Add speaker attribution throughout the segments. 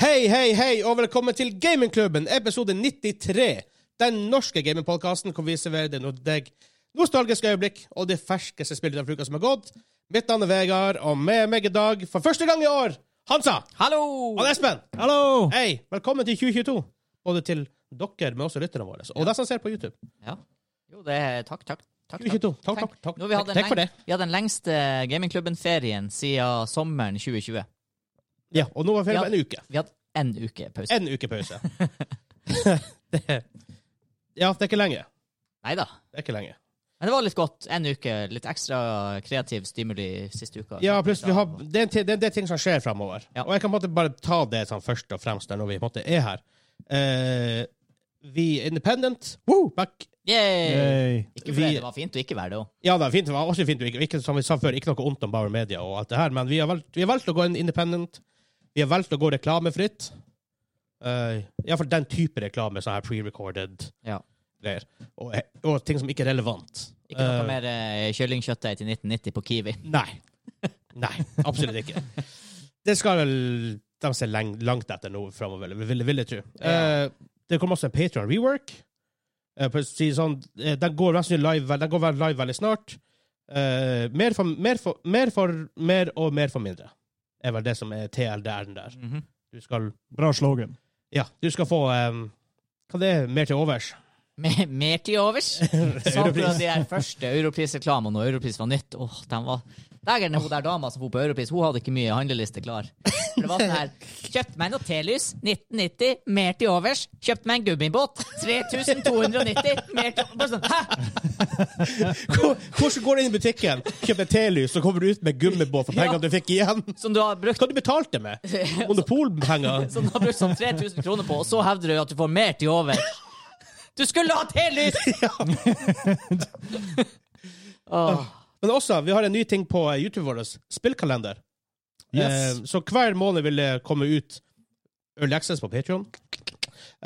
Speaker 1: Hei, hei, hei, og velkommen til Gamingklubben, episode 93. Den norske gamingpodkasten hvor vi serverer deg noe- deg nostalgiske øyeblikk og det ferskeste spillet av uka som har gått. Mitt navn er Vegard, og med meg i dag, for første gang i år, Hansa
Speaker 2: Hallo!
Speaker 1: og Espen.
Speaker 3: Hallo!
Speaker 1: Hei, velkommen til 2022. Både til dere, men også lytterne våre, og de som ser på YouTube.
Speaker 2: Ja. Jo, det er takk, takk. Takk,
Speaker 1: 2022. Takk, takk, takk.
Speaker 2: Nå har vi hatt en
Speaker 1: Takk for
Speaker 2: leng-
Speaker 1: det.
Speaker 2: Vi hadde den lengste gamingklubben-ferien siden sommeren 2020.
Speaker 1: Ja, og nå var vi ferdig med en uke.
Speaker 2: Vi hadde én uke pause.
Speaker 1: En uke pause. det, ja, det er ikke lenge.
Speaker 2: Nei da.
Speaker 1: Det er ikke lenge.
Speaker 2: Men det var litt godt. En uke. Litt ekstra kreativ stimuli siste uka.
Speaker 1: Ja, pluss vi har, det, er en ti- det, er- det er ting som skjer framover.
Speaker 2: Ja.
Speaker 1: Og jeg kan på en måte bare ta det sånn først og fremst der når vi på en måte er her. Eh, vi er independent. Woo, back. Eh,
Speaker 2: Yay!
Speaker 3: Hey.
Speaker 2: Ikke
Speaker 1: vi-
Speaker 2: fordi det var fint å ikke være det òg.
Speaker 1: Ja, det, er fint, det var også fint. Ikke, ikke, som vi sa før, ikke noe ondt om Bauer Media og alt det her, men vi har valgt, vi har valgt å gå en independent. Vi har valgt å gå reklamefritt. Uh, Iallfall den type reklame, sånn her pre-recorded
Speaker 2: Ja.
Speaker 1: greier. Og, og ting som ikke er relevant.
Speaker 2: Ikke noe
Speaker 1: Eh,
Speaker 2: mer eh, kyllingkjøttdeig til 1990 på Kiwi.
Speaker 1: Nei. Nei, absolutt ikke. Det skal vel de se leng, langt etter nå framover, vil, vil jeg tro.
Speaker 2: Ja.
Speaker 1: Eh, det kommer også en Patreon rework. Eh, for å si det sånn, eh, den går mest sannsynlig live, vel- den går vel live veldig snart. Eh, mer, for, mer, for, mer for mer og mer for mindre, er vel det som er TLDR-en der.
Speaker 2: Mhm.
Speaker 1: Du skal,
Speaker 3: Bra slogan.
Speaker 1: ja, du skal få eh, Hva det er mer til overs?
Speaker 2: Mer- Mer til overs? Sånn fra de her første Europris-reklamene, og Europris var nytt. Åh, den var... Dægeren, hun der dama som bor på Europris, hun hadde ikke mye handleliste klar. For det var sånn her Kjøpt meg noe telys, 1990, mer til overs. Kjøpt meg en gummibåt, 3290, mer til Bare sånn, hæ?
Speaker 1: Hvordan går du inn i butikken, kjøper et telys, så kommer du ut med gummibåt for pengene
Speaker 2: Ja.
Speaker 1: du fikk igjen?
Speaker 2: Som du har brukt
Speaker 1: Hva du betalte med? Monopolpenger?
Speaker 2: Som du har brukt sånn 3000 kroner på, og så hevder du at du får mer til overs. Du skulle ha telys! Åh.
Speaker 1: Men også, vi har en ny ting på eh, YouTube vår, spillkalender.
Speaker 3: Yes.
Speaker 1: Eh, så hver måned vil det komme ut Early Access på Patreon.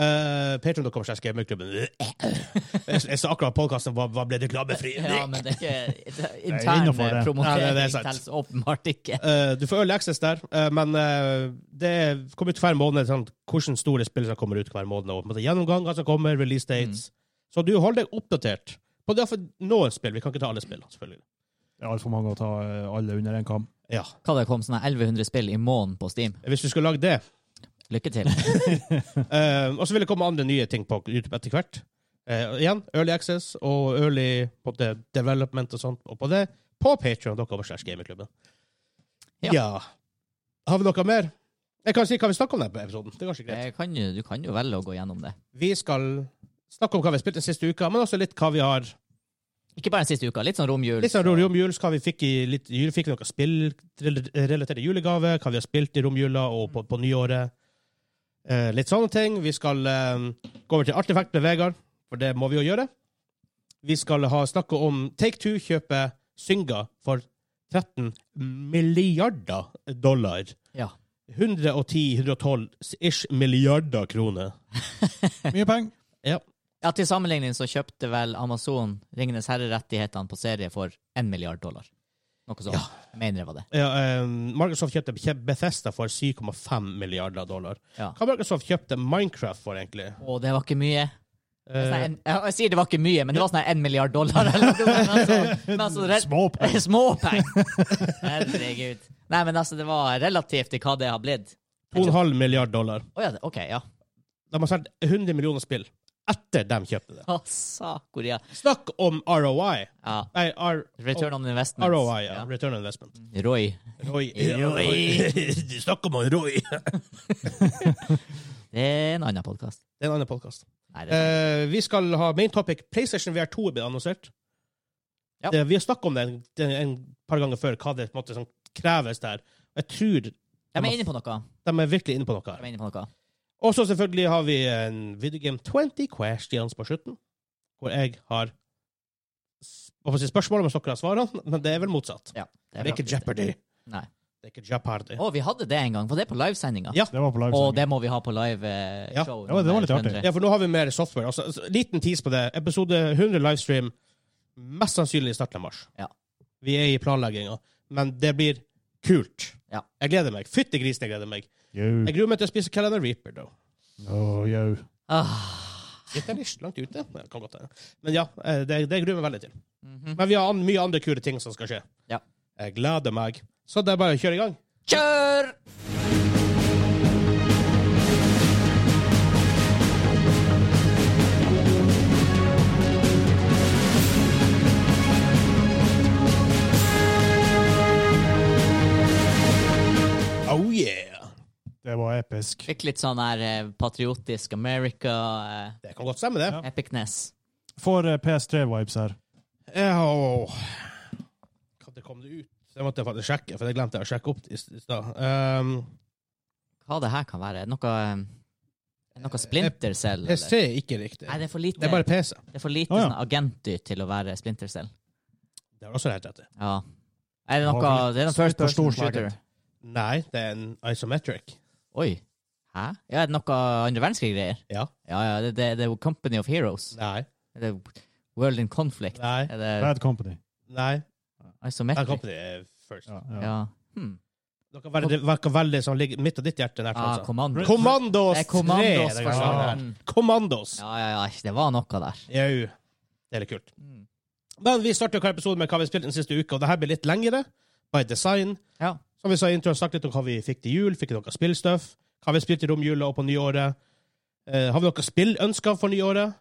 Speaker 1: Uh, Patreon.com slags gamingklubben. Jeg jeg sa akkurat podkasten hva, hva ble reklamefri.
Speaker 2: Ja, men det er ikke intern eh,
Speaker 3: innenfor
Speaker 1: Ja,
Speaker 3: det.
Speaker 1: det- det er
Speaker 2: promotering
Speaker 1: sant.
Speaker 2: telles åpenbart ikke.
Speaker 1: Eh, du får Early Access der, eh, men eh, det kommer ut hver måned sånn, hvordan store spill som kommer ut hver måned. Og, på en måte gjennomganger som kommer, release dates. Så du holder deg oppdatert. På det for noen spill. Vi kan ikke ta alle spill, selvfølgelig.
Speaker 3: Det er altfor mange å ta eh, alle under én kam.
Speaker 1: Ja.
Speaker 2: Hva det kom sånn her 1100 spill i måneden på Steam.
Speaker 1: Hvis du skulle lagd det
Speaker 2: Lykke til.
Speaker 1: Eh, og så vil det komme andre nye ting på YouTube etter hvert. Eh, igjen, Early Access og Early på det, Development og sånt. Og på det, på Patreon.com slash gamingklubben.
Speaker 2: Ja.
Speaker 1: Ja. Har vi noe mer? Jeg kan si hva vi snakker om i denne episoden. Det er kanskje greit.
Speaker 2: Jeg kan jo, du kan jo velge å gå gjennom det.
Speaker 1: Vi skal snakke om hva vi har spilt den siste uka, men også litt hva vi har
Speaker 2: Ikke bare den siste uka. Litt sånn romjul.
Speaker 1: Litt sånn ro- romjuls, hva vi fikk i litt jul, fikk noe spill relaterte julegave, hva vi har spilt i romjula og på, på nyåret. Eh, litt sånne ting. Vi skal eh, gå over til Artefakt med Vegard, for det må vi jo gjøre. Vi skal ha snakke om Take Two kjøper Synga for 13 milliarder dollar.
Speaker 2: Ja.
Speaker 1: 110-112-ish milliarder kroner.
Speaker 3: Mye penger.
Speaker 2: ja, til sammenligning så kjøpte vel Amazon Ringenes herre-rettighetene på serie for 1 milliard dollar. Noe sånt. Jeg mener det var det.
Speaker 1: Ja, eh, Microsoft kjøpte Beth- Bethesda for 7,5 milliarder dollar.
Speaker 2: Ja.
Speaker 1: Hva Microsoft kjøpte Minecraft for, egentlig?
Speaker 2: Å, det var ikke mye. Det er
Speaker 1: Eh,
Speaker 2: sånn en- Jeg, jeg sier det var ikke mye, men det var sånn her 1 milliard dollar. Eller noe sånt. Men altså- men altså, rett-
Speaker 3: Småpenger.
Speaker 2: Småpenger! Herregud. Nei, men altså, det var relativt til hva det har blitt.
Speaker 1: 2,5 milliard dollar.
Speaker 2: Å ja, det- OK, ja.
Speaker 1: De har solgt 100 millioner spill etter de kjøpte det.
Speaker 2: Å, sakoria.
Speaker 1: Snakk om ROI.
Speaker 2: Ja.
Speaker 1: Nei, R
Speaker 2: Return on investment.
Speaker 1: ROI, ja. Return on Investment.
Speaker 2: Roy.
Speaker 1: Roy.
Speaker 2: Mm. Roy.
Speaker 1: Snakk om Roy. Det
Speaker 2: Det er en annen podkast.
Speaker 1: er en annen podkast.
Speaker 2: Nei, det er
Speaker 1: Eh, vi skal ha main topic. PlayStation VR2 blir annonsert.
Speaker 2: Ja.
Speaker 1: Det, vi har snakket om det en, det en par ganger før, hva det på en måte som kreves der. Jeg tror
Speaker 2: de er inne på noe.
Speaker 1: de er virkelig inne på noe
Speaker 2: De
Speaker 1: her.
Speaker 2: er inne på noe.
Speaker 1: Og så selvfølgelig har vi en videogame 20 questions på slutten, hvor jeg har s- hva får jeg si, spørsmål om dere har svarene, men det er vel motsatt.
Speaker 2: Ja,
Speaker 1: Det er ikke Jeopardy.
Speaker 2: Nei.
Speaker 1: Det er ikke Jeopardy.
Speaker 2: Å, vi hadde det en gang. Var det på livesendinga?
Speaker 1: Ja.
Speaker 3: Det var på
Speaker 2: Å,
Speaker 3: livesending.
Speaker 2: det må vi ha på eh, live-show.
Speaker 1: Ja.
Speaker 3: Ja, det var litt artig.
Speaker 1: Ja, for nå har vi mer software. Altså, altså, liten tease på det. Episode 100 livestream, mest sannsynlig i starten av mars.
Speaker 2: Ja.
Speaker 1: Vi er i planlegginga, men det blir kult.
Speaker 2: Ja.
Speaker 1: Jeg gleder meg. Fytti grisen, jeg gleder meg.
Speaker 3: Jau.
Speaker 1: Jeg gruer meg til å spise Calendar Reaper, da.
Speaker 3: Å, jau.
Speaker 2: Ah.
Speaker 1: Litt er litt langt ute. men det Kan godt hende. Men ja, eh, det, det gruer jeg meg veldig til.
Speaker 2: Mhm.
Speaker 1: Men vi har an mye andre kule ting som skal skje.
Speaker 2: Ja.
Speaker 1: Jeg gleder meg. Så det er bare å kjøre i gang.
Speaker 2: Kjør!
Speaker 1: Oh yeah!
Speaker 3: Det var episk.
Speaker 2: Fikk litt sånn her eh, patriotisk America, eh,
Speaker 1: Det kan godt stemme, det.
Speaker 3: Ja.
Speaker 2: epicness.
Speaker 3: Får eh, PS3-vibes her.
Speaker 1: Ja. åh. Hva det kom det ut? Det måtte jeg faktisk sjekke, for det glemte jeg å sjekke opp i s- i stad. Um,
Speaker 2: Hva det her kan være? Er det Noe, eh, noe Splinter Cell? eller?
Speaker 1: PC er ikke riktig.
Speaker 2: Nei, det er for lite,
Speaker 1: Det er bare PC.
Speaker 2: for lite
Speaker 3: Å, ja.
Speaker 2: sånn agentdyr til å være Splinter Cell.
Speaker 1: Det har du også helt rett i.
Speaker 2: Ja. Er det noe
Speaker 3: Ja,
Speaker 2: Det er noe first
Speaker 3: for
Speaker 2: person
Speaker 3: stor
Speaker 2: shooter.
Speaker 3: slagget.
Speaker 1: Nei, det er en isometric.
Speaker 2: Oi. Hæ? Ja, er det noe andre verdenskrig-greier?
Speaker 1: Ja.
Speaker 2: Ja, ja, det, det, det er jo Company of Heroes.
Speaker 1: Nei.
Speaker 2: Er det World in Conflict?
Speaker 1: Nei.
Speaker 2: Er det
Speaker 3: Bad Company.
Speaker 1: Nei. Den
Speaker 2: Isometric?
Speaker 1: kampen er first.
Speaker 3: Ja, ja.
Speaker 2: Ja. Hmm.
Speaker 1: Dere kan velge, dere kan velge som ligger midt og ditt hjerte nært.
Speaker 2: Ah,
Speaker 1: altså.
Speaker 2: Commando.
Speaker 1: Commandos
Speaker 2: Det er
Speaker 1: 3!
Speaker 2: Commandos,
Speaker 1: det
Speaker 2: for
Speaker 1: kan være.
Speaker 2: faen.
Speaker 1: Commandos.
Speaker 2: Ja, ja, ja. Det var noe der.
Speaker 1: Jau. Det er litt kult.
Speaker 2: Mm.
Speaker 1: Men vi starter hver episode med hva vi har spilt den siste uka, og det her blir litt lengre, by design.
Speaker 2: Ja.
Speaker 1: Som vi sa i introen, snakket litt om hva vi fikk til jul, fikk noe spillstuff, hva vi spilte i romjula og på nyåret. Eh, har vi noe spillønsker for nyåret?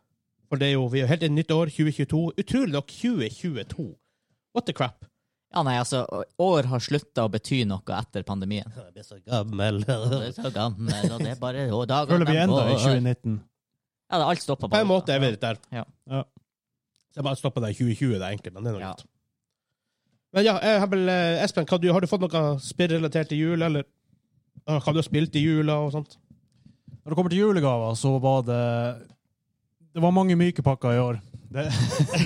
Speaker 1: For det er jo, vi er jo helt i nytt år, 2022. Utrolig nok 2022. What the crap?
Speaker 2: Ja, nei, altså, år har slutta å bety noe etter pandemien.
Speaker 1: Jeg blir så gammel.
Speaker 2: Det er så gammel, og det er bare og dager
Speaker 3: Føler vi
Speaker 2: dem
Speaker 3: enda i
Speaker 2: går.
Speaker 3: 2019.
Speaker 2: Ja, det, alt stoppa
Speaker 1: På en måte er vi litt der.
Speaker 2: Ja.
Speaker 3: Ja.
Speaker 1: Så jeg bare stopper der i 2020, det er enkelt, men det er noe
Speaker 2: Ja.
Speaker 1: greit. Men ja, eh, Hebel, eh, Espen, hva du, har du fått noe spillrelatert til jul, eller eh, hva du har spilt i jula og sånt?
Speaker 3: Når det kommer til julegaver, så var det Det var mange myke pakker i år. Det,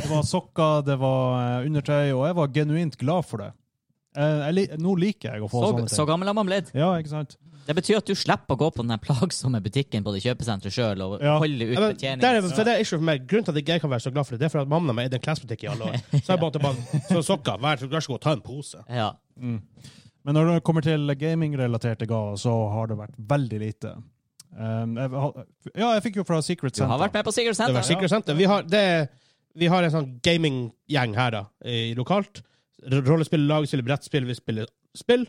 Speaker 3: det var sokker, det var eh, undertøy, og jeg var genuint glad for det. Jeg, jeg, li- nå liker jeg å få
Speaker 2: Så,
Speaker 3: sånne ting.
Speaker 2: så gammel har man blitt.
Speaker 3: Ja, ikke sant?
Speaker 2: Det betyr at du slipper å gå på den her plagsomme butikken på det kjøpesenteret sjøl og
Speaker 3: Ja.
Speaker 2: holde ut
Speaker 1: Ja, men,
Speaker 2: betjeningen.
Speaker 1: der er, for det er ikke for meg. Grunnen til at ikke jeg kan være så glad for det, det er for at mamma mi er i en klesbutikk i alle år. Så jeg bare, bare så sokker, vær så vær så god, ta en pose.
Speaker 2: Ja.
Speaker 3: Men når det kommer til gaming-relaterte gaver, så har det vært veldig lite. Um, jeg, har- ja, jeg fikk jo fra Secret
Speaker 2: Du har
Speaker 3: Center.
Speaker 2: vært med på Sigurd
Speaker 1: Det
Speaker 2: Senter.
Speaker 1: var sikkert sant. det. Vi har, det, vi har en sånn gaminggjeng her da, i lokalt. R- Rollespill, lagspill, brettspill, vi spiller spill.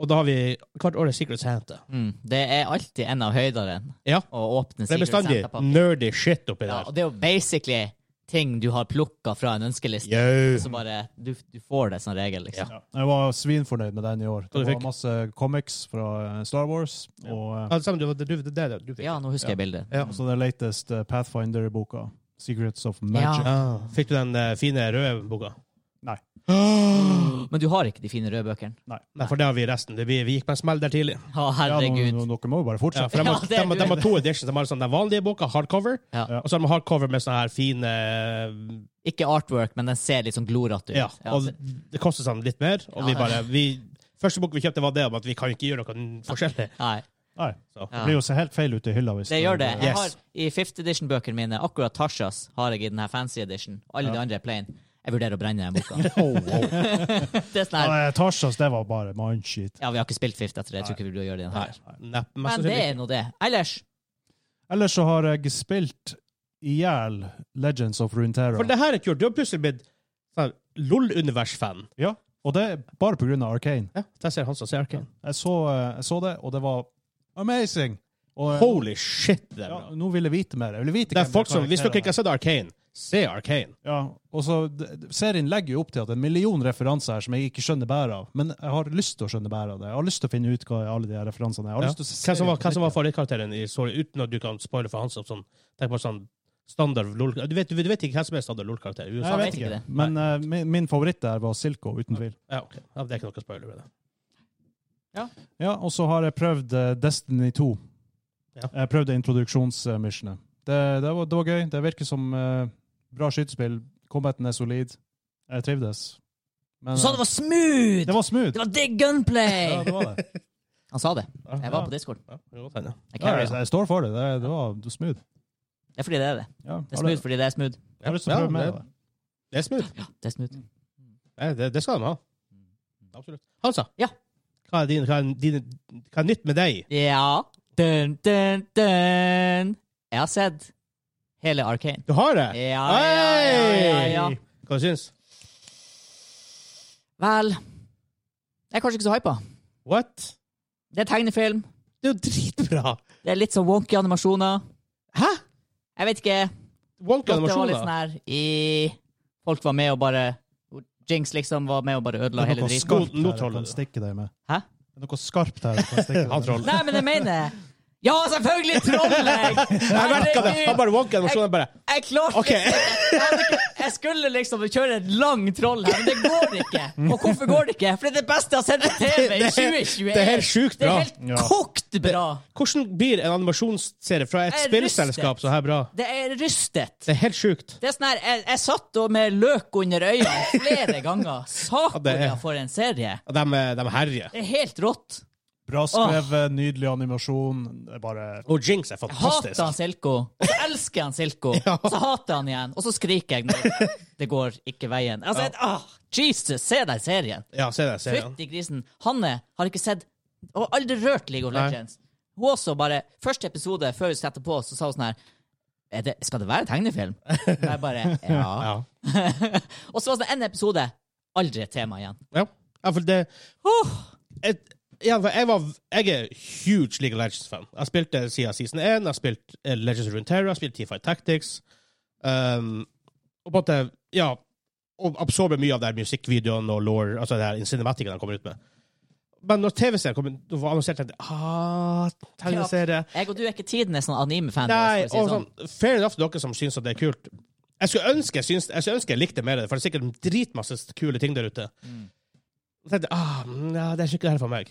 Speaker 1: Og da har vi hvert år er Secret Santa.
Speaker 2: Mm. Det er alltid en av høydene
Speaker 1: Ja.
Speaker 2: å
Speaker 1: Det
Speaker 2: åpne
Speaker 1: er
Speaker 2: Sigurd
Speaker 1: bestandig Mm.
Speaker 2: Senter på.
Speaker 1: nerdy shit oppi
Speaker 2: Ja,
Speaker 1: der.
Speaker 2: og det er jo basically ting du har plukka fra en ønskeliste.
Speaker 1: Yo.
Speaker 2: Så bare du, du får det som regel, liksom.
Speaker 3: Ja, jeg var svinfornøyd med den i år.
Speaker 1: Hva
Speaker 3: Det
Speaker 1: du fikk?
Speaker 3: var masse comics fra eh, Star Wars, og eh,
Speaker 1: Ja, det samme, det var det du, det, er det du fikk.
Speaker 2: Ja, nå husker jeg bildet.
Speaker 1: Ja.
Speaker 3: også den lateste Pathfinder-boka, Secrets of Magic.
Speaker 2: Ja.
Speaker 1: Ah, Fikk du den eh, fine røde boka?
Speaker 3: Nei.
Speaker 2: Men du har ikke de fine røde bøkene.
Speaker 1: Nei, for det har vi resten. Det- Vi, vi gikk på en smell der tidlig.
Speaker 2: Å,
Speaker 3: Ja,
Speaker 2: herregud.
Speaker 3: nå, nå, dere må jo bare
Speaker 1: Ja,
Speaker 3: fortsette.
Speaker 1: for de,
Speaker 2: Ja,
Speaker 1: har,
Speaker 2: det er
Speaker 1: de, de har to editions. De har sånn den vanlige boka, hardcover,
Speaker 2: Ja.
Speaker 3: Ja.
Speaker 1: og så har de hardcover med sånne her fine eh,
Speaker 2: Ikke artwork, men den ser litt sånn glorete ut.
Speaker 1: Ja,
Speaker 2: Ja,
Speaker 1: og
Speaker 2: det-
Speaker 1: det koster sånn litt mer, og vi
Speaker 2: Ja.
Speaker 1: bare vi, Første bok vi kjøpte, var det om at vi kan ikke gjøre noe forskjellig.
Speaker 2: Nei,
Speaker 3: Nei,
Speaker 1: Så.
Speaker 2: Ja.
Speaker 3: det blir jo så helt feil ute i hylla. Hvis
Speaker 2: det gjør det. Jeg
Speaker 1: Yes.
Speaker 2: har, I fifth edition-bøkene mine, akkurat Tashas har jeg i den her fancy edition. Alle de andre er plain. Jeg vurderer å brenne den boka. det er sånn her,
Speaker 3: Ja, Tarsas, det var bare mindshit.
Speaker 2: ja, vi har ikke spilt fifth etter det, jeg tror ikke vi burde gjøre det i den her.
Speaker 1: Nepp, mest
Speaker 2: Men det
Speaker 1: sannsynlig
Speaker 2: er nå det. Ellers,
Speaker 3: Ellers så har jeg spilt i hjel Legends of
Speaker 1: ikke.
Speaker 3: Runeterra.
Speaker 1: For det her er kult. Du har plutselig blitt sånn LOL-univers-fan.
Speaker 3: Ja, og det er bare på grunn av Arcane.
Speaker 1: Ja, der ser han som ser Arkane.
Speaker 3: Jeg så, eh, jeg så det, og det var amazing! Og,
Speaker 1: Holy shit, det er
Speaker 3: ja,
Speaker 1: bra.
Speaker 3: nå vil jeg vite mer. Jeg vil vite
Speaker 1: Det
Speaker 3: hvem
Speaker 1: er folk som,
Speaker 3: karakterene
Speaker 1: Hvis dere ikke
Speaker 3: er.
Speaker 1: har sett Arkane, se Arkane.
Speaker 3: ja, og så, d- d- Serien legger jo opp til at det er en million referanser her som jeg ikke skjønner bæret av. Men jeg har lyst til å skjønne bæret av det. Jeg har lyst til å finne ut hva er alle de her referansene er. Jeg har
Speaker 1: Ja.
Speaker 3: lyst til å se
Speaker 1: Hvem som var,
Speaker 3: serien på
Speaker 1: hvem som var
Speaker 3: nytt.
Speaker 1: favorittkarakteren i Sorry, uten at du kan spoile for han som sånn, tenk på sånn standard LOL du vet, du vet ikke hvem som er standard LOL-karakter i
Speaker 3: Nei,
Speaker 1: USA?
Speaker 2: Han
Speaker 3: jeg
Speaker 2: vet
Speaker 3: vet
Speaker 2: ikke
Speaker 3: ikke.
Speaker 2: det.
Speaker 3: Men eh, min, min favoritt der var Silco, uten tvil.
Speaker 1: Ja, ok. ja, det er ikke noe spoiler med det.
Speaker 3: Ja, og så har jeg prøvd eh, Destiny 2.
Speaker 1: Ja.
Speaker 3: Jeg prøvde introduksjonsmissionet. Det, det, var- det var gøy. Det virker som eh, bra skytespill. Combaten er solid. Jeg trivdes. Men,
Speaker 2: du sa det
Speaker 3: eh,
Speaker 2: var smooth!
Speaker 3: det var smooth!
Speaker 2: Det var digg gunplay!
Speaker 3: Ja, det var det.
Speaker 2: Han sa det. Jeg var på Discord.
Speaker 1: Ja, det kan godt hende.
Speaker 2: Jeg
Speaker 3: Ja,
Speaker 2: carrier
Speaker 3: jeg,
Speaker 2: han.
Speaker 3: jeg står for det. Det, det var det var smooth.
Speaker 2: Det er fordi det er det.
Speaker 3: Ja,
Speaker 2: Det er
Speaker 3: har du-
Speaker 2: smooth fordi det er smooth.
Speaker 3: har du lyst til å prøve mer
Speaker 1: det,
Speaker 3: av det?
Speaker 1: det er smooth.
Speaker 2: Ja, det er smooth.
Speaker 1: Nei, Det, det skal de ha. Absolutt. Hansa,
Speaker 2: Ja.
Speaker 1: Hva er, din, hva, er din, hva er nytt med deg?
Speaker 2: Ja. Dun, dun, dun. Jeg har sett hele Arcane.
Speaker 1: Du har det?
Speaker 2: Ja, ja, ja, ja, ja.
Speaker 1: Hei! Hva du syns du?
Speaker 2: Vel Jeg er kanskje ikke så hypa.
Speaker 1: What?
Speaker 2: Det er tegnefilm.
Speaker 1: Det er jo dritbra!
Speaker 2: Det er litt sånn wonky animasjoner.
Speaker 1: Hæ?
Speaker 2: Jeg vet ikke.
Speaker 1: Wonka
Speaker 2: Det var
Speaker 1: animasjoner?
Speaker 2: litt sånn her i Folk var med og bare Jinx liksom var med og bare ødela hele
Speaker 3: noe
Speaker 2: driten.
Speaker 1: skog.
Speaker 3: skarpt
Speaker 1: Nå- nå
Speaker 3: her du
Speaker 1: troller
Speaker 3: kan
Speaker 1: du.
Speaker 3: stikke deg med.
Speaker 2: Hæ?
Speaker 3: Det er noe skarpt her du kan stikke deg
Speaker 1: Han
Speaker 3: med.
Speaker 1: troller.
Speaker 2: Nei, men jeg mener Ja, selvfølgelig troller jeg!
Speaker 1: Jeg merka det! Han bare wonka animasjoner. bare
Speaker 2: Jeg klarte
Speaker 1: OK.
Speaker 2: ikke. Jeg hadde ikke- Jeg skulle liksom kjøre en lang troll her, men det går ikke. Og hvorfor går det ikke? For det er det beste jeg har sett på TV i
Speaker 1: Det er-
Speaker 2: 2021.
Speaker 1: det er helt sjukt
Speaker 2: Det er
Speaker 1: bra.
Speaker 3: Ja.
Speaker 2: helt kokt bra.
Speaker 1: Hvordan blir en animasjonsserie fra et
Speaker 2: Jeg er
Speaker 1: spillselskap
Speaker 2: rystet.
Speaker 1: så her bra?
Speaker 2: Det er rystet.
Speaker 1: Det er helt sjukt.
Speaker 2: Det er sånn her, jeg, jeg satt og med løk under øynene flere ganger. Sakoria for en serie.
Speaker 1: Og De, de herjer.
Speaker 2: Det er helt rått.
Speaker 3: Bra skrevet, nydelig animasjon. Det er bare
Speaker 1: Og Jinx er
Speaker 2: Jeg hater han
Speaker 1: fantastisk.
Speaker 2: Silko, og så elsker jeg han Silko, og så hater jeg han igjen, og så skriker jeg når det går ikke veien. Altså, et, ah, Jesus, se deg serien!
Speaker 1: Ja, se det, serien.
Speaker 2: Fytti grisen. Hanne har ikke sett og aldri rørt League of
Speaker 1: Nei.
Speaker 2: Legends. Hun også bare, Første episode før hun setter på, så sa hun sånn her er det, Skal det være tegnefilm? Og jeg bare
Speaker 1: Ja.
Speaker 2: Ja. og så var det en episode. Aldri et tema igjen.
Speaker 1: Ja. ja, for det
Speaker 2: Oh,
Speaker 1: et, ja, for jeg, var, jeg er huge League of Legends-fan. Jeg spilte siden season 1, jeg har spilt eh, Legends of Runeterra, jeg har spilt T5 Tactics. Um, og på en måte, ja Og absorber mye av det her musikkvideoen og lore, altså det her cinematikken han kommer ut med. Men når TV-serien kom ut, da var annonsert, tenkte jeg ah, tegneserie
Speaker 2: jeg og du er ikke tidenes sånn anime-fan.
Speaker 1: Nei,
Speaker 2: for å si det
Speaker 1: og sånn, fair enough til dere som syns at det er kult. Jeg skulle ønske jeg, syns, jeg, skulle ønske jeg likte mer av det, for det er sikkert dritmasse kule ting der ute.
Speaker 2: Mm.
Speaker 1: Så tenkte jeg ah, nei, det er ikke det her for meg.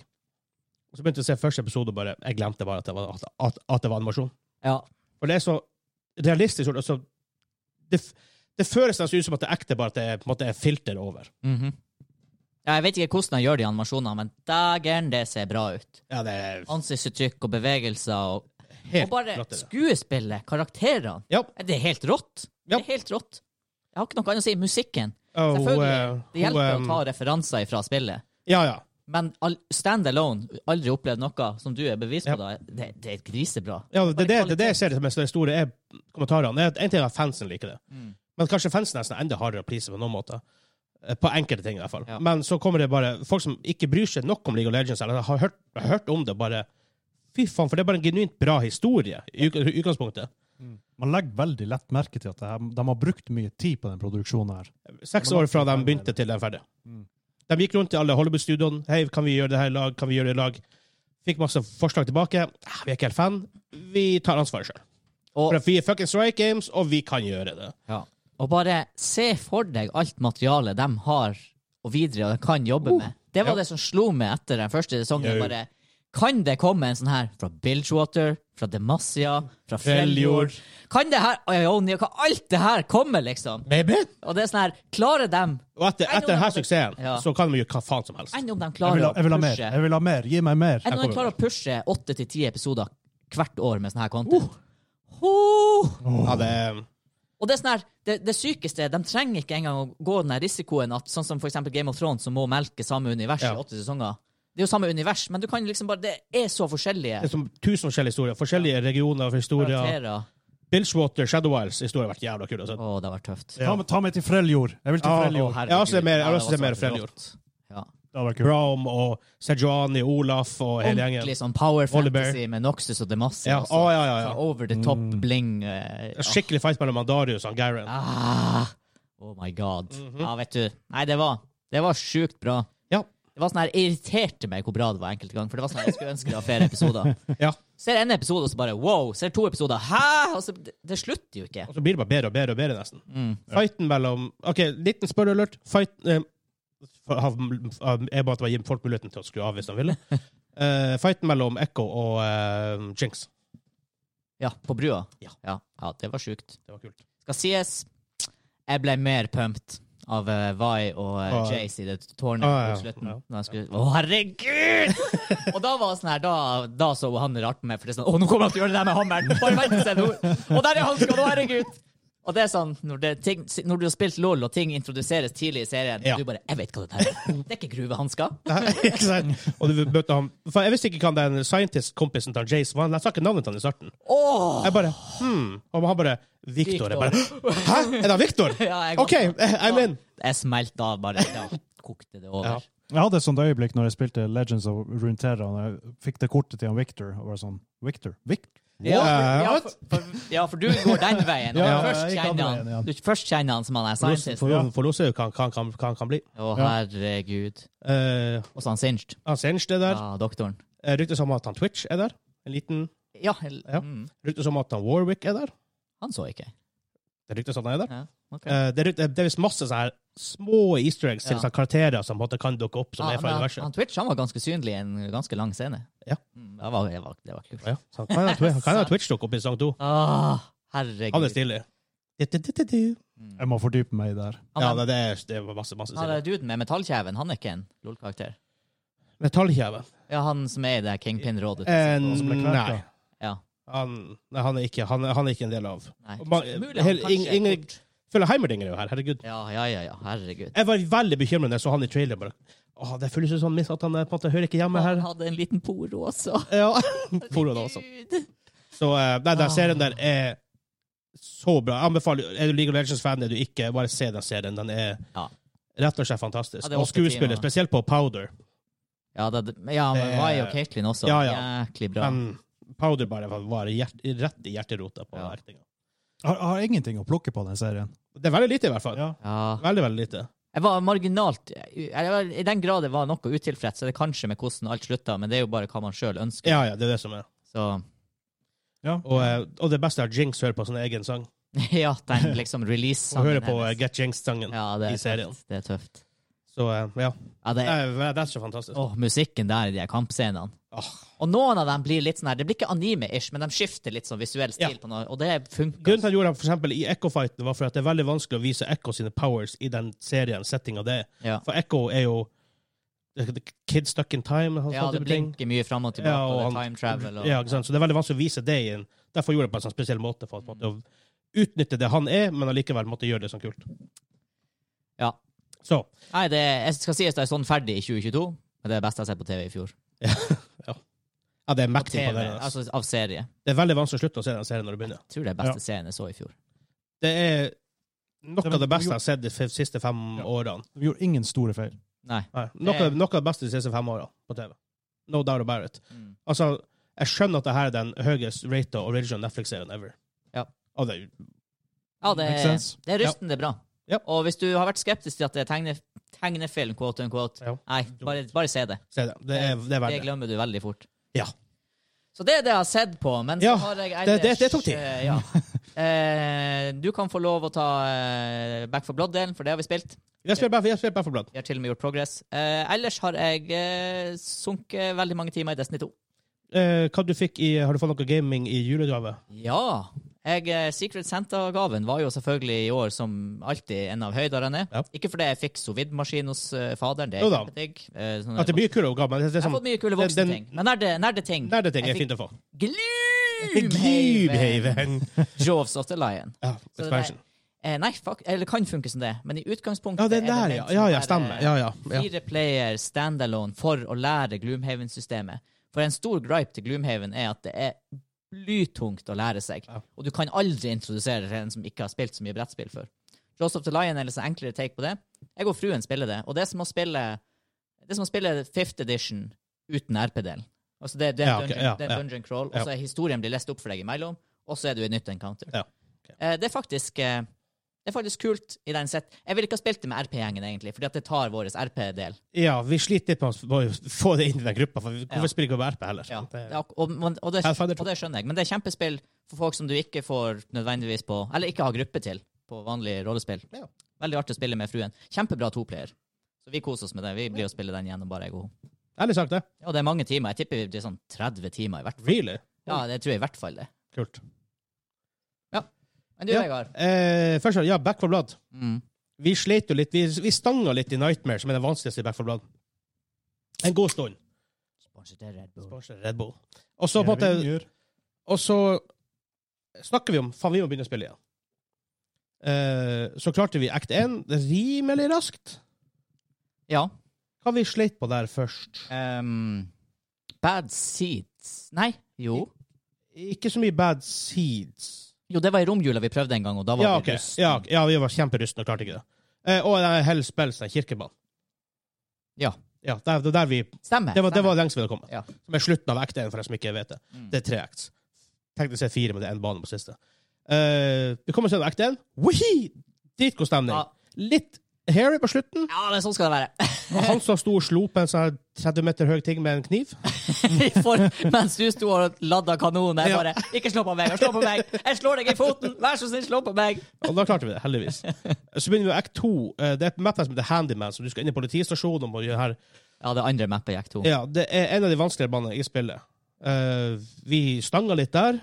Speaker 1: Og så begynte jeg å se første episode, og bare jeg glemte bare at det var, at, at, at det var animasjon.
Speaker 2: Ja.
Speaker 1: For det er så realistisk gjort. Altså, det, f- det føles nesten ut som at det er ekte, bare at det er, på en måte, er filter over.
Speaker 2: Mhm. ja, jeg vet ikke hvordan han gjør de animasjonene, men dægeren, det ser bra ut.
Speaker 1: Ja, det er
Speaker 2: Ansiktsuttrykk og bevegelser og Og
Speaker 1: helt
Speaker 2: bare
Speaker 1: glatt. i det.
Speaker 2: skuespillet, karakterene.
Speaker 1: Ja.
Speaker 2: Det er helt rått.
Speaker 1: Ja.
Speaker 2: Det er helt rått. Jeg har ikke noe annet å si. Musikken.
Speaker 1: Og, eh,
Speaker 2: Selvfølgelig. Det hjelper
Speaker 1: hun,
Speaker 2: å
Speaker 1: eh,
Speaker 2: ta referanser fra spillet.
Speaker 1: Ja, ja.
Speaker 2: Men all, stand alone, aldri opplevd noe som du er bevis på,
Speaker 1: Ja.
Speaker 2: da. Det, det er grisebra.
Speaker 1: Ja, det, er det, det, er det
Speaker 2: kvalitet.
Speaker 1: jeg ser som er det store, er kommentarene. Det er at En ting er at fansen liker det,
Speaker 2: Mm.
Speaker 1: men kanskje fansen er nesten enda hardere å please på noen måter. Eh, På enkelte ting, i hvert fall.
Speaker 2: Ja.
Speaker 1: Men så kommer det bare folk som ikke bryr seg nok om League of Legends, eller har hørt, har hørt om det, bare Fy faen, for det er bare en genuint bra historie i uk- utgangspunktet.
Speaker 3: Man legger veldig lett merke til at det her, de har brukt mye tid på den produksjonen her.
Speaker 1: Seks år fra de begynte til de er ferdig.
Speaker 3: Mm.
Speaker 1: De gikk rundt i alle Hollywood-studioene. Hei, kan vi gjøre det her i lag? Kan vi gjøre det i lag? Fikk masse forslag tilbake. Ah, Vi er ikke helt fan. Vi tar ansvaret sjøl.
Speaker 2: Og,
Speaker 1: For vi er fucking Strike Games, og vi kan gjøre det.
Speaker 2: ja. og bare se for deg alt materialet de har og videre og kan jobbe med. Det var
Speaker 1: Oh. ja.
Speaker 2: det som slo meg etter den første sesongen.
Speaker 1: Jo.
Speaker 2: Bare, kan det komme en sånn her fra Bilgewater, fra Demacia, fra Freljord? Kan det her Ioni, kan alt det her komme, liksom?
Speaker 1: Maybe?
Speaker 2: Og det er sånn her, klarer dem
Speaker 1: Og etter,
Speaker 2: Nei,
Speaker 1: etter
Speaker 2: nå-
Speaker 1: denne suksessen
Speaker 2: Ja.
Speaker 1: så kan de gjøre hva faen som helst.
Speaker 2: Enn om de
Speaker 3: Jeg
Speaker 2: klarer
Speaker 3: vil, ha, jeg vil ha
Speaker 2: å
Speaker 3: mer!
Speaker 2: pushe
Speaker 3: Jeg vil ha mer! Gi meg mer!
Speaker 2: Enn om de
Speaker 1: kommer
Speaker 2: klarer å pushe åtte til ti episoder hvert år med sånn her content.
Speaker 1: Oh.
Speaker 2: Ho!
Speaker 1: Ja, det er
Speaker 2: Og det er sånn her, det, det sykeste er, de trenger ikke engang å gå den her risikoen at sånn som for eksempel Game of Thrones, som må melke samme univers
Speaker 1: Ja.
Speaker 2: i åtte sesonger. Det er jo samme univers, men du kan liksom bare Det er så forskjellige
Speaker 1: det er som tusen forskjellige historier. Forskjellige regioner for historier.
Speaker 2: karakterer.
Speaker 1: Bilgewater, Shadow Isles, historie har vært jævla kul. Altså.
Speaker 2: Å, det har vært tøft.
Speaker 3: Ta, meg- ta meg til Freljord! Jeg vil til
Speaker 1: Ja,
Speaker 3: Freljord!
Speaker 1: Jeg har også mer- jeg har også mer Freljord.
Speaker 2: Ja.
Speaker 3: Det hadde vært kult.
Speaker 1: Braum og Sejuani, Olaf og hele
Speaker 2: Ordentlig
Speaker 1: gjengen.
Speaker 2: sånn power
Speaker 1: Volibear.
Speaker 2: fantasy med Noxus og Demacia.
Speaker 1: Ja,
Speaker 2: også.
Speaker 1: å, ja, ja, ja. Mm.
Speaker 2: Sånn Over the top bling. eh, ja.
Speaker 1: Skikkelig fight mellom Mandarius og Garen.
Speaker 2: Ah, oh my god. Ja, vet du. Nei, det var, det var sjukt bra.
Speaker 1: Mhm. Ja.
Speaker 2: Det var sånn her, jeg irriterte meg hvor bra det var enkelte ganger. For det var sånn her, jeg skulle ønske det var flere episoder.
Speaker 1: Ja.
Speaker 2: Ser en episode, og så bare wow. Ser to episoder, hæ? Og så, det, det slutter jo ikke.
Speaker 1: Og så blir det bare bedre og bedre og bedre, nesten.
Speaker 2: Mm.
Speaker 1: Fighten mellom OK, liten spørrealert. Fight eh, for- av- av- Jeg ba at man gir folk muligheten til å skru av hvis de ville. Eh, fighten mellom Echo og eh, Jinx.
Speaker 2: Ja, på brua.
Speaker 1: Ja.
Speaker 2: Ja, ja, det var sjukt.
Speaker 1: Det var kult.
Speaker 2: Skal sies, jeg ble mer pumped av eh, Vi og uh,
Speaker 1: Ah.
Speaker 2: Jace i det tårnet
Speaker 1: Ah,
Speaker 2: på
Speaker 1: ja.
Speaker 2: slutten.
Speaker 1: Ja.
Speaker 2: Når han skulle, å, herregud! og da var det sånn her, da, da så han rart på meg, for det er sånn Å, nå kommer han til å gjøre det der med hammeren! Bare vent og se nå! Og der er hanska, å herregud! Og Og det er sånn, når, det, ting, når du har spilt LOL, og ting introduseres tidlig i serien,
Speaker 1: Ja.
Speaker 2: du bare 'Jeg vet hva det er'. Det er ikke gruvehansker.
Speaker 1: Nei, ikke sant? Og du møter ham For jeg visste ikke hva den scientist-kompisen til Jace var. Jeg sa ikke navnet til han i starten.
Speaker 2: Åh!
Speaker 1: Jeg bare hmm. Og han bare Victor. Jeg bare Hæ? Er det Victor?
Speaker 2: Ja, jeg-
Speaker 1: OK, I'm in.
Speaker 2: Jeg smelte av, bare. Ja, kokte det
Speaker 1: Ja.
Speaker 2: over.
Speaker 3: Jeg hadde et sånt øyeblikk når jeg spilte Legends of Runeterra, og jeg fikk det kortet til han Victor, og var sånn Victor? Victor?
Speaker 2: Ja, for, ja,
Speaker 1: What?
Speaker 2: for, for, ja, for du går den veien. og
Speaker 3: Ja,
Speaker 2: først,
Speaker 3: jeg gikk
Speaker 2: kjenner
Speaker 3: andre
Speaker 2: han,
Speaker 3: veien,
Speaker 2: du først kjenner han som han er scientist. Å,
Speaker 1: For for Lose er jo hva han kan, kan, kan bli.
Speaker 2: herregud.
Speaker 1: Eh,
Speaker 2: Og så han Singed.
Speaker 1: han Sench er der.
Speaker 2: Ja, doktoren.
Speaker 1: Eh, Ryktes om at han Twitch er der. En liten
Speaker 2: Ja, hel-
Speaker 1: Ja.
Speaker 2: Mm,
Speaker 1: Ryktes om at han Warwick er der.
Speaker 2: han så ikke.
Speaker 1: Det ryktes at han er der.
Speaker 2: Ja, ok.
Speaker 1: Eh, det, er, rykt- det er visst masse sånne her små easter eggs til
Speaker 2: Ja.
Speaker 1: sånne karakterer som på en måte kan dukke opp, som
Speaker 2: Ja,
Speaker 1: er fra
Speaker 2: men han,
Speaker 1: universet.
Speaker 2: han Twitch han var ganske synlig i en ganske lang scene.
Speaker 1: Ja.
Speaker 2: Mm, Det var, det var, det var kult.
Speaker 1: Ja, så han kan ha Twi- han kan ha Twitch dukke opp i sesong to.
Speaker 2: Åh, herregud.
Speaker 1: Han er stilig. Du-du-du-du-du.
Speaker 3: Jeg må fordype meg der.
Speaker 2: Han,
Speaker 1: Ja,
Speaker 2: han,
Speaker 1: det, det er, det var masse, masse
Speaker 2: han
Speaker 1: stilig.
Speaker 2: er duden med metallkjeven, han er ikke en LOL-karakter.
Speaker 1: Metallkjeve.
Speaker 2: Ja, han som er i det Kingpin-rådet.
Speaker 1: Eh,
Speaker 3: Og så ble jeg
Speaker 1: nei.
Speaker 3: kverka.
Speaker 2: Ja,
Speaker 1: Han, nei, han, er ikke, han, er- han er ikke en del av
Speaker 2: nei.
Speaker 1: Og man-
Speaker 2: Mulig han
Speaker 1: hel-
Speaker 2: kanskje
Speaker 1: ingen-
Speaker 2: er
Speaker 1: ingen-
Speaker 2: kort.
Speaker 1: Føler Heimerdinger er jo her, herregud.
Speaker 2: Ja, ja, ja, ja, herregud.
Speaker 1: Jeg var veldig bekymret da jeg så han i traileren. Bare, Åh, det føles jo sånn miss at han eh, på en måte hører ikke hjemme
Speaker 2: Han
Speaker 1: her.
Speaker 2: hadde en liten poro også.
Speaker 1: Ja, Poro da også.
Speaker 2: Gud.
Speaker 1: Så eh, nei, den
Speaker 2: Ah.
Speaker 1: serien der er så bra. Jeg anbefaler, Er du League of Legends-fan, er du ikke, bare se den serien. Den er
Speaker 2: Ja.
Speaker 1: rett og slett fantastisk.
Speaker 2: Ja, det er
Speaker 1: og
Speaker 2: åtte timer.
Speaker 1: skuespillet, spesielt på Powder.
Speaker 2: Ja, det, ja men Vai og Caitlyn også.
Speaker 1: Ja, ja.
Speaker 2: Jæklig bra.
Speaker 1: Men Powder bare var, var hjert, rett i hjerterota på
Speaker 2: Ja.
Speaker 1: actinga.
Speaker 3: Har, har ingenting å plukke på den serien.
Speaker 1: Det er veldig lite, i hvert fall.
Speaker 3: Ja.
Speaker 2: Ja.
Speaker 1: Veldig, veldig lite.
Speaker 2: Jeg var marginalt jeg var, I den grad jeg var noe utilfreds, så er det kanskje med hvordan alt slutta, men det er jo bare hva man sjøl ønsker.
Speaker 1: Ja, ja, det er det som er.
Speaker 2: Så
Speaker 1: Og, eh, og det beste er at Jinx hører på sin egen sang.
Speaker 2: ja, den liksom
Speaker 1: Hun
Speaker 2: release-sangen
Speaker 1: hører på eh, Get Jinx-sangen.
Speaker 2: ja, det
Speaker 1: i
Speaker 2: er
Speaker 1: serien.
Speaker 2: tøft. Det er tøft.
Speaker 1: Så eh, ja.
Speaker 2: Ja, det
Speaker 1: Det
Speaker 2: er,
Speaker 1: er, det er så fantastisk.
Speaker 2: å, musikken der i de her kampscenene.
Speaker 1: Åh.
Speaker 2: Og noen av dem blir litt sånn her Det blir ikke anime-ish, men de skifter litt sånn visuell stil,
Speaker 1: Ja.
Speaker 2: på noe, og det funker.
Speaker 1: Grunnen til at jeg gjorde det for eksempel, i Echo-fighten, var for at det er veldig vanskelig å vise Echo sine powers i den serien. settinga det er.
Speaker 2: Ja.
Speaker 1: For Echo er jo Kid stuck in time. Og
Speaker 2: ja,
Speaker 1: sånne
Speaker 2: det
Speaker 1: type ting.
Speaker 2: blinker mye fram og tilbake,
Speaker 1: Ja, og
Speaker 2: og, det er
Speaker 1: han-
Speaker 2: time travel og
Speaker 1: Ja, ikke sant? Så det er veldig vanskelig å vise det i en Derfor gjorde jeg det på en sånn spesiell måte, for at man måtte utnytte det han er, men allikevel måtte gjøre det sånn kult.
Speaker 2: Ja.
Speaker 1: Så
Speaker 2: Nei, det, jeg skal sies det er sånn ferdig i 2022, men det er det beste jeg har sett på TV i fjor.
Speaker 1: Ja, det er
Speaker 2: På
Speaker 1: mektig
Speaker 2: TV,
Speaker 1: på den. Altså.
Speaker 2: altså av serie.
Speaker 1: Det er veldig vanskelig å slutte å se den serien når du begynner.
Speaker 2: tror det er beste serien jeg så i fjor.
Speaker 1: Det er noe
Speaker 3: Det-
Speaker 1: av det beste jeg har sett de f- siste fem årene.
Speaker 3: De gjorde ingen store feil.
Speaker 2: Nei.
Speaker 1: Nei, noe, av- noe av det beste de siste fem årene på TV. No doubt about it.
Speaker 2: Mm.
Speaker 1: Altså, jeg skjønner at det her er den høyest rata original Netflix-serien ever.
Speaker 2: Ja.
Speaker 1: Og det, er-
Speaker 2: Ja, det,
Speaker 3: Makes sense.
Speaker 2: det er rystende bra.
Speaker 1: Ja.
Speaker 2: Og hvis du har vært skeptisk til at det er tegne, tegnefilm, quote unquote,
Speaker 1: Ja.
Speaker 2: nei, bare, bare se det.
Speaker 1: se det. Det er, det er
Speaker 2: Det
Speaker 1: verdt det.
Speaker 2: glemmer du veldig fort.
Speaker 1: Ja.
Speaker 2: Så det er det jeg har sett på, men så
Speaker 1: Ja,
Speaker 2: har jeg
Speaker 1: det-
Speaker 2: ellers
Speaker 1: det- det tok tid.
Speaker 2: eh, ja. Eh, du kan få lov å ta eh, Back for Blood-delen, for det har vi spilt.
Speaker 1: Jeg spiller bare, jeg spiller bare for blad.
Speaker 2: Vi har til og med gjort progress. Eh, ellers har jeg eh, sunket veldig mange timer i Destiny 2.
Speaker 1: Eh, hva du fikk i, har du fått noe gaming i julegave?
Speaker 2: Ja. Jeg, eh, Secret Santa-gaven var jo selvfølgelig i år som alltid en av høydene.
Speaker 1: Ja.
Speaker 2: Ikke fordi jeg fikk sovidmaskin hos eh, faderen, det er
Speaker 1: Jo da.
Speaker 2: kjempedigg. Eh, sånne-
Speaker 1: At det blir kule oppgaver, men det er
Speaker 2: jeg har
Speaker 1: sånn
Speaker 2: fått mye kule
Speaker 1: den-
Speaker 2: voksne
Speaker 1: den-
Speaker 2: ting. Men nerde, nerdeting.
Speaker 1: nerdeting er
Speaker 2: jeg
Speaker 1: fint å få.
Speaker 2: Gloomhaven.
Speaker 1: Gloomhaven!
Speaker 2: Jaws of the Lion.
Speaker 1: Ja,
Speaker 2: det
Speaker 1: expansion.
Speaker 2: Eh, nei, fuck, eller kan funke som det, men i utgangspunktet
Speaker 1: Ja, den
Speaker 2: er
Speaker 1: der,
Speaker 2: det
Speaker 1: ja. Ja,
Speaker 2: ment som å
Speaker 1: ja,
Speaker 2: være
Speaker 1: stemmer. Ja, ja. ja.
Speaker 2: Fire player standalone for å lære Gloomhaven-systemet. For en stor gripe til Gloomhaven er at det er blytungt å lære seg.
Speaker 1: Ja.
Speaker 2: Og du kan aldri introdusere til en som ikke har spilt så mye brettspill før. Jaws of the Lion er en litt sånn enklere take på det. Jeg og fruen spiller det, og det er som å spille det er som å spille fifth edition uten RP-delen. Altså det, det er
Speaker 1: Ja,
Speaker 2: en
Speaker 1: ok,
Speaker 2: dungeon,
Speaker 1: ja,
Speaker 2: det er en
Speaker 1: ja.
Speaker 2: dungeon crawl, og så er historien blir lest opp for deg imellom, og så er du i nytt encounter.
Speaker 1: Ja, ok.
Speaker 2: Eh, Det er faktisk eh, det er faktisk kult i den sett. Jeg ville ikke ha spilt det med RP-gjengen, egentlig, fordi at det tar vår RP-del.
Speaker 1: Ja, vi sliter litt med å få- få det inn i den gruppa, for vi- hvorfor
Speaker 2: Ja.
Speaker 1: spiller ikke over RP heller?
Speaker 2: Ja.
Speaker 1: Det,
Speaker 2: Det er ak- Og, og, og, det,
Speaker 1: Pathfinder to.
Speaker 2: og det skjønner jeg, men det er kjempespill for folk som du ikke får nødvendigvis på Eller ikke har gruppe til på vanlig rollespill.
Speaker 1: Ja.
Speaker 2: Veldig artig å spille med fruen. Kjempebra toplayer. Så vi koser oss med det. Vi blir å spille den gjennom, bare jeg og hun.
Speaker 1: Ærlig sagt, det.
Speaker 2: Ja, det er mange timer. Jeg tipper det er sånn 30 timer i hvert fall.
Speaker 1: Really?
Speaker 2: Ja, det tror jeg i hvert fall det.
Speaker 1: Kult.
Speaker 2: Men du,
Speaker 1: Ja.
Speaker 2: Vegard.
Speaker 1: Eh, først, ja, Back for Blood.
Speaker 2: Mm.
Speaker 1: Vi slet jo litt. Vi, vi stanga litt i Nightmare, som er den vanskeligste i Back for Blood. En god stund.
Speaker 2: Sponset er Red Bull.
Speaker 1: Kanskje Red Bull. Og så på en måte,
Speaker 3: Ringer.
Speaker 1: og så snakker vi om Faen, vi må begynne å spille igjen. Eh, så klarte vi Act 1 rimelig raskt.
Speaker 2: Ja.
Speaker 1: Hva vi sleit på der først?
Speaker 2: ehm, bad Seeds Nei, jo.
Speaker 1: Ikke så mye bad seeds.
Speaker 2: Jo, det var i romjula vi prøvde en gang, og da var
Speaker 1: Ja,
Speaker 2: vi
Speaker 1: ok.
Speaker 2: rusten.
Speaker 1: ja, ja, vi var kjemperustne og klarte ikke det. Eh, og den Hellspelsen kirkebanen.
Speaker 2: Ja.
Speaker 1: Ja, der, det, der vi,
Speaker 2: Stemmer.
Speaker 1: det, var, det
Speaker 2: stemmer.
Speaker 1: var lengst vi hadde kommet.
Speaker 2: Ja.
Speaker 1: Som er slutten av Act 1, for dem som ikke vet det.
Speaker 2: Mm.
Speaker 1: Det er tre acts. Teknisk sett fire, men det er én bane på siste. Eh, vi kommer oss gjennom Act 1. Wihi! Dritgod stemning.
Speaker 2: Ja.
Speaker 1: Litt hairy på slutten.
Speaker 2: ja, men sånn skal det være.
Speaker 1: Og han som sto og slo på en sånn her 30 meter høy ting med en kniv.
Speaker 2: For, mens du sto og ladda kanonen, jeg
Speaker 1: Ja.
Speaker 2: bare Ikke slå på meg! Slå på meg! Jeg slår deg i foten! Vær så snill, slå på meg!
Speaker 1: Og da klarte vi det, heldigvis. Så begynner vi med Act 2. Eh, Det er et map her som heter Handyman, så du skal inn i politistasjonen og må gjøre her.
Speaker 2: Ja, det andre mappet gikk to.
Speaker 1: Ja, det er en av de vanskeligere banene i spillet. Eh, vi stanga litt der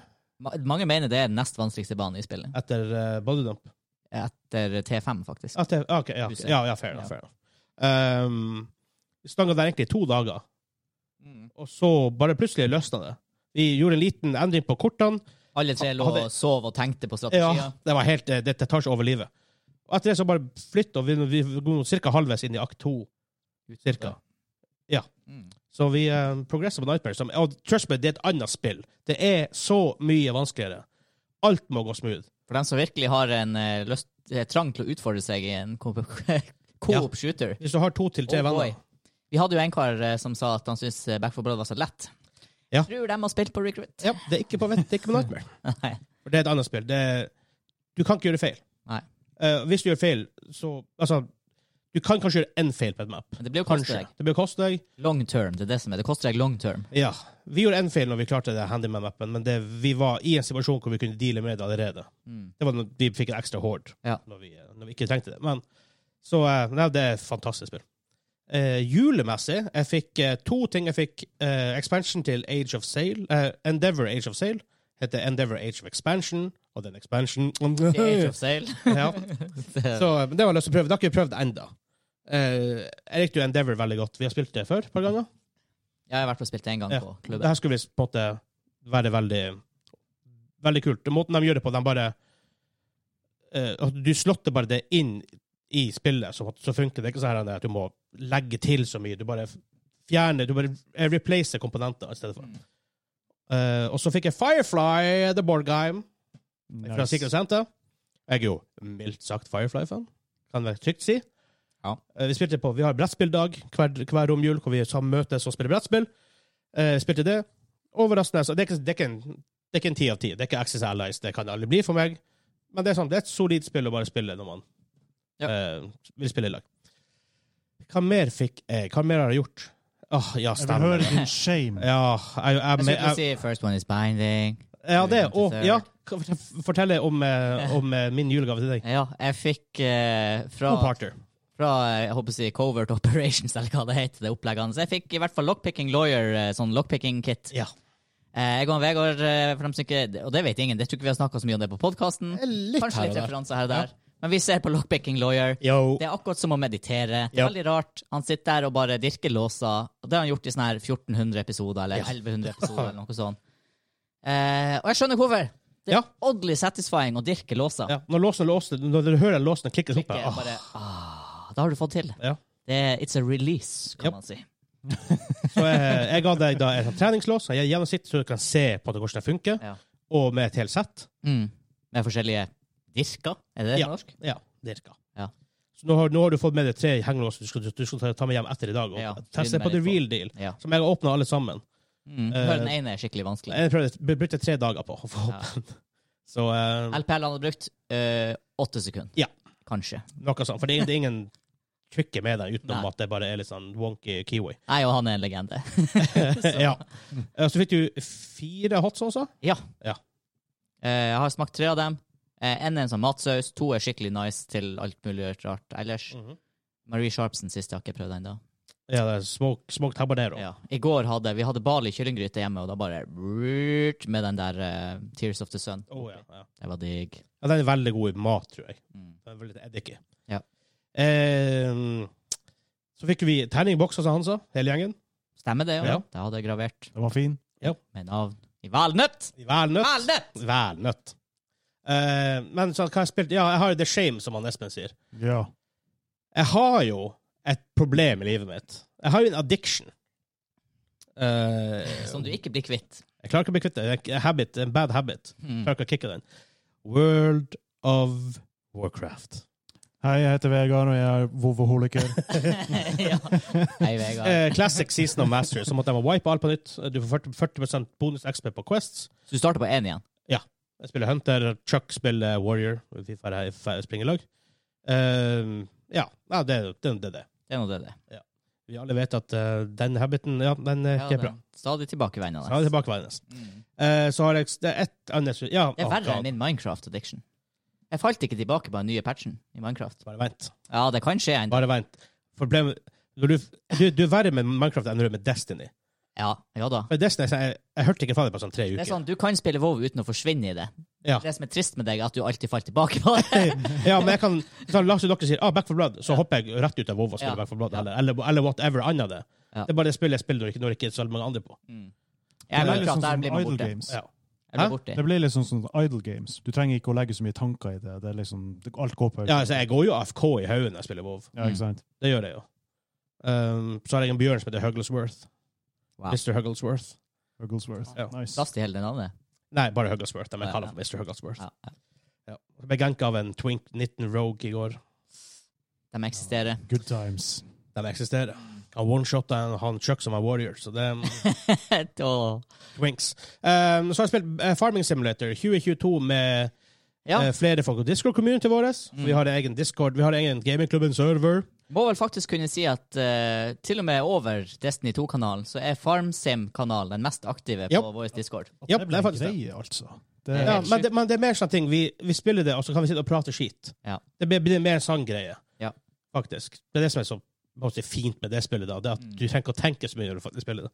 Speaker 2: Ma- Mange mener det er den nest vanskeligste banen i spillet.
Speaker 1: etter uh, bodydump.
Speaker 2: Etter T5, faktisk.
Speaker 1: Ah, det- ah, ok, ja, ja, ja, fair enough. Fair enough. Um, vi stanga der egentlig i to dager,
Speaker 2: Mm.
Speaker 1: og så bare plutselig løsna det. Vi gjorde en liten endring på kortene.
Speaker 2: Alle tre lå
Speaker 1: Hadde-
Speaker 2: og sov og tenkte på strategier.
Speaker 1: Ja, det var helt, eh, det tar seg over livet. Og etter det så bare flytta vi, vi går ca. halvveis inn i akt to. Cirka.
Speaker 2: Mm.
Speaker 1: Så vi eh, progresser på Nightmare. Som, og trust me, det er et annet spill. Det er så mye vanskeligere. Alt må gå smooth.
Speaker 2: For dem som virkelig har en eh, lyst, eh, trang til å utfordre seg i en co-
Speaker 1: Ja.
Speaker 2: coop shooter
Speaker 1: Hvis du har to til tre
Speaker 2: Oh boy.
Speaker 1: venner
Speaker 2: Vi hadde jo en kar eh, som sa at han syntes eh, Back 4 Blood var så lett.
Speaker 1: Ja.
Speaker 2: Tror de har spilt på Recruit.
Speaker 1: ja, Det er ikke på vett, det er ikke på Nightmare.
Speaker 2: Nei.
Speaker 1: For det er et annet spill. Det er, du kan ikke gjøre feil.
Speaker 2: Nei.
Speaker 1: Eh, hvis du gjør feil, så Altså, du kan kanskje gjøre én feil på et map.
Speaker 2: Men det blir jo koste
Speaker 1: Kanskje.
Speaker 2: deg.
Speaker 1: Det blir å koste deg.
Speaker 2: Long term, det er det som er. Det koster deg long term.
Speaker 1: Ja. Vi gjorde én feil når vi klarte det handyman-mappen, men det, vi var i en situasjon hvor vi kunne deale med det allerede.
Speaker 2: Mm.
Speaker 1: Det var når vi fikk en ekstra horde
Speaker 2: Ja.
Speaker 1: når, vi, når vi ikke trengte det. Men, så eh, nei, det er et fantastisk spill. Eh, julemessig jeg fikk eh, to ting. Jeg fikk eh, expansion til Age of Sail. eh, Endeavor Age of Sail heter Endeavor Age of Expansion, og den expansion
Speaker 2: The Age of Sail.
Speaker 1: ja. Så eh, det var lyst til å prøve. Det har ikke jeg prøvd ennå. jeg likte jo Endeavor veldig godt. Vi har spilt det før et par ganger.
Speaker 2: Jeg har vært og spilt én gang
Speaker 1: Ja.
Speaker 2: på
Speaker 1: Det
Speaker 2: klubben.
Speaker 1: her skulle visst på en måte være veldig Veldig kult. Måten de gjør det på, de bare eh, at Du slotter bare det inn i spillet, så, så funker det. Det er ikke sånn her at du må legge til så mye. Du bare fjerner Du bare eh, replacer komponenter i stedet for.
Speaker 2: Mm.
Speaker 1: Eh, og så fikk jeg Firefly The Board Game fra
Speaker 3: Nice.
Speaker 1: Secret Center. Jeg er jo mildt sagt Firefly-fan, kan jeg trygt si.
Speaker 2: Ja.
Speaker 1: Eh, Vi spilte på, vi har brettspilldag hver, hver romjul, hvor vi sammen møtes og spiller brettspill. Eh, spilte det. Overraskende. Så det, er ikke, det, er ikke en, det er ikke en 10 av 10. Det er ikke Axis Allies, det kan det aldri bli for meg. Men det er, sånn, det er et solid spill å bare spille når man
Speaker 2: Ja.
Speaker 1: eh, vil spille i lag. Hva mer fikk jeg? Hva mer har jeg gjort? Åh, ja,
Speaker 3: Jeg vil
Speaker 1: stemmer.
Speaker 3: høre din shame.
Speaker 1: Ja, jeg, jeg,
Speaker 2: Jeg
Speaker 1: jeg,
Speaker 2: skulle til å
Speaker 1: jeg,
Speaker 2: si First One Is Binding.
Speaker 1: ja, det. Og
Speaker 2: Eh, Interessert.
Speaker 1: ja, kan fort- fortell om, eh, om eh, min julegave til deg.
Speaker 2: Ja, jeg fikk eh, fra,
Speaker 1: God parter.
Speaker 2: fra eh, jeg håper å si Covert Operations, eller hva det heter, det oppleggene. Så jeg fikk i hvert fall Lockpicking Lawyer, eh, sånn lockpicking-kit.
Speaker 1: Ja.
Speaker 2: Eh, Jeg og Vegard, eh, for dem som ikke, og det vet ingen, jeg tror ikke vi har snakka så mye om det på podkasten.
Speaker 1: Eh, Litt
Speaker 2: Kanskje litt referanser her og der. Men vi ser på Lockpicking Lawyer.
Speaker 1: Yo.
Speaker 2: Det er akkurat som å meditere. Det er
Speaker 1: Ja.
Speaker 2: Veldig rart. Han sitter der og bare dirker låser. Og det har han gjort i sånne her 1400 episoder, eller 1100 episoder, eller noe sånt. Eh, og jeg skjønner hvorfor. Det er
Speaker 1: Ja.
Speaker 2: oddly satisfying å dirke låser.
Speaker 1: Ja, når låsen låser, når du hører låsen klikke opp
Speaker 2: Ikke
Speaker 1: her,
Speaker 2: bare, ah, da har du fått til det.
Speaker 1: Ja.
Speaker 2: det. er- It's a release, kan
Speaker 1: Yep.
Speaker 2: man si.
Speaker 1: så jeg, jeg ga deg da et treningslås, jeg gjennom sitt, så du kan se på det, hvordan det funker,
Speaker 2: Ja.
Speaker 1: og med et helt sett.
Speaker 2: Mm. Med forskjellige dirker, er det det
Speaker 1: Ja.
Speaker 2: på norsk?
Speaker 1: Ja, dirka.
Speaker 2: Ja.
Speaker 1: Så nå har, nå har du fått med deg tre hengelåser du skal, du skal ta- ta med hjem etter i dag, og
Speaker 2: Ja,
Speaker 1: teste
Speaker 2: begynner
Speaker 1: på the
Speaker 2: litt på.
Speaker 1: real deal,
Speaker 2: Ja.
Speaker 1: som jeg har åpnet alle sammen.
Speaker 2: Mm.
Speaker 1: Eh,
Speaker 2: Hør, den ene er skikkelig vanskelig.
Speaker 1: Jeg prøvde, br- brukte tre dager på å få opp den. Så eh,
Speaker 2: LPL han hadde brukt eh, åtte sekunder.
Speaker 1: Ja.
Speaker 2: Kanskje.
Speaker 1: noe sånt, for det er, det er ingen trikke med den, utenom
Speaker 2: Nei.
Speaker 1: at det bare er litt sånn wonky kiwi.
Speaker 2: Jeg og han er en legende.
Speaker 1: ja. Eh, Så fikk du fire hot saucer.
Speaker 2: Ja.
Speaker 1: Ja.
Speaker 2: Eh, jeg har smakt tre av dem. Eh, en er en sånn matsaus, to er skikkelig nice til alt mulig rart ellers. Marie Sharpsen siste har jeg ikke prøvd ennå.
Speaker 1: Ja, det er smoke, smoked habanero.
Speaker 2: Ja. I går hadde vi hadde Bali kyllinggryte hjemme, og da bare brrrt med den der eh, Tears of the Sun.
Speaker 1: Å, ja, ja.
Speaker 2: Det var digg.
Speaker 1: Ja, den er veldig god i mat, tror jeg.
Speaker 2: Mm.
Speaker 1: Den er veldig eddiky.
Speaker 2: Ja.
Speaker 1: Eh, så fikk vi terningbokser, som han sa, hele gjengen.
Speaker 2: Stemmer det?
Speaker 1: Ja.
Speaker 2: Ja. Det hadde jeg gravert
Speaker 3: Den var fin.
Speaker 2: med navn i valnøtt.
Speaker 1: Valnøtt.
Speaker 2: Valnøtt!
Speaker 1: Valnøtt. Eh, men sånn, hva har jeg spilt? Ja, jeg har jo The Shame, som han Espen sier.
Speaker 3: Ja.
Speaker 1: Jeg har jo et problem i livet mitt. Jeg har jo en addiction. Eh,
Speaker 2: Som du ikke blir kvitt.
Speaker 1: jeg klarer ikke å bli kvitt det. Det er en Habit, en bad habit.
Speaker 2: Mm.
Speaker 1: Jeg klarer ikke å kicke den. World of Warcraft.
Speaker 3: Hei, jeg heter Vegard, og jeg er vovoholiker.
Speaker 2: ja. Hei, Vegard.
Speaker 1: Eh, classic Season of Master, som at jeg må wipe alt på nytt. Du får 40, 40 bonus XP på Quests.
Speaker 2: Så du starter på én igjen?
Speaker 1: Jeg spiller Hunter, Chuck spiller Warrior. Vi får her- får springe i lag. Eh, ja, ja det er det, det, er det.
Speaker 2: Det er nå det det.
Speaker 1: Vi alle vet at eh, den habiten, ja, den eh, er
Speaker 2: Ja,
Speaker 1: ikke
Speaker 2: det-
Speaker 1: bra.
Speaker 2: Stadig tilbakevendende.
Speaker 1: Så er det tilbakevendende.
Speaker 2: Mm.
Speaker 1: Eh, så har jeg det er ett annet ja,
Speaker 2: Det er
Speaker 1: å,
Speaker 2: verre
Speaker 1: God,
Speaker 2: enn min Minecraft-addiction. Jeg falt ikke tilbake på den nye patchen i Minecraft.
Speaker 1: Bare vent.
Speaker 2: Ja, det kan skje en
Speaker 1: Bare vent. Problemet når du, du, du er verre med Minecraft enn du er med Destiny.
Speaker 2: Ja, ja da.
Speaker 1: For Destiny, så jeg, jeg hørte ikke fra deg på sånn tre
Speaker 2: Det
Speaker 1: uker.
Speaker 2: er sånn, Du kan spille WoW uten å forsvinne i det.
Speaker 1: Ja.
Speaker 2: Det som er trist med deg, er at du alltid faller tilbake på det.
Speaker 1: Ja, men jeg kan så La oss si dere sier ah, Back for Blood, så hopper jeg rett ut av WoW og spiller
Speaker 2: Ja.
Speaker 1: Back for Blood,
Speaker 2: Ja.
Speaker 1: eller, eller, eller whatever annet det.
Speaker 2: Ja.
Speaker 1: Det er bare det spillet jeg spiller når ikke- når det ikke er så mange andre på.
Speaker 2: Hmm. Ja,
Speaker 3: Det er litt
Speaker 2: Minecraft,
Speaker 3: sånn
Speaker 2: der
Speaker 3: som
Speaker 2: blir man
Speaker 3: idle
Speaker 2: borte.
Speaker 3: games.
Speaker 1: Ja.
Speaker 2: Jeg blir
Speaker 1: Hæ?
Speaker 2: borte.
Speaker 3: Det blir litt sånn som idle games. Du trenger ikke å legge så mye tanker i det. Det er liksom, det- Alt går på
Speaker 1: ja, altså, jeg går jo AFK i haugen når jeg spiller WoW.
Speaker 3: Ja, ikke sant?
Speaker 1: Det gjør jeg jo. Um, så har jeg en bjørn som heter Hugglesworth.
Speaker 2: Wow.
Speaker 1: Mr. Hugglesworth.
Speaker 3: Hugglesworth.
Speaker 1: Ja.
Speaker 3: Nice.
Speaker 2: Plass til hele det navnet.
Speaker 1: Nei, bare Hugglesworth. De
Speaker 2: Ja,
Speaker 1: kaller
Speaker 2: ja.
Speaker 1: for Mr. Hugglesworth.
Speaker 2: Ja.
Speaker 1: Ja. Jeg ble ganka av en Twink 19 Rogue i går.
Speaker 2: De eksisterer.
Speaker 3: Good times.
Speaker 1: De eksisterer. Han one-shotta en han Chuck som er warrior, så det
Speaker 2: Åh.
Speaker 1: Twinks. Um, så har jeg spilt eh, Farming Simulator 2022 med
Speaker 2: ja. Mm.
Speaker 1: eh, flere folk. Og Discord-community vår. Vi har egen Discord. Vi har egen gamingklubben-server.
Speaker 2: Må vel faktisk kunne si at eh, til og med over Destiny 2-kanalen, så er FarmSim-kanalen den mest aktive
Speaker 1: Ja.
Speaker 2: på vår Discord.
Speaker 1: Ja,
Speaker 3: det
Speaker 1: det
Speaker 3: blir
Speaker 1: er faktisk det.
Speaker 3: greie, altså.
Speaker 2: Det er
Speaker 1: Ja,
Speaker 3: Det,
Speaker 2: helt
Speaker 1: men, det, men det er mer sånn ting. Vi, vi spiller det, og så kan vi sitte og prate skit.
Speaker 2: Ja.
Speaker 1: Det blir, blir mer en sånn greie,
Speaker 2: Ja.
Speaker 1: faktisk. Det er det som er så hva skal jeg si, fint med det spillet, da. Det er
Speaker 2: Mm.
Speaker 1: at du trenger ikke å tenke så mye når du faktisk spiller det.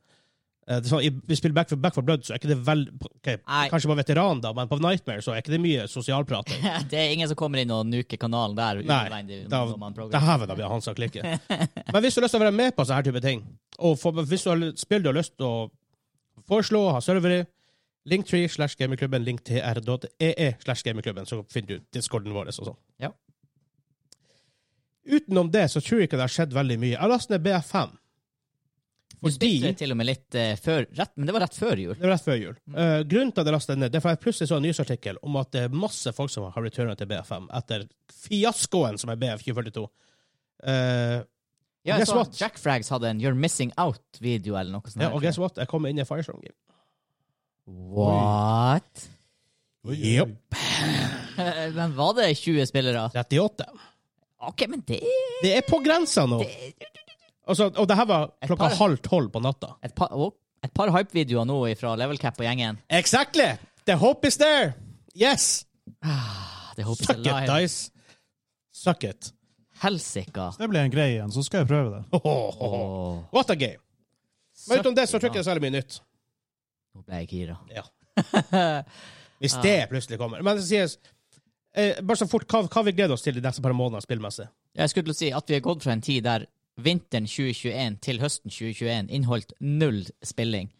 Speaker 1: Eh, det er sånn, i- vi spiller Back for, Back for Blood, så er ikke det vel ok,
Speaker 2: Nei.
Speaker 1: Kanskje på veteran, da, men på Nightmare så er ikke det mye sosialprat.
Speaker 2: det er ingen som kommer inn og nuker kanalen der.
Speaker 1: Nei,
Speaker 2: unødvendig,
Speaker 1: da-
Speaker 2: når man
Speaker 1: Det
Speaker 2: programmerer.
Speaker 1: her vil da bli hans sak like. Men hvis du har lyst til å være med på sånne her type ting, og få, hvis du har spill du har lyst til å foreslå, ha server i, linktree slash gamingklubben, linktr.ee e slash gamingklubben, så finner du discorden vår og sånn.
Speaker 2: Ja.
Speaker 1: Utenom det så tror jeg ikke det har skjedd veldig mye. Jeg har lastet ned BF5.
Speaker 2: Du
Speaker 1: Fordi
Speaker 2: spilte til Mm. og med litt eh, før rett, Men det var rett før jul.
Speaker 1: det var rett før jul. Eh, grunnen til at jeg lastet den ned, det er for jeg plutselig så en nyhetsartikkel om at det er masse folk som har returnet til BF5 etter fiaskoen som er BF2042. Eh,
Speaker 2: Ja, jeg
Speaker 1: Guess
Speaker 2: så
Speaker 1: what?
Speaker 2: Jack Frags hadde en You're Missing Out-video eller noe sånt.
Speaker 1: Ja,
Speaker 2: her.
Speaker 1: og guess what? Jeg kommer inn i Firestorm Game.
Speaker 2: What?
Speaker 3: Oi, oi, oi.
Speaker 1: Jep.
Speaker 2: Eh, Men var det 20 spillere?
Speaker 1: 38.
Speaker 2: OK, men det
Speaker 1: Det er på grensa nå! Og, så, og det her var
Speaker 2: Et
Speaker 1: klokka
Speaker 2: par-
Speaker 1: halv tolv på natta.
Speaker 2: Et par, å, et par hype-videoer nå fra Level Cap og gjengen.
Speaker 1: Exactly! The hope is there! Yes!
Speaker 2: Ah, Det håper
Speaker 1: Suck
Speaker 2: jeg
Speaker 1: it,
Speaker 2: live.
Speaker 1: Dice. Suck it.
Speaker 2: Helsika.
Speaker 3: det blir en greie igjen, så skal jeg prøve det.
Speaker 1: Ho, ho, ho, ho.
Speaker 2: Åh.
Speaker 1: What a game. Men utenom det så tror jeg ikke det
Speaker 2: Søkka.
Speaker 1: er særlig mye nytt.
Speaker 2: Nå ble jeg gira.
Speaker 1: Ja. Hvis det plutselig kommer. Men det sies eh, bare så fort hva, hva vi gleder oss til de neste par månedene spillmessig.
Speaker 2: Jeg skulle til å si at vi har gått fra en tid der vinteren 2021 til høsten 2021 inneholdt null spilling,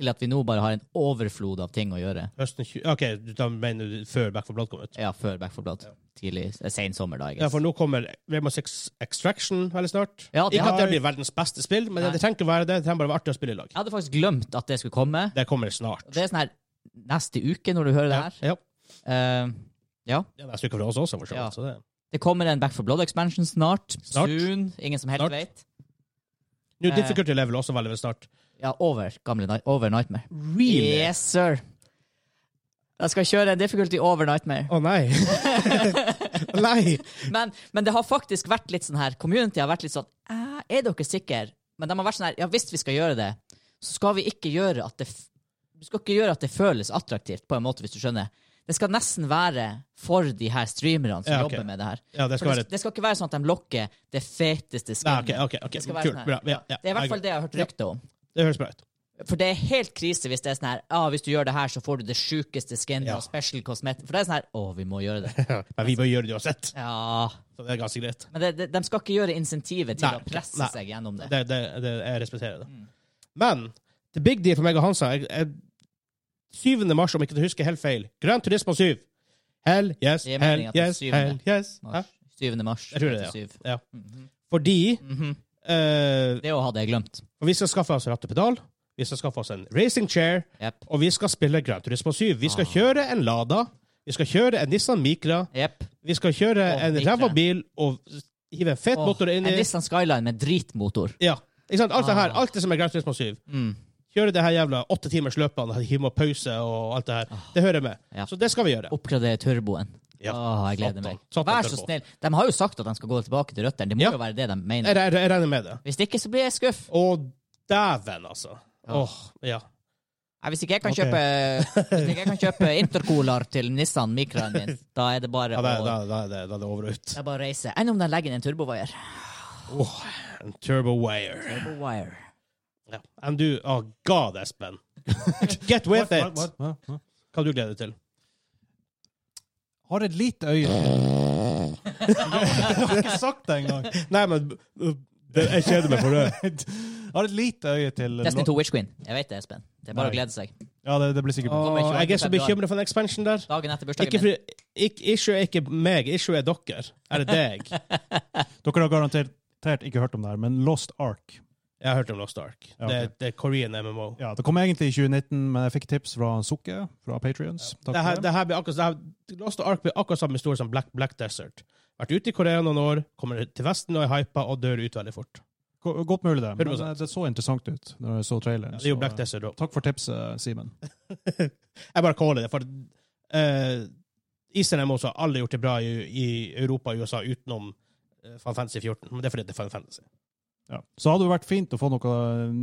Speaker 2: til at vi nå bare har en overflod av ting å gjøre.
Speaker 1: Høsten 20... OK, du- da mener du før Back for Blood kom ut?
Speaker 2: Ja, før Back 4 Blood. Tidlig, eh, sen sommer, da. jeg
Speaker 1: Ja,
Speaker 2: guess.
Speaker 1: for nå kommer Rainbow Six Extraction veldig snart.
Speaker 2: Ja, det
Speaker 1: ikke at det
Speaker 3: har-
Speaker 1: blir verdens beste spill, men
Speaker 2: Nei.
Speaker 1: det trenger ikke å være det. Det trenger bare å være artig å spille i lag.
Speaker 2: Jeg hadde faktisk glemt at det skulle komme.
Speaker 1: Det kommer snart.
Speaker 2: Det er sånn her neste uke, når du hører det her.
Speaker 1: Ja.
Speaker 2: Eh, ja.
Speaker 1: Det er neste uke fra oss også, for så vidt.
Speaker 2: Ja.
Speaker 1: Så det.
Speaker 2: Det kommer en Back 4 Blood-expansion snart.
Speaker 1: Snart.
Speaker 2: Soon. Ingen som helt
Speaker 1: Snart.
Speaker 2: vet.
Speaker 1: New
Speaker 2: Eh.
Speaker 1: Difficulty Level også veldig veldig snart.
Speaker 2: Ja, over gamle Night- over Nightmare.
Speaker 1: Really?
Speaker 2: Yes, sir. Jeg skal kjøre en difficulty over Nightmare.
Speaker 1: Å nei. nei.
Speaker 2: Men, men det har faktisk vært litt sånn her Community har vært litt sånn "Æ, Er dere sikre? Men de har vært sånn her Ja, hvis vi skal gjøre det, så skal vi ikke gjøre at det f- Du skal ikke gjøre at det føles attraktivt, på en måte, hvis du skjønner. Det skal nesten være for de her streamerne som
Speaker 1: Ja, ok.
Speaker 2: jobber med det her.
Speaker 1: Ja, det skal
Speaker 2: For det,
Speaker 1: være
Speaker 2: det skal ikke være sånn at de lokker det feteste
Speaker 1: Nei,
Speaker 2: skinnet.
Speaker 1: OK, ok, ok.
Speaker 2: Det skal være
Speaker 1: kult.
Speaker 2: sånn her.
Speaker 1: Bra. Ja, ja.
Speaker 2: Det er i hvert fall det jeg har hørt
Speaker 1: Ja.
Speaker 2: rykte om.
Speaker 1: Det høres bra ut.
Speaker 2: For det er helt krise hvis det er sånn her ah, Hvis du gjør det her, så får du det sjukeste skinnet
Speaker 1: Ja.
Speaker 2: og special cosmetic For det er sånn her Å, vi må gjøre det.
Speaker 1: Men vi bør gjøre det uansett,
Speaker 2: Ja
Speaker 1: så det er ganske greit.
Speaker 2: Men det, det, de skal ikke gjøre insentivet til
Speaker 1: Nei,
Speaker 2: å presse
Speaker 1: nei.
Speaker 2: seg gjennom det.
Speaker 1: Det, det, det, jeg respekterer det.
Speaker 2: Mm.
Speaker 1: Men the big deal for meg og Hansa jeg, jeg, 7. mars, om ikke du husker helt feil, Gran Turismo 7 Hell yes,
Speaker 2: Det er
Speaker 1: hell
Speaker 2: meldingen til
Speaker 1: yes,
Speaker 2: syvende.
Speaker 1: hell yes. Hæ?
Speaker 2: Mars. 7. mars.
Speaker 1: Jeg tror det, ja.
Speaker 2: 37.
Speaker 1: Ja.
Speaker 2: Mhm.
Speaker 1: Fordi
Speaker 2: Mhm.
Speaker 1: eh,
Speaker 2: Det òg hadde jeg glemt.
Speaker 1: vi skal skaffe oss ratt og pedal, vi skal skaffe oss en racing chair,
Speaker 2: Jepp.
Speaker 1: og vi skal spille Gran Turismo 7. Vi skal
Speaker 2: Ah.
Speaker 1: kjøre en Lada, vi skal kjøre en Nissan Micra,
Speaker 2: Jepp.
Speaker 1: vi skal kjøre
Speaker 2: Åh,
Speaker 1: en
Speaker 2: Micra.
Speaker 1: ræva bil og hive en fet
Speaker 2: Åh,
Speaker 1: motor
Speaker 2: En
Speaker 1: inn i.
Speaker 2: Nissan Skyline med dritmotor.
Speaker 1: Ja. Ikke sant? Alt det her,
Speaker 2: Ah.
Speaker 1: alt det som er Gran Turismo 7.
Speaker 2: Mm.
Speaker 1: Kjøre det her jævla åtte timers løpene, hive med pause og alt det her. Det hører med.
Speaker 2: Ah. Ja.
Speaker 1: Så det skal vi gjøre.
Speaker 2: Oppgradere turboen.
Speaker 1: Ja.
Speaker 2: Åh, jeg gleder
Speaker 1: Satan.
Speaker 2: meg.
Speaker 1: Satan
Speaker 2: Vær så
Speaker 1: turbo.
Speaker 2: snill. De har jo sagt at de skal gå tilbake til røttene. Det må
Speaker 1: Ja.
Speaker 2: jo være det de
Speaker 1: Jeg,
Speaker 2: mener.
Speaker 1: jeg, jeg regner med det.
Speaker 2: Hvis ikke, så blir jeg skuff.
Speaker 1: Og dæven, altså.
Speaker 2: Ja.
Speaker 1: Åh, ja.
Speaker 2: Nei, hvis ikke jeg kan
Speaker 1: Ok.
Speaker 2: kjøpe Hvis ikke jeg kan kjøpe intercooler til Nissan Micraen min, da er det bare
Speaker 1: ja da,
Speaker 2: å
Speaker 1: da, da, da, da er det over og ut.
Speaker 2: det er bare å reise. Enn om de legger inn en turbowire?
Speaker 1: Åh, en turbo wire.
Speaker 2: Turbowire.
Speaker 1: Ja. And du, oh god, Espen. Get with
Speaker 3: What,
Speaker 1: it!
Speaker 3: what, what, what, what?
Speaker 1: Hva du gleder deg til?
Speaker 3: Har et lite øye Jeg har ikke sagt det engang.
Speaker 1: Nei, men uh, det, jeg kjeder meg for det.
Speaker 3: Har et lite øye til
Speaker 2: Destiny 2 Witch Queen. Jeg vet det, Espen. Det er bare å
Speaker 1: Nei.
Speaker 2: glede seg.
Speaker 3: Ja, det, det blir sikkert bra.
Speaker 1: Åh,
Speaker 2: kommer 28.
Speaker 1: jeg er så bekymra for den expansion der.
Speaker 2: Dagen etter
Speaker 1: Ikke
Speaker 2: bursdagen min.
Speaker 1: for, ikke, issue er ikke meg, issue er dere. Er det deg?
Speaker 3: Dere har garantert garantert ikke hørt om det her, men Lost Ark.
Speaker 1: Jeg har hørt om Lost Ark.
Speaker 3: Ja, ok.
Speaker 1: Det, det er Korean MMO.
Speaker 3: Ja, Det kom egentlig i 2019, men jeg fikk tips fra Sukke, fra Patrions. Takk
Speaker 1: Det her,
Speaker 3: for det.
Speaker 1: det her blir akkurat, det her, Lost Ark blir akkurat samme historie som Black, Black Desert. Vært ute i Korea noen år, kommer til Vesten og er hypa og dør ut veldig fort.
Speaker 3: Go- Godt mulig, det. Men
Speaker 1: 100%.
Speaker 3: eh, det så interessant ut når jeg så traileren.
Speaker 1: Det er jo
Speaker 3: så,
Speaker 1: Black
Speaker 3: eh,
Speaker 1: Desert òg.
Speaker 3: Takk for tipset, Simen.
Speaker 1: Jeg bare caller det, for uh, Eastern MMOs har alle gjort det bra i, i Europa og USA utenom eh, Final Fantasy 14. Men det er fordi det er Final Fantasy.
Speaker 3: Ja. Så hadde det vært fint å få noen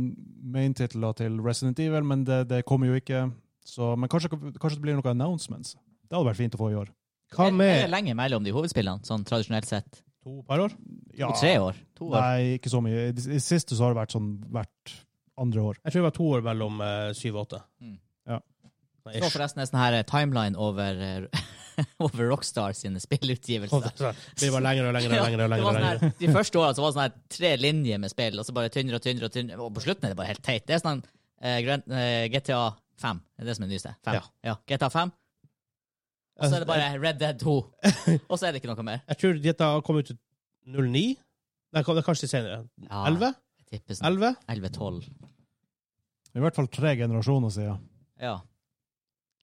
Speaker 3: maintitler til Resident Evil, men det, det kommer jo ikke. Så, men kanskje, kanskje det blir noen announcements. Det hadde vært fint å få i år.
Speaker 1: Hva
Speaker 2: Er det
Speaker 1: med
Speaker 2: lenge mellom de hovedspillene, sånn tradisjonelt sett?
Speaker 1: to par år?
Speaker 3: Ja,
Speaker 2: To, tre år?
Speaker 1: Oh,
Speaker 2: To år?
Speaker 3: Nei, ikke så mye. I det i siste så har det vært sånn hvert andre år.
Speaker 1: Jeg tror det var to år mellom eh, syv og åtte.
Speaker 2: Mm.
Speaker 3: Ja.
Speaker 1: Nei,
Speaker 2: Så forresten en sånn her eh, timeline over, eh, over Rockstar sine
Speaker 1: Sånn,
Speaker 2: spillutgivelser.
Speaker 1: sånn. Det blir bare lengre og lengre
Speaker 2: Ja,
Speaker 1: og lengre. og
Speaker 2: det
Speaker 1: lengre, og
Speaker 2: var sånn
Speaker 1: lengre.
Speaker 2: her, de første årene så var det sånn her tre linjer med spill, og så bare tynnere og tynnere. Og tynnere, og på slutten er det bare helt teit. Det er sånn eh, Gran- eh, GTA 5. Det er det som er det nyeste. 5.
Speaker 1: Ja.
Speaker 2: Ja. GTA 5. Og så er det bare Red Dead 2. Og så er det ikke noe mer.
Speaker 1: Jeg tror dette har kommet ut 09. Nei, det er kanskje senere.
Speaker 2: Ja,
Speaker 1: 11?
Speaker 2: jeg tipper sånn
Speaker 1: 11?
Speaker 2: 11-12.
Speaker 3: I hvert fall tre generasjoner siden.
Speaker 2: Ja.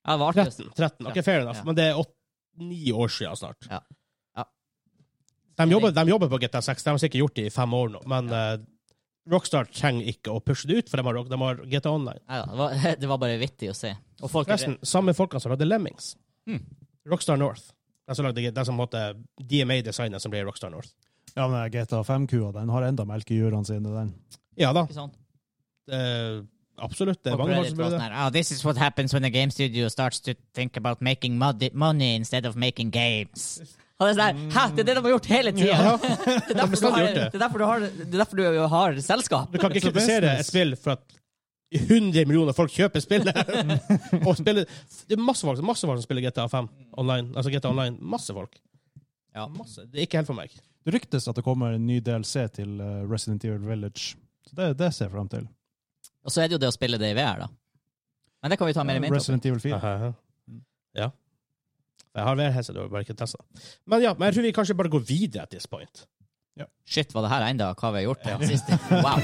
Speaker 2: ja. Det var artig.
Speaker 1: 13. 13. Ok, fair enough.
Speaker 2: Ja.
Speaker 1: Men det er åt- ni år siden snart.
Speaker 2: Ja. Ja.
Speaker 1: De, jobber, de jobber på GTA 6. De har sikkert gjort det i fem år nå. Men eh, Rockstar trenger ikke å pushe det ut, for de har, de har GTA Online.
Speaker 2: Neida, det, var, det var bare vittig å se. Og folk er
Speaker 1: Forresten, samme folkene som lagde Lemmings.
Speaker 2: Hmm.
Speaker 1: Rockstar North. De som lagde de som måtte DMA-designet som ble Rockstar North.
Speaker 3: Ja, men eh, GTA 5-kua, den har enda melk i jurene sine, den.
Speaker 1: Ja da.
Speaker 2: ikke sånn.
Speaker 1: eh, absolutt. Det er
Speaker 2: Folk
Speaker 1: mange folk
Speaker 2: Reddit
Speaker 1: som
Speaker 2: var
Speaker 1: burde
Speaker 2: sånn
Speaker 1: det.
Speaker 2: her, oh, this is what happens when a game studio starts to think about making mod- money instead of making games. Og det er sånn her, Hæ, det er det de har gjort hele tida!
Speaker 1: Ja. har
Speaker 2: Det er derfor du
Speaker 1: bestandig
Speaker 2: har-
Speaker 1: gjort det.
Speaker 2: det er derfor du har- det er derfor du har selskap.
Speaker 1: Du kan ikke
Speaker 3: Så
Speaker 1: kritisere
Speaker 3: business.
Speaker 1: et spill for at 100 millioner folk kjøper spillet. og spiller, det er masse folk, masse folk som spiller GTA 5 online. Altså GTA Online. Masse folk.
Speaker 2: Ja.
Speaker 1: Masse. Det er ikke helt for meg.
Speaker 3: Det ryktes at det kommer en ny DLC til eh, Resident Evil Village. Så det, det ser jeg frem til.
Speaker 2: Og så er det jo det å spille det i VR, da. Men det kan vi ta mer i mente.
Speaker 3: Resident Evil 4.
Speaker 1: Aha. Ja. Jeg har VR-headset, du har bare ikke testa. Men ja, men jeg tror vi kanskje bare går videre at this point.
Speaker 2: Shit, var det her enda hva vi har gjort ja. sist? Wow.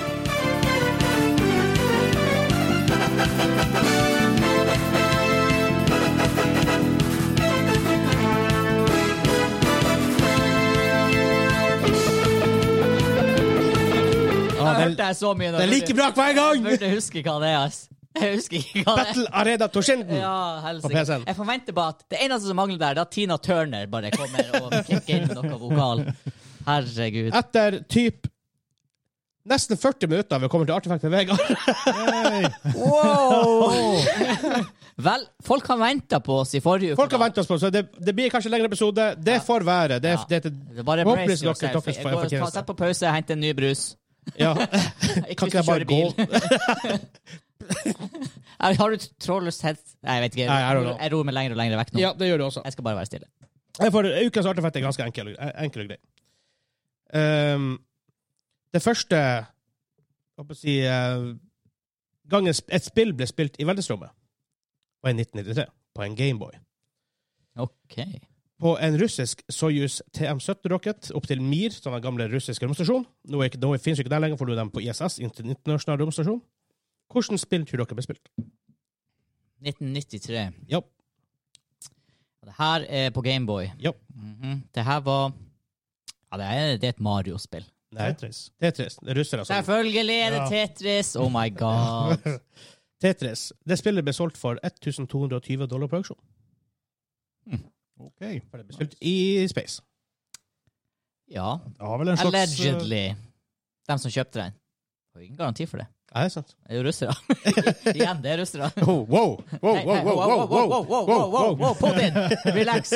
Speaker 1: Ah,
Speaker 2: Jeg
Speaker 1: det,
Speaker 2: hørte jeg så mye nå.
Speaker 1: det er like bra hver gang!
Speaker 2: Jeg burde huske hva det er, ass. Jeg husker ikke hva det er.
Speaker 1: Battle Arena Toshinden!
Speaker 2: Ja,
Speaker 1: På PC-en.
Speaker 2: helsike. Jeg forventer bare at det eneste som mangler der, det er at Tina Turner bare kommer og kicker inn med noe vokal. Herregud.
Speaker 1: Etter typ nesten 40 minutter har vi kommet til Artefakt med Vegard.
Speaker 2: Wow! Vel, folk har venta på oss i forrige uke.
Speaker 1: Folk har
Speaker 2: da.
Speaker 1: venta oss på, så det, det blir kanskje en lengre episode. Det får være. Det,
Speaker 2: Ja.
Speaker 1: det, det,
Speaker 2: Det er Bare
Speaker 1: Håper
Speaker 2: brace
Speaker 1: dere-
Speaker 2: yourself.
Speaker 1: dere får-
Speaker 2: Gå-
Speaker 1: fortjeneste.
Speaker 2: ta- Sett på pause, hent en ny brus.
Speaker 1: ja.
Speaker 2: Ikke
Speaker 1: Kan
Speaker 2: hvis
Speaker 1: ikke jeg
Speaker 2: du
Speaker 1: bare
Speaker 2: kjører
Speaker 1: gå?
Speaker 2: bil. Jeg Har du trådløst head... Nei, jeg vet ikke.
Speaker 1: Nei, I don't know.
Speaker 2: Jeg ror meg lenger og lenger vekk nå.
Speaker 1: ja, det gjør du også.
Speaker 2: Jeg skal bare være stille.
Speaker 1: Jeg får, ukas artefakt er ganske enkel, enkel og grei. Ehm, det første jeg håper å si, eh, gangen sp- et spill ble spilt i verdensrommet, var i 1993, på en Gameboy.
Speaker 2: OK.
Speaker 1: på en russisk Soyuz TM-70-rocket opp til Mir, som er den gamle russiske romstasjonen. Nå, er ikke, nå finnes jo ikke der lenger, for nå er de på ISS, internasjonal romstasjon. Hvordan spill tror dere ble spilt?
Speaker 2: 1993.
Speaker 1: Ja.
Speaker 2: Det her er på Gameboy.
Speaker 1: Ja.
Speaker 2: Mhm. Det her var Ja, det er, det er et Mario-spill.
Speaker 1: Nei.
Speaker 3: Tetris.
Speaker 1: Tetris. Det er russere som
Speaker 2: Selvfølgelig er det
Speaker 3: Sånn. Ja.
Speaker 2: Tetris! Oh my god.
Speaker 1: Tetris. Det spillet ble solgt for 1220 dollar på auksjon.
Speaker 3: OK. Det
Speaker 1: For det ble spilt i space.
Speaker 2: Ja.
Speaker 3: har vel en slags eh,
Speaker 2: Allegedly. De som kjøpte den. Har ingen garanti for det.
Speaker 1: Er det sant?
Speaker 2: Det er jo russere. Igjen, det er russere.
Speaker 1: Oh, wow! Wow,
Speaker 2: Nei,
Speaker 1: wow,
Speaker 2: nei,
Speaker 1: wow, wow, wow, wow, wow,
Speaker 2: wow, wow, wow, Putin! Relax.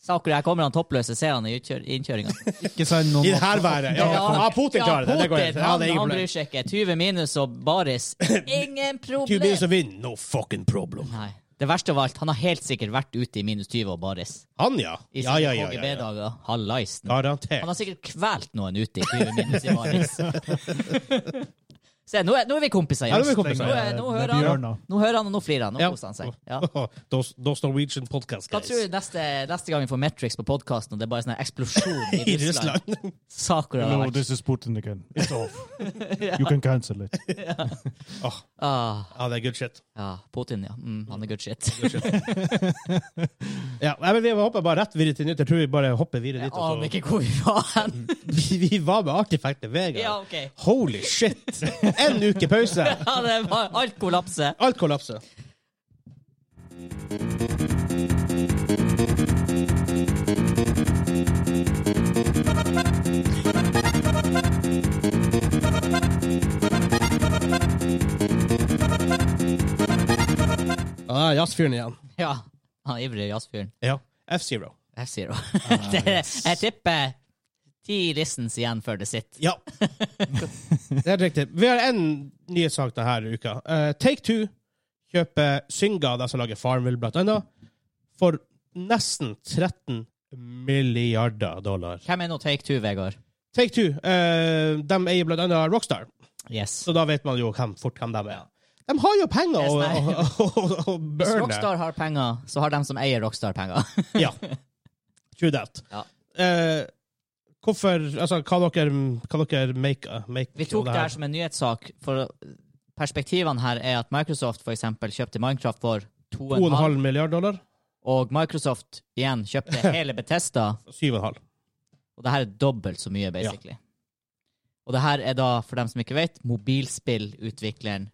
Speaker 2: Saker, her kommer han toppløse seerne i innkjøringa.
Speaker 3: eh, Ikke send noen
Speaker 1: I det her været. Ja, ja, Putin klarer det. Det går greit. Ja, det er ingen
Speaker 2: Han
Speaker 1: problem.
Speaker 2: bryr seg ikke. 20 minus og baris. Ingen
Speaker 1: Two
Speaker 2: problem!
Speaker 1: minutes of win. No fucking problem.
Speaker 2: Nei. Det verste av alt, han har helt sikkert vært ute i minus 20 og baris.
Speaker 1: Han, ja.
Speaker 2: I
Speaker 1: Ja, ja, ja. ja, ja.
Speaker 2: KGB-dager. Hallaisen.
Speaker 1: Garantert.
Speaker 2: Han har sikkert kvelt noen ute i 20 minus i baris. Se, nå er, nå er vi kompiser,
Speaker 1: Ja, nå er vi
Speaker 2: Jens.
Speaker 1: kompiser.
Speaker 2: Nå, er- nå hører
Speaker 3: Med
Speaker 2: han,
Speaker 3: bjørner.
Speaker 2: nå hører han, og nå flirer han. Nå
Speaker 1: Ja.
Speaker 2: koser han seg. Ja.
Speaker 1: Those, those Norwegian podcast
Speaker 2: Hva
Speaker 1: guys.
Speaker 2: tror du neste, neste gang vi får Metrics på podkasten, og det er bare sånn her eksplosjon i
Speaker 1: I
Speaker 2: Russland?
Speaker 1: Russland.
Speaker 2: Sakura har
Speaker 3: No,
Speaker 2: vært
Speaker 3: this is Putin again. It's off. You can cancel it.
Speaker 2: ah,
Speaker 1: Ja, det er good shit.
Speaker 2: Ja, Putin, ja. Mm, han er good shit.
Speaker 1: Ja, nei, men Vi hopper bare rett videre til nytt. Jeg tror vi bare hopper videre
Speaker 2: Jeg
Speaker 1: dit. og
Speaker 2: aner ikke hvor vi var hen.
Speaker 1: så- Vi var med Artifact med Vegard.
Speaker 2: Ja, OK.
Speaker 1: Holy shit! En uke pause.
Speaker 2: Ja, det var alt kollapser.
Speaker 1: Alt kollapser. Ah, Jazzfyren igjen.
Speaker 2: Ja. Han ivrige jazzfyren.
Speaker 1: Ja. F-Zero.
Speaker 2: Jeg sier det. Det- Jeg tipper ti listens igjen før det sitter.
Speaker 1: Ja. det er helt riktig. Vi har én nyhetssak denne uka. Eh, Take Two kjøper Synga, de som lager Farmville, blant annet, for nesten 13 milliarder dollar.
Speaker 2: Hvem er nå Take Two, Vegard?
Speaker 1: Take Two eh, de eier blant annet Rockstar,
Speaker 2: Yes.
Speaker 1: så da vet man jo hvem, fort hvem de er. De har jo penger å, å, å, å
Speaker 2: Hvis
Speaker 1: burne.
Speaker 2: sånn Rockstar har penger, så har de som eier Rockstar penger.
Speaker 1: Ja. True that.
Speaker 2: Ja.
Speaker 1: Eh, hvorfor Altså, hva dere, hva dere make, make
Speaker 2: Vi tok det her som en nyhetssak, for perspektivene her er at Microsoft for eksempel kjøpte Minecraft for 2,5,
Speaker 1: 2,5 milliarder dollar?
Speaker 2: og Microsoft igjen kjøpte hele Betesta,
Speaker 1: 7,5.
Speaker 2: og det her er dobbelt så mye, basically. Og det her er da, for dem som ikke vet, mobilspillutvikleren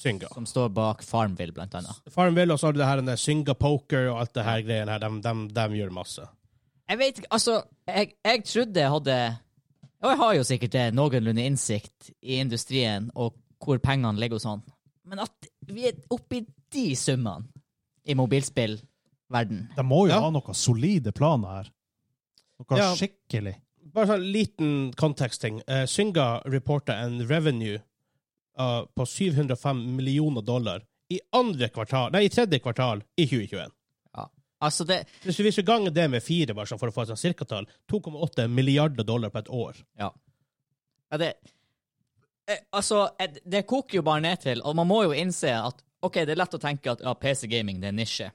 Speaker 1: Synga.
Speaker 2: som står bak Farmville, blant annet.
Speaker 1: Farmville, og så har du det her med Synga Poker og alt det her greiene her. De, de, de gjør masse.
Speaker 2: Jeg vet ikke, altså, jeg, jeg trodde jeg hadde Og jeg har jo sikkert det, noenlunde innsikt i industrien og hvor pengene ligger og sånn, men at vi er oppi de summene i mobilspillverden
Speaker 3: De må jo
Speaker 1: Ja.
Speaker 3: ha noen solide planer her. Noe
Speaker 1: Ja.
Speaker 3: skikkelig.
Speaker 1: Bare sånn liten kontekstting. Uh, Synga reporta en revenue eh, på 705 millioner dollar i andre kvartal, nei, i tredje kvartal i 2021.
Speaker 2: Altså, det
Speaker 1: Hvis du, hvis du ganger det med fire, bare sånn for å få et sånn cirkatall, 2,8 milliarder dollar på et år.
Speaker 2: Ja, det eh, Altså, eh, det koker jo bare ned til, og man må jo innse at OK, det er lett å tenke at ja, PC-gaming det er en nisje,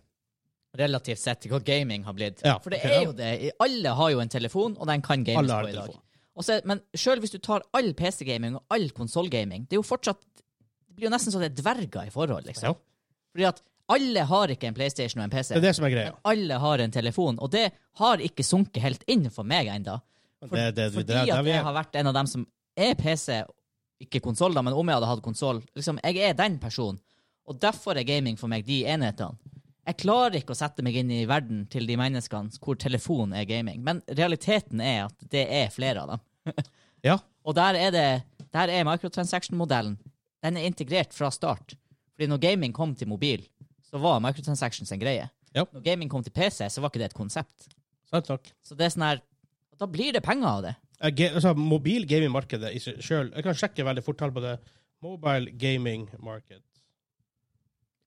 Speaker 2: relativt sett til hva gaming har blitt.
Speaker 1: Ja,
Speaker 2: For det
Speaker 1: ok,
Speaker 2: er
Speaker 1: ja.
Speaker 2: jo det. I- Alle har jo en telefon, og den kan games
Speaker 1: Alle har
Speaker 2: på i
Speaker 1: en
Speaker 2: dag.
Speaker 1: telefon.
Speaker 2: Og så- men sjøl hvis du tar all PC-gaming og all konsollgaming, det er jo fortsatt Det blir jo nesten så det er dverger i forhold, liksom.
Speaker 1: Ja.
Speaker 2: Fordi at alle har ikke en PlayStation og en PC.
Speaker 1: Det er det som er greia.
Speaker 2: Men alle har en telefon, og det har ikke sunket helt inn for meg ennå. For-
Speaker 1: Det- det- det-
Speaker 2: Fordi
Speaker 1: det- der
Speaker 2: at
Speaker 1: vi er.
Speaker 2: jeg har vært en av dem som er PC, ikke konsoll, da, men om jeg hadde hatt konsoll liksom, Jeg er den personen, og derfor er gaming for meg de enhetene. Jeg klarer ikke å sette meg inn i verden til de menneskene hvor telefon er gaming, men realiteten er at det er flere av dem.
Speaker 1: Ja.
Speaker 2: Og der er det Der er microtransaction-modellen Den er integrert fra start. Fordi når gaming kom til mobil, så var microtransactions en greie.
Speaker 1: Ja.
Speaker 2: Når gaming kom til PC, så var ikke det et konsept.
Speaker 1: Sant nok.
Speaker 2: Så det er sånn her Da blir det penger av det.
Speaker 1: Eh, ga- altså, mobil gaming-markedet i seg sjøl Jeg kan sjekke veldig fort tall på det. Mobile gaming market.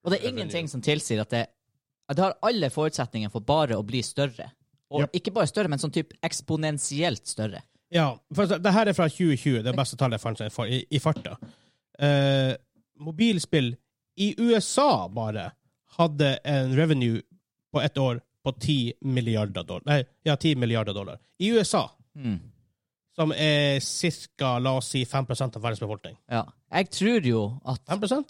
Speaker 2: Og det er ingenting som tilsier at det at det har alle forutsetninger for bare å bli større. Og
Speaker 1: Yep.
Speaker 2: ikke bare større, men sånn type eksponentielt større.
Speaker 1: Ja, for altså, det her er fra 2020, det beste tallet jeg fant sånn i, i farta. Eh, mobilspill i USA bare hadde en revenue på ett år på 10 milliarder dollar. Nei, ja, 10 milliarder dollar. I USA,
Speaker 2: Mm.
Speaker 1: Hmm. som er ca. la oss si 5 av verdens befolkning.
Speaker 2: Ja. Jeg tror jo at
Speaker 1: 5 5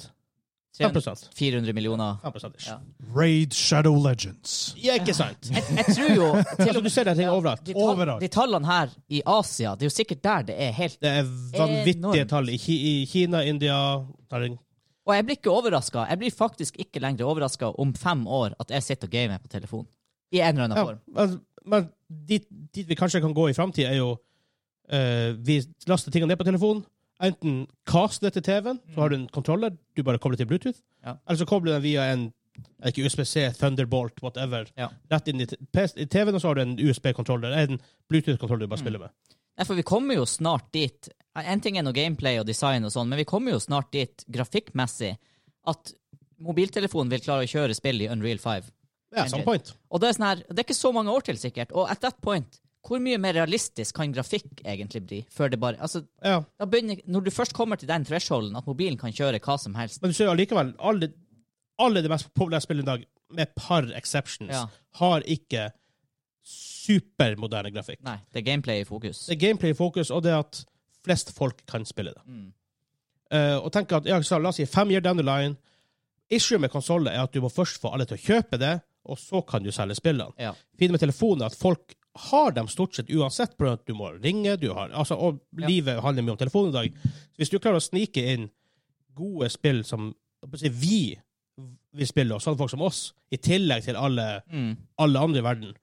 Speaker 2: 300 400 millioner
Speaker 1: 5 ish.
Speaker 2: Ja.
Speaker 3: Raid Shadow Legends.
Speaker 1: Ja, ikke sant?
Speaker 2: Jeg, jeg tror jo til
Speaker 1: Altså, du ser det her ting overalt.
Speaker 2: de, tall,
Speaker 3: Overalt.
Speaker 2: de tallene her i Asia, det er jo sikkert der det er helt
Speaker 1: Det er vanvittige
Speaker 2: Enormt.
Speaker 1: tall i, Ki i Kina, India tar en-
Speaker 2: Og jeg blir ikke overraska. Jeg blir faktisk ikke lenger overraska om fem år at jeg sitter og gamer på telefon. I en eller annen
Speaker 1: ja,
Speaker 2: form.
Speaker 1: men, men dit, dit vi kanskje kan gå i framtida, er jo eh, Vi laster tingene ned på telefonen. Enten cast det til TV-en, så har du en kontroller, du bare kobler til Bluetooth.
Speaker 2: Ja.
Speaker 1: Eller så kobler du den via en er ikke USB-C, Thunderbolt, whatever,
Speaker 2: Ja.
Speaker 1: rett inn i, t- PS i TV-en, og så har du en USB-kontroller. En Bluetooth-kontroller du bare
Speaker 2: Mm.
Speaker 1: spiller med.
Speaker 2: Nei, for vi kommer jo snart dit. En ting er noe gameplay og design og sånn, men vi kommer jo snart dit grafikkmessig at mobiltelefonen vil klare å kjøre spill i Unreal 5.
Speaker 1: Ja, some point.
Speaker 2: Og det er, sånn her, det er ikke så mange år til, sikkert. Og at that point, hvor mye mer realistisk kan grafikk egentlig bli? Før det bare, altså,
Speaker 1: Ja.
Speaker 2: da begynner, når du først kommer til den thresholden at mobilen kan kjøre hva som helst
Speaker 1: Men du ser jo allikevel, alle, alle de mest populære spillene i dag, med et par exceptions,
Speaker 2: Ja.
Speaker 1: har ikke supermoderne grafikk.
Speaker 2: Nei, det er gameplay i fokus.
Speaker 1: Det er gameplay i fokus, og det er at flest folk kan spille det.
Speaker 2: Mm.
Speaker 1: Eh, og tenk at, ja, så La oss si fem year down the line. Issue med konsoller er at du må først få alle til å kjøpe det, og så kan du selge spillene.
Speaker 2: Ja.
Speaker 1: Fint med telefonen er at folk har dem stort sett uansett, på grunn av at du må ringe, du har, altså, og
Speaker 2: Ja.
Speaker 1: livet handler mye om telefonen i dag. Så hvis du klarer å snike inn gode spill som jeg håper å si, vi vil spille, og sånne folk som oss, i tillegg til alle
Speaker 2: Mm.
Speaker 1: alle andre i verden,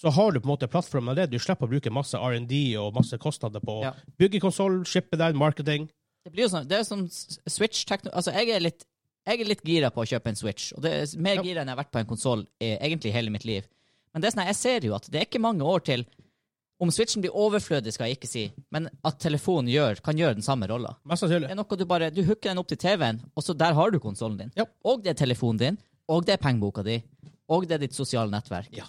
Speaker 1: så har du på en måte plattformen allerede. Du slipper å bruke masse R&D og masse kostnader på å
Speaker 2: Ja.
Speaker 1: bygge konsoll, shippe den, marketing.
Speaker 2: Det blir jo sånn, det er som s- switch tekno... Altså, jeg er litt jeg er litt gira på å kjøpe en Switch, og det er mer
Speaker 1: Ja.
Speaker 2: gira enn jeg har vært på en konsoll egentlig hele mitt liv. Men det er sånn, jeg ser jo at det er ikke mange år til Om Switchen blir overflødig, skal jeg ikke si, men at telefonen gjør, kan gjøre den samme rolla.
Speaker 1: Mest
Speaker 2: Det
Speaker 1: sannsynlig.
Speaker 2: er noe du bare Du hooker den opp til TV-en, og så der har du konsollen din.
Speaker 1: Ja.
Speaker 2: Og det er telefonen din, og det er pengeboka di, og det er ditt sosiale nettverk.
Speaker 1: Ja.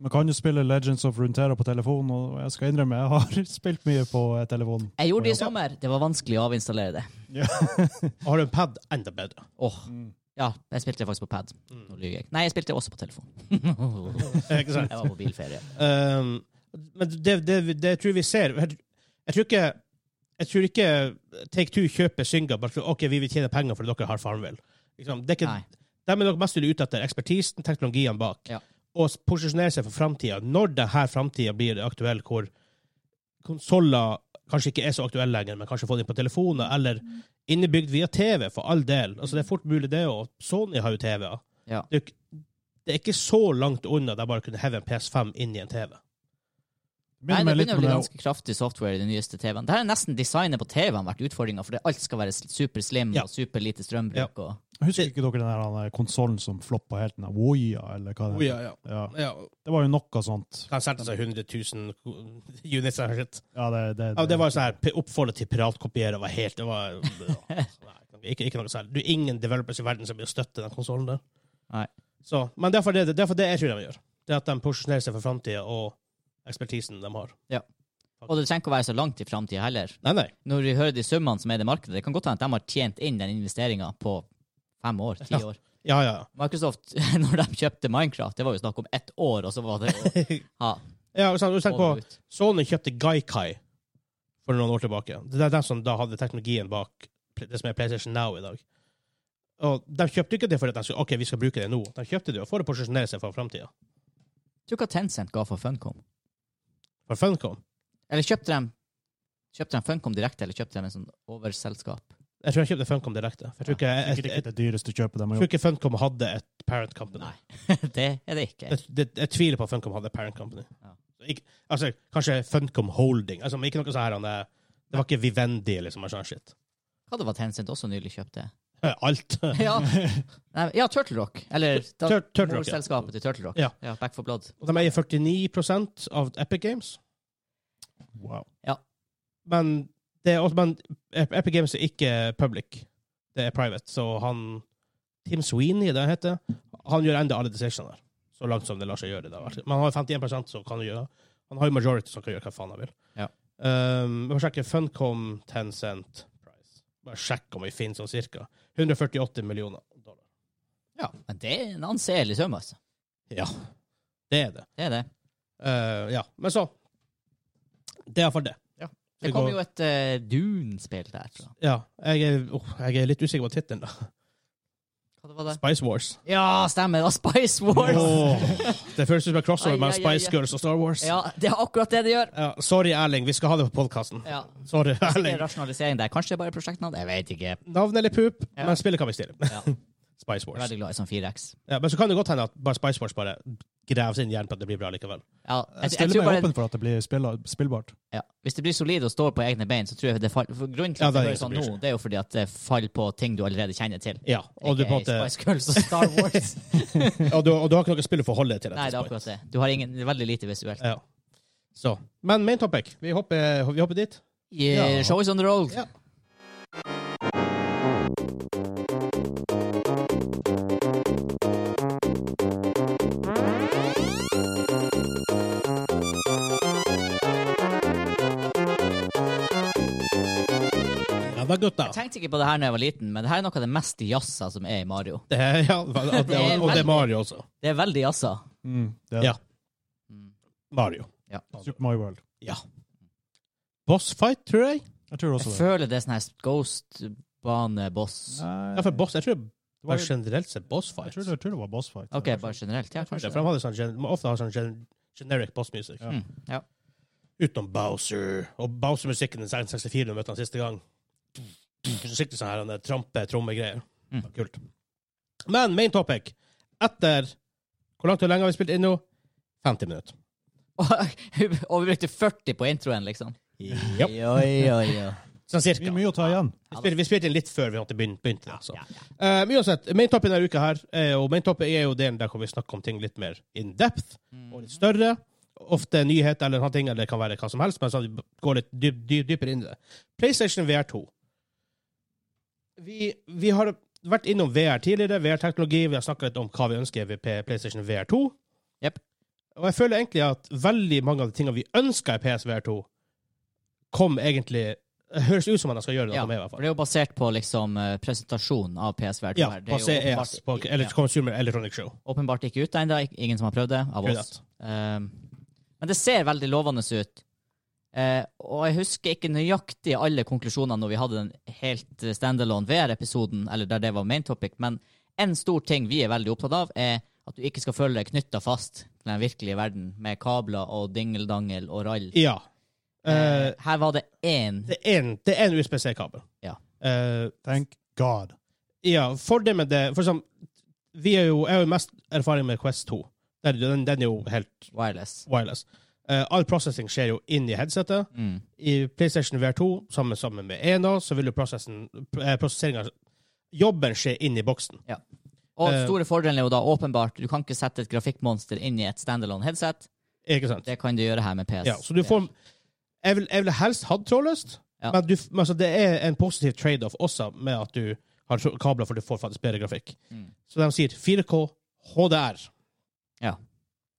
Speaker 3: Man kan jo spille Legends of Runeterra på telefonen, og jeg skal innrømme, jeg har spilt mye på eh, telefonen.
Speaker 2: Jeg gjorde det i sommer. Det var vanskelig å avinstallere det.
Speaker 1: Og har du en pad, enda bedre.
Speaker 2: Åh.
Speaker 1: Mm.
Speaker 2: Ja, jeg spilte faktisk på pad. Nå lyver jeg. Nei, jeg spilte også på telefon.
Speaker 1: Ikke sant?
Speaker 2: Jeg var på bilferie.
Speaker 1: Um, men det, det, det tror jeg vi ser Jeg jeg tror ikke jeg tror ikke Take Two kjøper Synga bare for ok, vi vil tjene penger fordi dere har Farmville. Liksom, det er ikke,
Speaker 2: Nei.
Speaker 1: de er nok mest ute etter ekspertisen, teknologien bak,
Speaker 2: Ja.
Speaker 1: og posisjonere seg for framtida. Når denne framtida blir aktuell, hvor konsoller kanskje ikke er så aktuelle lenger, men kanskje få dem på telefoner, eller innebygd via TV, for all del. Altså, det er fort mulig, det òg. Sony har jo TV-er.
Speaker 2: Ja.
Speaker 1: Det, er jo ikke- det er ikke så langt unna de bare kunne heve en PS5 inn i en TV.
Speaker 2: Nei,
Speaker 3: Minner
Speaker 2: det
Speaker 3: meg litt
Speaker 2: begynner å
Speaker 3: om
Speaker 2: bli
Speaker 3: det
Speaker 2: ganske kraftig software i den nyeste TV-en. Det her er nesten designet på TV-en vært utfordringa, fordi alt skal være super slim
Speaker 1: Ja.
Speaker 2: og super lite strømbruk. Og...
Speaker 3: Jeg Husker ikke dere den der han, eh, konsollen som floppa helt? Den der Woya, eller hva det
Speaker 1: ja.
Speaker 3: Ja,
Speaker 1: ja.
Speaker 3: det var jo noe sånt.
Speaker 1: Kan sette seg 100 000 units eller shit.
Speaker 3: Ja, det, det,
Speaker 1: Ja, det var jo sånn her, p- oppfordret til piratkopiere var helt det var, ja, nei, ikke, ikke noe særlig. Du, ingen developers i verden som vil støtte den konsollen der.
Speaker 2: Nei.
Speaker 1: Så, men derfor det, derfor det jeg tror de gjør. Det er at de posisjonerer seg for framtida og ekspertisen de har.
Speaker 2: og det trenger ikke å være så langt i framtida heller.
Speaker 1: Nei, nei.
Speaker 2: Når vi hører de summene som er i det markedet, det kan godt hende at de har tjent inn den investeringa på fem år, ti
Speaker 1: Ja.
Speaker 2: år.
Speaker 1: Ja, ja.
Speaker 2: Microsoft, når de kjøpte Minecraft, det var jo snakk om ett år, og så var det å ha
Speaker 1: ja og så- og tenk på,
Speaker 2: over ut.
Speaker 1: Sony kjøpte Gaikai for noen år tilbake. Det er den som da hadde teknologien bak pl- det som er PlayStation Now i dag. Og De kjøpte ikke det for at de skulle, ok, vi skal bruke det nå. De kjøpte det jo for å posisjonere seg for framtida.
Speaker 2: Tror du hva Tencent ga for Funcom?
Speaker 1: For Funcom.
Speaker 2: Eller kjøpte de Kjøpte de Funcom direkte, eller kjøpte de en sånn overselskap?
Speaker 1: Jeg tror jeg kjøpte Funcom direkte. For jeg tror ikke, jeg,
Speaker 3: Sikkert
Speaker 1: jeg,
Speaker 3: ikke det dyreste kjøpet de har
Speaker 1: Jeg tror
Speaker 3: gjort.
Speaker 1: ikke Funcom hadde et parent company.
Speaker 2: Nei. det er det ikke.
Speaker 1: Jeg, det, jeg tviler på at Funcom hadde et parent company.
Speaker 2: Ja.
Speaker 1: Ikke, altså, kanskje Funcom Holding. Altså, men ikke noe sånn her, han, det, det var ikke Vivendi, liksom. eller Sånn shit.
Speaker 2: Hva det var Tencent også nylig kjøpte?
Speaker 1: Eh, Alt.
Speaker 2: Ja, Nei, ja Turtle Rock. Eller da-
Speaker 1: Tur- Turtle Rock, ja.
Speaker 2: morselskapet til Turtle Rock.
Speaker 1: Ja.
Speaker 2: Back for Blood.
Speaker 1: Og de eier 49 av Epic Games.
Speaker 3: Wow.
Speaker 1: Men, det er også, men Epic Games er ikke public. Det er private. Så han Tim Sweeney, det han heter, han gjør enda alle decisionene der. Så langt som det lar seg gjøre. Det har vært. Men han har 51 som kan gjøre Han har jo majority som kan gjøre hva faen han vil.
Speaker 2: Ja.
Speaker 1: Um, vi får sjekke Funcom 10 cent price. Bare sjekk om vi finner sånn cirka. 148 millioner dollar.
Speaker 2: Ja, men det er en anselig sum, altså.
Speaker 1: Ja. Det er det.
Speaker 2: Det er det.
Speaker 1: Eh, ja. Men så Det er iallfall det.
Speaker 2: Ja.
Speaker 1: Så
Speaker 2: Det
Speaker 1: vi
Speaker 2: kom
Speaker 1: går-
Speaker 2: jo et eh, Dune-spill der. tror jeg.
Speaker 1: Ja. Jeg er, oh, jeg er litt usikker på tittelen, da.
Speaker 2: Hva det var det?
Speaker 1: Spice Wars.
Speaker 2: Ja, stemmer! Det var Spice Wars!
Speaker 1: Åh, det føles ut som en crossover
Speaker 2: Ai,
Speaker 1: mellom
Speaker 2: ai, ai,
Speaker 1: Spice
Speaker 2: ai.
Speaker 1: Girls og Star Wars.
Speaker 2: Ja, det er akkurat det det gjør.
Speaker 1: Ja, sorry, Erling. Vi skal ha det på podkasten.
Speaker 2: Ja.
Speaker 1: Sorry,
Speaker 2: Det er
Speaker 1: Erling.
Speaker 2: rasjonalisering der. Kanskje det er bare prosjektnavn? Jeg vet ikke.
Speaker 1: Navn eller pup,
Speaker 2: Ja.
Speaker 1: men spillet kan vi stille.
Speaker 2: Ja.
Speaker 1: Spice
Speaker 2: Jeg er
Speaker 1: Wars.
Speaker 2: veldig glad i sånn 4X.
Speaker 1: Ja, men så kan det godt hende at bare Spice Wars bare graver sin hjerne på at det blir bra likevel.
Speaker 2: Ja,
Speaker 3: Jeg
Speaker 2: jeg, jeg
Speaker 3: stiller
Speaker 2: tror
Speaker 3: meg
Speaker 2: bare,
Speaker 3: åpen for at det blir spilla- spillbart.
Speaker 2: ja. Hvis det blir solid og står på egne bein, så tror jeg det faller for Grunnen til
Speaker 1: Ja,
Speaker 2: at
Speaker 1: det er
Speaker 2: det gjør
Speaker 1: ingen som
Speaker 2: sånn
Speaker 1: bryr
Speaker 2: nå,
Speaker 1: seg.
Speaker 2: det er jo fordi at det faller på ting du allerede kjenner til.
Speaker 1: Ja, og du, på en
Speaker 2: Ikke
Speaker 1: måte,
Speaker 2: Spice Girls og Star Wars.
Speaker 1: og, du, og du har ikke noe spill å forholde deg til.
Speaker 2: Nei, det er akkurat det. Du har ingen, det er veldig lite visuelt.
Speaker 1: Ja. Så. Men main topic. Vi hopper, vi hopper dit.
Speaker 2: Yeah,
Speaker 1: Ja.
Speaker 2: eh, Show is on the roll.
Speaker 1: Ja. Ja da, gutta.
Speaker 2: Jeg tenkte ikke på det her da jeg var liten, men det her er noe av det mest jazza som er i Mario.
Speaker 1: Det er, ja, og det, og, og det er Mario også.
Speaker 2: Det er veldig jazza.
Speaker 3: Mm, det er
Speaker 1: Ja.
Speaker 2: Mm.
Speaker 1: Mario.
Speaker 3: Super Mario World.
Speaker 1: Ja. Boss fight, tror jeg.
Speaker 3: Jeg tror også
Speaker 2: Jeg
Speaker 3: det.
Speaker 2: føler det er sånn her Ghost-bane-boss.
Speaker 1: Ja,
Speaker 3: Nei,
Speaker 1: for boss, jeg tror
Speaker 3: det var-
Speaker 1: bare generelt sett boss
Speaker 3: jeg
Speaker 1: fight.
Speaker 3: tror det, jeg tror det var boss fight.
Speaker 2: OK, bare generelt. Ja,
Speaker 1: For
Speaker 2: kanskje.
Speaker 1: de hadde sånn, gen- ofte har sånn gen, generic bossmusikk.
Speaker 3: Ja.
Speaker 2: Mm, ja.
Speaker 1: Utenom Bowser. Og Bowser-musikken i 64 når vi møtte han siste gang. Skikkelig sånn her han der trampe, trommegreier.
Speaker 2: Mm.
Speaker 1: Ja, Kult. Men main topic. Etter Hvor langt og lenge har vi spilt inn nå? 50 minutter.
Speaker 2: Og vi brukte 40 på introen, liksom.
Speaker 1: Japp.
Speaker 2: Oi, oi, oi.
Speaker 1: Sånn
Speaker 3: Vi
Speaker 1: cirka.
Speaker 3: har mye å ta igjen.
Speaker 1: Vi spilte, vi spilte inn litt før vi måtte begynne, begynte det. Så.
Speaker 2: Ja, ja.
Speaker 1: Eh, men uansett, maintoppen denne uka her, eh, og maintoppen er jo delen der hvor vi snakker om ting litt mer in depth,
Speaker 2: Mm.
Speaker 1: og litt større. Ofte nyhet eller noe ting, eller det kan være hva som helst, men så vi går litt dyp, dyp, dypere inn i det. PlayStation VR 2. Vi, vi har vært innom VR tidligere, VR-teknologi, vi har snakket litt om hva vi ønsker ved P- PlayStation VR 2.
Speaker 2: Jep.
Speaker 1: Og jeg føler egentlig at veldig mange av de tingene vi ønsker i PSVR 2, kom egentlig Høres ut som man skal gjøre det,
Speaker 2: Ja,
Speaker 1: at de er i hvert
Speaker 2: for
Speaker 1: fall.
Speaker 2: det er jo basert på liksom eh, presentasjonen av PSVR 2
Speaker 1: Ja,
Speaker 2: her. Det
Speaker 1: på
Speaker 2: er jo
Speaker 1: CES,
Speaker 2: åpenbart-
Speaker 1: på Elec- Consumer Electronic Show.
Speaker 2: Åpenbart ikke ute ennå. Ingen som har prøvd det av oss.
Speaker 1: Kudat.
Speaker 2: Um, men det ser veldig lovende ut. Eh, og jeg husker ikke nøyaktig alle konklusjonene når vi hadde den helt eh, standalone VR-episoden, eller der det var main topic, men en stor ting vi er veldig opptatt av, er at du ikke skal føle deg knytta fast til den virkelige verden med kabler og dingeldangel og rall.
Speaker 1: Ja.
Speaker 2: Eh,
Speaker 1: Eh,
Speaker 2: her var det én
Speaker 1: det er en- det er en USB-C-kabel.
Speaker 2: Ja.
Speaker 1: Eh,
Speaker 3: Thank God.
Speaker 1: ja, for det med det For som, vi er jo, jeg har jo mest erfaring med Quest 2. Der, den, den er jo helt
Speaker 2: wireless.
Speaker 1: wireless. Eh, all processing skjer jo inn i headsetet.
Speaker 2: Mm.
Speaker 1: I PlayStation VR2, sammen, sammen med ENA, så vil jo prosessen- eh, prosesseringen Jobben skjer inn i boksen.
Speaker 2: Og
Speaker 1: Eh,
Speaker 2: store fordelen er jo da åpenbart, du kan ikke sette et grafikkmonster inn i et standalone headset.
Speaker 1: Ikke sant?
Speaker 2: Det kan du gjøre her med Eh, PS.
Speaker 1: Ja, så du får Jeg vil, jeg vil helst hatt trådløst,
Speaker 2: Ja.
Speaker 1: men, du, men altså, det er en positiv trade-off også med at du har tro- kabler, for du får faktisk bedre grafikk.
Speaker 2: Mm.
Speaker 1: Så de sier 4K HDR.
Speaker 2: Ja.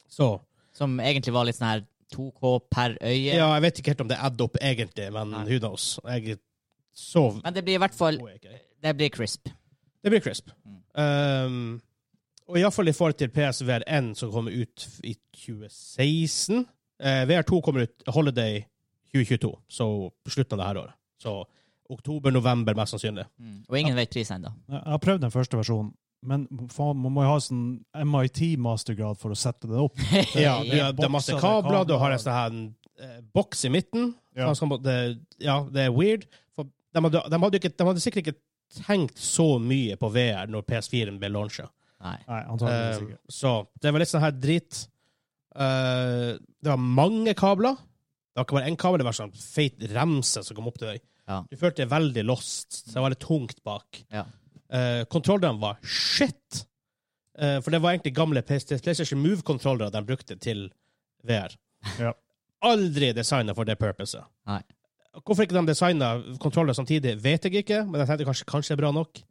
Speaker 1: Så
Speaker 2: Som egentlig var litt sånn her 2K per øye.
Speaker 1: Ja, jeg vet ikke helt om det er add up egentlig, men
Speaker 2: Nei.
Speaker 1: who knows? Jeg sov
Speaker 2: Men det blir i hvert fall
Speaker 1: Det
Speaker 2: Det blir crisp.
Speaker 1: blir crisp.
Speaker 2: Mm.
Speaker 1: Um, og iallfall i forhold til PSVR1, som kommer ut i 2016. Eh, VR2 kommer ut holiday 2022, så slutten av det her året. Så oktober-november, mest sannsynlig.
Speaker 2: Mm. Og ingen vet pris ennå.
Speaker 3: Jeg har prøvd den første versjonen, men faen, man må jo ha sånn MIT-mastergrad for å sette det opp.
Speaker 1: Ja,
Speaker 2: Ja,
Speaker 1: du, har- det er masse
Speaker 3: bokser, det er
Speaker 1: kabler, du har
Speaker 3: kabler.
Speaker 1: en sånn her eh, boks i midten.
Speaker 3: Ja.
Speaker 1: Man skal, det, ja, det er weird. For de, hadde, de, hadde ikke, de hadde sikkert ikke tenkt så mye på VR når PS4-en ble launchet.
Speaker 2: Nei.
Speaker 3: Nei, antakeligvis
Speaker 1: Eh,
Speaker 3: ikke.
Speaker 1: så det var litt sånn her drit. Eh, det var mange kabler. Det var ikke bare én kabel, det var sånn feit remse som kom opp til deg.
Speaker 2: Ja.
Speaker 1: Du følte deg veldig lost. Så det var litt tungt bak.
Speaker 2: Ja.
Speaker 1: Eh, kontrollerne var shit! Eh, for det var egentlig gamle PS- PlayStation Move-kontrollere de brukte til VR.
Speaker 3: Ja.
Speaker 1: Aldri designa for det purposet.
Speaker 2: Nei.
Speaker 1: Hvorfor ikke de designa kontroller samtidig, vet jeg ikke, men jeg tenkte kanskje, kanskje det er bra nok.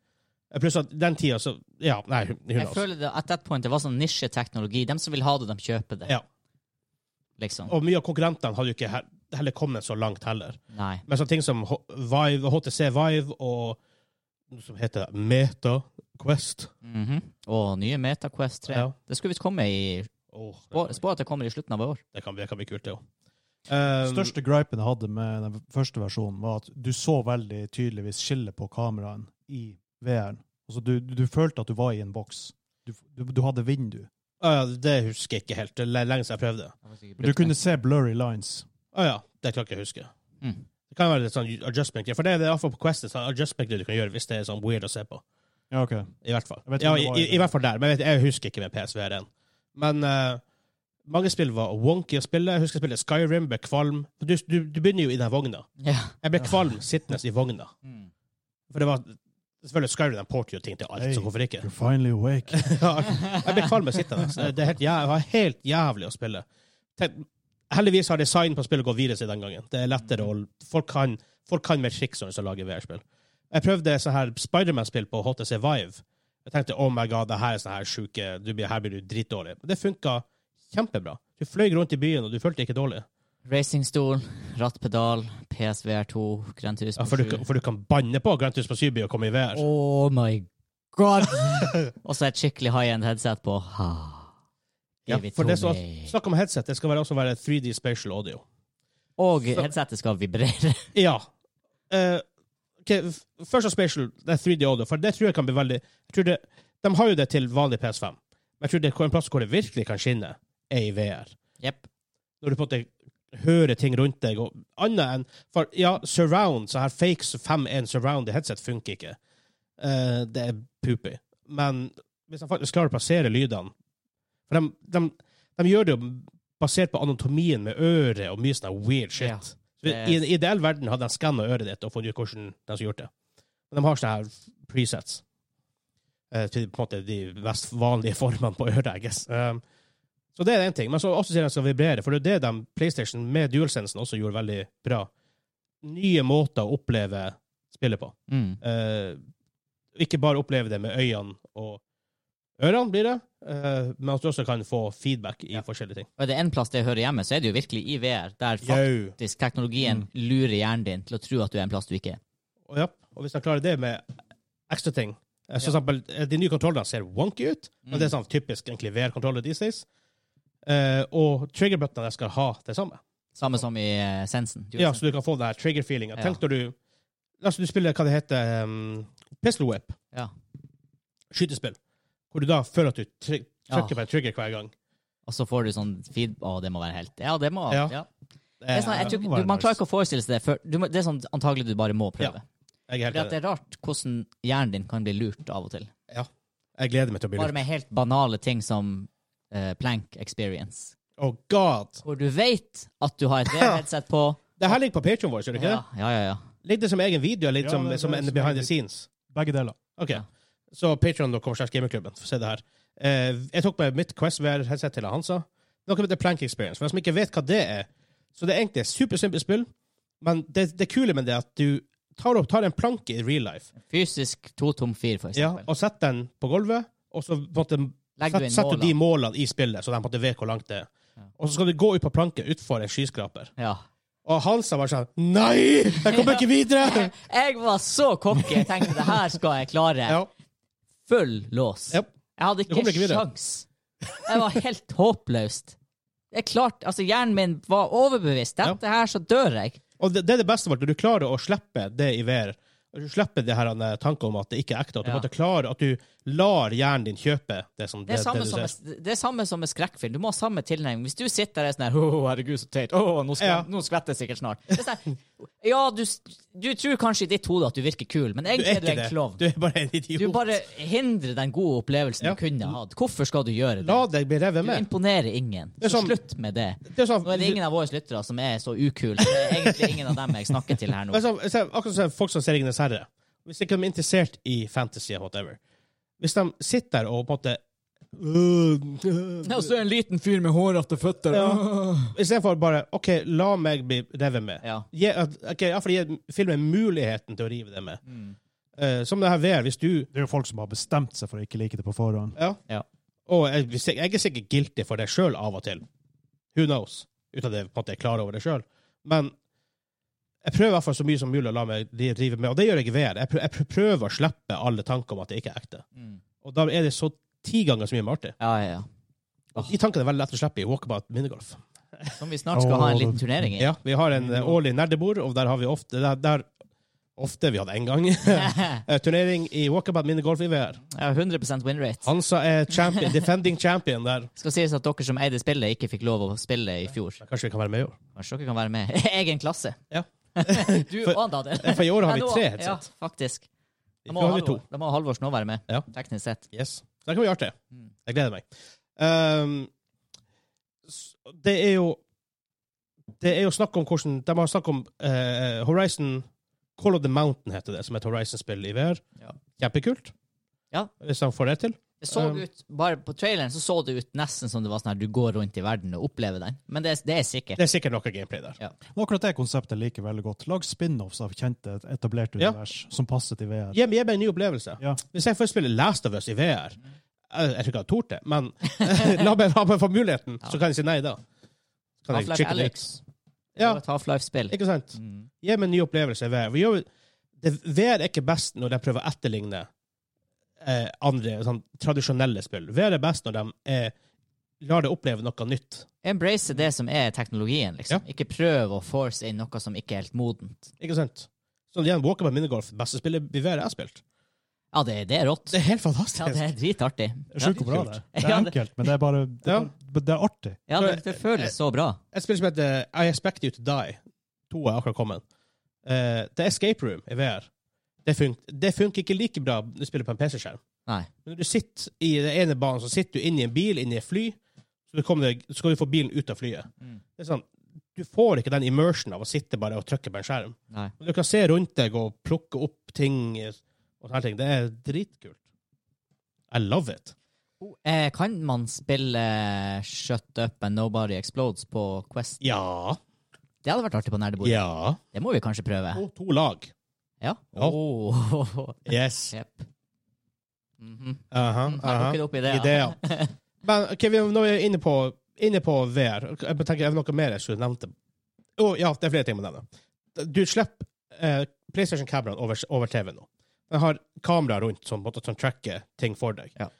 Speaker 1: Eh, Pluss at den tida, så Ja, nei, hun
Speaker 2: Jeg føler det at that point det var sånn nisjeteknologi. De som vil ha det, de kjøper det.
Speaker 1: Ja.
Speaker 2: Liksom.
Speaker 1: Og mye av konkurrentene hadde jo ikke he- heller kommet så langt heller.
Speaker 2: Nei.
Speaker 1: Men sånne ting som H- Vive, HTC Vive og noe som heter Meta Quest
Speaker 2: Mhm. Og nye MetaQuest 3.
Speaker 1: Ja.
Speaker 2: Det skulle visst komme i
Speaker 1: Åh, det,
Speaker 2: Spå,
Speaker 1: kan,
Speaker 2: spå at det kommer i slutten av i år.
Speaker 1: det, kan, det kan bli kult, det Ehm, òg. um,
Speaker 3: Største gripen jeg hadde med den første versjonen, var at du så veldig tydeligvis skillet på kameraen i VR-en. Altså, du, du følte at du var i en boks. Du, du, du hadde vindu.
Speaker 1: ja, det husker jeg ikke helt. Det er lenge siden jeg prøvde.
Speaker 3: Men du kunne se blurry lines.
Speaker 1: Å ja, det klarte jeg å huske.
Speaker 2: Mm.
Speaker 1: Det kan være litt sånn adjustment. For det er det iallfall på Quest et sånn adjustment du kan gjøre hvis det er sånn weird å se på.
Speaker 3: Ja, ok.
Speaker 1: I hvert fall.
Speaker 3: Jeg vet
Speaker 1: Ja,
Speaker 3: ikke om
Speaker 1: i,
Speaker 3: det var
Speaker 1: i,
Speaker 3: i det.
Speaker 1: I hvert fall der. Men jeg, vet, jeg husker ikke med PSVR1. Men eh, mange spill var wonky å spille. Jeg husker jeg spilte Skyrim, ble kvalm. Du, du, du begynner jo i den vogna.
Speaker 2: Ja.
Speaker 1: Jeg ble kvalm sittende i vogna.
Speaker 2: Mm.
Speaker 1: For det var selvfølgelig Skyrim den porter jo ting til alt,
Speaker 3: Hey.
Speaker 1: så hvorfor ikke?
Speaker 3: You're finally awake.
Speaker 1: Ja, jeg ble kvalm av sittende. Så Det er helt, jæv- det var helt jævlig å spille. Tenk, heldigvis har design på spillet gått videre siden den gangen. Det er lettere å Folk kan, folk kan mer triks når de skal lage VR-spill. Jeg prøvde sånn her Spiderman-spill på HTC Vive. Jeg tenkte oh my god, det her er sånn her sjuke du blir, Her blir du dritdårlig. Men det funka kjempebra. Du fløy rundt i byen, og du følte deg ikke dårlig.
Speaker 2: Racingstol, rattpedal, PSVR2,
Speaker 1: Ja,
Speaker 2: Grand Turismo
Speaker 1: for, du,
Speaker 2: 7.
Speaker 1: kan- for du kan banne på Grand Turismo 7 og komme i VR.
Speaker 2: Oh my god! Og så et skikkelig high-end headset på. Ha.
Speaker 1: Ja,
Speaker 2: Evig
Speaker 1: for det er så,
Speaker 2: Tony.
Speaker 1: snakk om headset. Det skal være, også være 3D spatial audio.
Speaker 2: Og headsetet skal vibrere.
Speaker 1: Ja. Eh, ok, f- Først av Spatial, det er 3D audio, for det tror jeg kan bli veldig jeg tror det, De har jo det til vanlig PS5, men jeg tror det er en plass hvor det virkelig kan skinne, er i VR.
Speaker 2: Jepp.
Speaker 1: Når du på en måte hører ting rundt deg, og annet enn For ja, surround, så her fake 5.1 surround i headset funker ikke. Eh, det er poopy. Men hvis de faktisk klarer å plassere lydene For de, de, de gjør det jo basert på anatomien med øret og mye sånn weird shit.
Speaker 2: Ja.
Speaker 1: Så I en ideell verden hadde de skanna øret ditt og funnet ut hvordan de som gjort det. Men de har sånne her presets. Eh, til på en måte de mest vanlige formene på øret, I guess. Um, så det er én ting. Men så også sier de skal vibrere, for det er det de, PlayStation med DualSensen også gjorde veldig bra. Nye måter å oppleve spillet på.
Speaker 2: Mm.
Speaker 1: Eh, ikke bare oppleve det med øynene og ørene, blir det, eh, men at du også kan få feedback i forskjellige ting.
Speaker 2: Og er det en plass det hører hjemme, så er det jo virkelig i VR, der faktisk
Speaker 1: Jau.
Speaker 2: teknologien
Speaker 1: Mm.
Speaker 2: lurer hjernen din til å tro at du er en plass du ikke er.
Speaker 1: Og, ja, og hvis de klarer det med ekstra ting eh, så for eksempel, eh, De nye kontrollene ser wonky ut, men
Speaker 2: Mm.
Speaker 1: det er sånn typisk egentlig VR-kontroller these days. Eh, og triggerbuttonene skal ha det samme.
Speaker 2: Samme som i eh, Sensen.
Speaker 1: Ja, Så du kan få den her trigger-feelinga.
Speaker 2: Ja.
Speaker 1: Tenk når du La oss si du spiller hva det heter um, Pistol Whip,
Speaker 2: Ja.
Speaker 1: skytespill, hvor du da føler at du tryk- trykker
Speaker 2: Ja.
Speaker 1: på en trigger hver gang.
Speaker 2: Og så får du sånn feed... Å, det må være helt Ja, det må
Speaker 1: Ja.
Speaker 2: ja.
Speaker 1: Det
Speaker 2: Det
Speaker 1: er-
Speaker 2: er sånn, jeg tror,
Speaker 3: det må
Speaker 2: ikke-
Speaker 3: være
Speaker 2: du, Man
Speaker 3: nice.
Speaker 2: klarer ikke å forestille seg det før du, må- Det er sånn antagelig du bare må prøve.
Speaker 1: Ja, jeg er helt
Speaker 2: Fordi at
Speaker 1: enig.
Speaker 2: det er rart hvordan hjernen din kan bli lurt av og til.
Speaker 1: Ja. Jeg gleder meg til å bli
Speaker 2: Bare
Speaker 1: lurt.
Speaker 2: med helt banale ting som eh, plank experience.
Speaker 1: Oh god!
Speaker 2: Hvor du vet at du har et VR-headset på.
Speaker 1: Det her ligger på Patreon vår, ser du ikke
Speaker 2: Ja,
Speaker 1: det?
Speaker 2: ja, ja. ja.
Speaker 1: Ligger det som egen video, eller
Speaker 3: Ja,
Speaker 1: som,
Speaker 3: det- det
Speaker 1: som
Speaker 3: er
Speaker 1: en
Speaker 3: som
Speaker 1: behind the
Speaker 3: egen-
Speaker 1: scenes?
Speaker 3: Begge deler.
Speaker 1: OK.
Speaker 2: Ja.
Speaker 1: Så patreon.com slags gamingklubben. Få se det her. Eh, jeg tok med mitt Quest VR-headset til Hansa. Noe med det Plank Experience. For de som ikke vet hva det er Så det er egentlig et supersimpelt spill, men det, det kule med det er at du tar, opp, tar en planke i real life
Speaker 2: Fysisk totom fir, for
Speaker 1: ja,
Speaker 2: eksempel.
Speaker 1: og setter den på gulvet, og så på en måte,
Speaker 2: Legger
Speaker 1: set,
Speaker 2: du inn
Speaker 1: setter du de
Speaker 2: målene.
Speaker 1: målene i spillet, så de på en måte vet hvor langt det er. Og så skal du gå ut på planke utfor en skyskraper.
Speaker 2: Ja.
Speaker 1: Og Hansa var sånn Nei! Jeg kommer ikke videre!
Speaker 2: Jeg var så cocky. Jeg tenkte det her skal jeg klare.
Speaker 1: Ja.
Speaker 2: Full lås.
Speaker 1: Japp.
Speaker 2: Jeg hadde
Speaker 1: Du kommer
Speaker 2: ikke,
Speaker 1: ikke videre.
Speaker 2: sjans. Jeg var helt håpløst. Det er klart, altså Hjernen min var overbevist. Dette her, så dør jeg.
Speaker 1: Og det, det er det beste med at du klarer å slippe det i VR. Du slipper det her eh, tanken om at det ikke er ekte. At du,
Speaker 2: Ja.
Speaker 1: måtte klare, at du lar hjernen din kjøpe det som
Speaker 2: Det er, samme
Speaker 1: du
Speaker 2: som
Speaker 1: ser.
Speaker 2: med, det er samme som med skrekkfilm. Du må ha samme tilnærming. Hvis du sitter der og er sånn her Å, herregud, så teit. Å, nå,
Speaker 1: Ja.
Speaker 2: skvetter- nå skvetter jeg sikkert snart. Det er sånn, ja, du, s- du tror kanskje i ditt hode at du virker kul, men
Speaker 1: Du er
Speaker 2: egentlig er du
Speaker 1: ikke
Speaker 2: en
Speaker 1: det.
Speaker 2: klovn.
Speaker 1: Du er bare en idiot.
Speaker 2: Du bare hindrer den gode opplevelsen
Speaker 1: Ja.
Speaker 2: du kunne hatt. Hvorfor skal du gjøre det?
Speaker 1: La deg bli revet
Speaker 2: Du
Speaker 1: med.
Speaker 2: imponerer ingen.
Speaker 1: Det er
Speaker 2: Så
Speaker 1: som-
Speaker 2: slutt med det.
Speaker 1: Det er sånn,
Speaker 2: Nå er det ingen av våre lyttere som er så ukule. Det er egentlig ingen av dem jeg snakker til her nå.
Speaker 1: Men så, så, sånn- akkurat som folk som ser Ringenes herre. Hvis ikke de er interessert i fantasy og whatever Hvis de sitter der og på en måte øh, øh,
Speaker 2: Og så en liten fyr med hårete føtter.
Speaker 1: Ja. Istedenfor bare OK, la meg bli revet med.
Speaker 2: Ja.
Speaker 1: Gi, at- ok, ja, for gi filmen muligheten til å rive det med.
Speaker 2: Mm.
Speaker 1: Eh, som det her VR. Hvis du
Speaker 3: Det er jo folk som har bestemt seg for å ikke like det på forhånd.
Speaker 1: Ja.
Speaker 2: Ja.
Speaker 1: Og jeg, hvis jeg jeg er sikkert guilty for det sjøl av og til. Who knows? Uten at jeg på en måte er klar over det sjøl. Men jeg prøver i hvert fall så mye som mulig å la meg dri- drive med, og det gjør jeg i VR. Jeg prø- Jeg prø- prøver å slippe alle tanker om at det ikke er ekte.
Speaker 2: Mm.
Speaker 1: Og da er det så ti ganger så mye mer artig.
Speaker 2: Ja, ja, ja.
Speaker 1: Og de tankene er veldig lett å slippe i Walkabout minigolf.
Speaker 2: Som vi snart skal ha en liten turnering i.
Speaker 1: Ja, vi har en eh, årlig nerdebord, og der har vi ofte der, der, Ofte, vi hadde én gang, eh, turnering i Walkabout minigolf i VR.
Speaker 2: Jeg har 100 win rate.
Speaker 1: Hansa er champion, defending champion der.
Speaker 2: Skal sies at dere som eide spillet, ikke fikk lov å spille i fjor.
Speaker 1: Men Kanskje vi kan være med i år?
Speaker 2: Kanskje dere kan være med. Egen klasse.
Speaker 1: Ja.
Speaker 2: Du
Speaker 1: For-
Speaker 2: og han, Daniel.
Speaker 1: Eh, For i år har
Speaker 2: Ja,
Speaker 1: vi
Speaker 2: nå-
Speaker 1: tre headset.
Speaker 2: Ja, faktisk.
Speaker 1: I
Speaker 2: Da må,
Speaker 1: fjor hadde vi to.
Speaker 2: Halvor, da må Halvor Snå være med,
Speaker 1: Ja.
Speaker 2: teknisk sett.
Speaker 1: Yes. Så det kan bli artig.
Speaker 2: Mm.
Speaker 1: Jeg gleder meg. Ehm, s- det er jo Det er jo snakk om hvordan De har snakk om eh, Horizon Call of the Mountain, heter det, som er et Horizon-spill i VR.
Speaker 2: Ja.
Speaker 1: Kjempekult.
Speaker 2: Ja.
Speaker 1: Hvis de får det til.
Speaker 2: Det så
Speaker 1: Um,
Speaker 2: ut, bare På traileren så så det ut nesten som det var sånn her du går rundt i verden og opplever den. Men det, er- det er sikkert.
Speaker 1: Det er sikkert noe gameplay der.
Speaker 3: Men akkurat det konseptet liker jeg veldig godt. Lag spin-offs av kjente, etablerte
Speaker 1: Ja.
Speaker 3: univers som passer til VR.
Speaker 1: Gi meg, gi meg en ny opplevelse.
Speaker 3: Ja.
Speaker 1: Hvis jeg først spiller Last of Us i VR Jeg, jeg tror ikke jeg hadde tort det, men la meg, la meg få muligheten, så kan jeg si nei da. Så Kan jeg
Speaker 2: Half-Life
Speaker 1: chicke det ut.
Speaker 2: Alyx. Det
Speaker 1: Ja.
Speaker 2: var et Half-Life-spill.
Speaker 1: Ikke sant?
Speaker 2: Mm.
Speaker 1: Gi meg en ny opplevelse i VR. Vi gjør, det, VR er ikke best når de prøver å etterligne eh, andre sånn, tradisjonelle spill. VR er best når de eh, lar deg oppleve noe nytt.
Speaker 2: Embrace det som er teknologien, liksom. Ikke prøv å force inn noe som ikke er helt modent.
Speaker 1: Ikke sant? Sånn igjen, Walkabout minigolf, beste spillet i VR jeg har spilt.
Speaker 2: Ja, det, det er rått.
Speaker 1: Det er helt
Speaker 2: Ja,
Speaker 1: fantastisk.
Speaker 2: det er dritartig.
Speaker 3: Det er Sjukt hvor bra det er. Det er
Speaker 2: Ja, det-
Speaker 3: enkelt, men det er bare det er, bare- det er artig.
Speaker 2: Ja, det, det
Speaker 1: eh,
Speaker 2: føles så bra.
Speaker 1: Et spill som heter I Expect You To Die. To er akkurat kommet. Eh, det er Escape Room i VR. Det, fun det funker ikke like bra når du spiller på en PC-skjerm.
Speaker 2: Nei.
Speaker 1: Men når du sitter i den ene banen, så sitter du inni en bil, inni et fly, så, du kommer deg, så skal du få bilen ut av flyet.
Speaker 2: Mm.
Speaker 1: Det er sånn, du får ikke den immersion av å sitte bare og trykke på en skjerm.
Speaker 2: Nei.
Speaker 1: Men du kan se rundt deg og plukke opp ting eh, og sånne ting. Det er dritkult. I love it.
Speaker 2: Eh, kan man spille eh, Shut Up and Nobody Explodes på Quest?
Speaker 1: Ja.
Speaker 2: Det hadde vært artig på nerdebordet.
Speaker 1: Ja.
Speaker 2: Det må vi kanskje prøve.
Speaker 1: To, to lag.
Speaker 2: Ja.
Speaker 1: Ja.
Speaker 2: Oh.
Speaker 1: Yes.
Speaker 2: Jepp. Mhm.
Speaker 1: Aha,
Speaker 2: Jeg
Speaker 1: Sånn, aha.
Speaker 2: plukker det opp i det, ja.
Speaker 1: Ideer. Men ok, vi, nå er vi inne på, inne på VR. Jeg bare tenker, er det noe mer jeg skulle nevnt? Å, ja, det er flere ting jeg må nevne. Du slipper eh, PlayStation-kameraen over, over TV nå. Den har kamera rundt som, på en måte, som tracker ting for deg.
Speaker 2: Ja.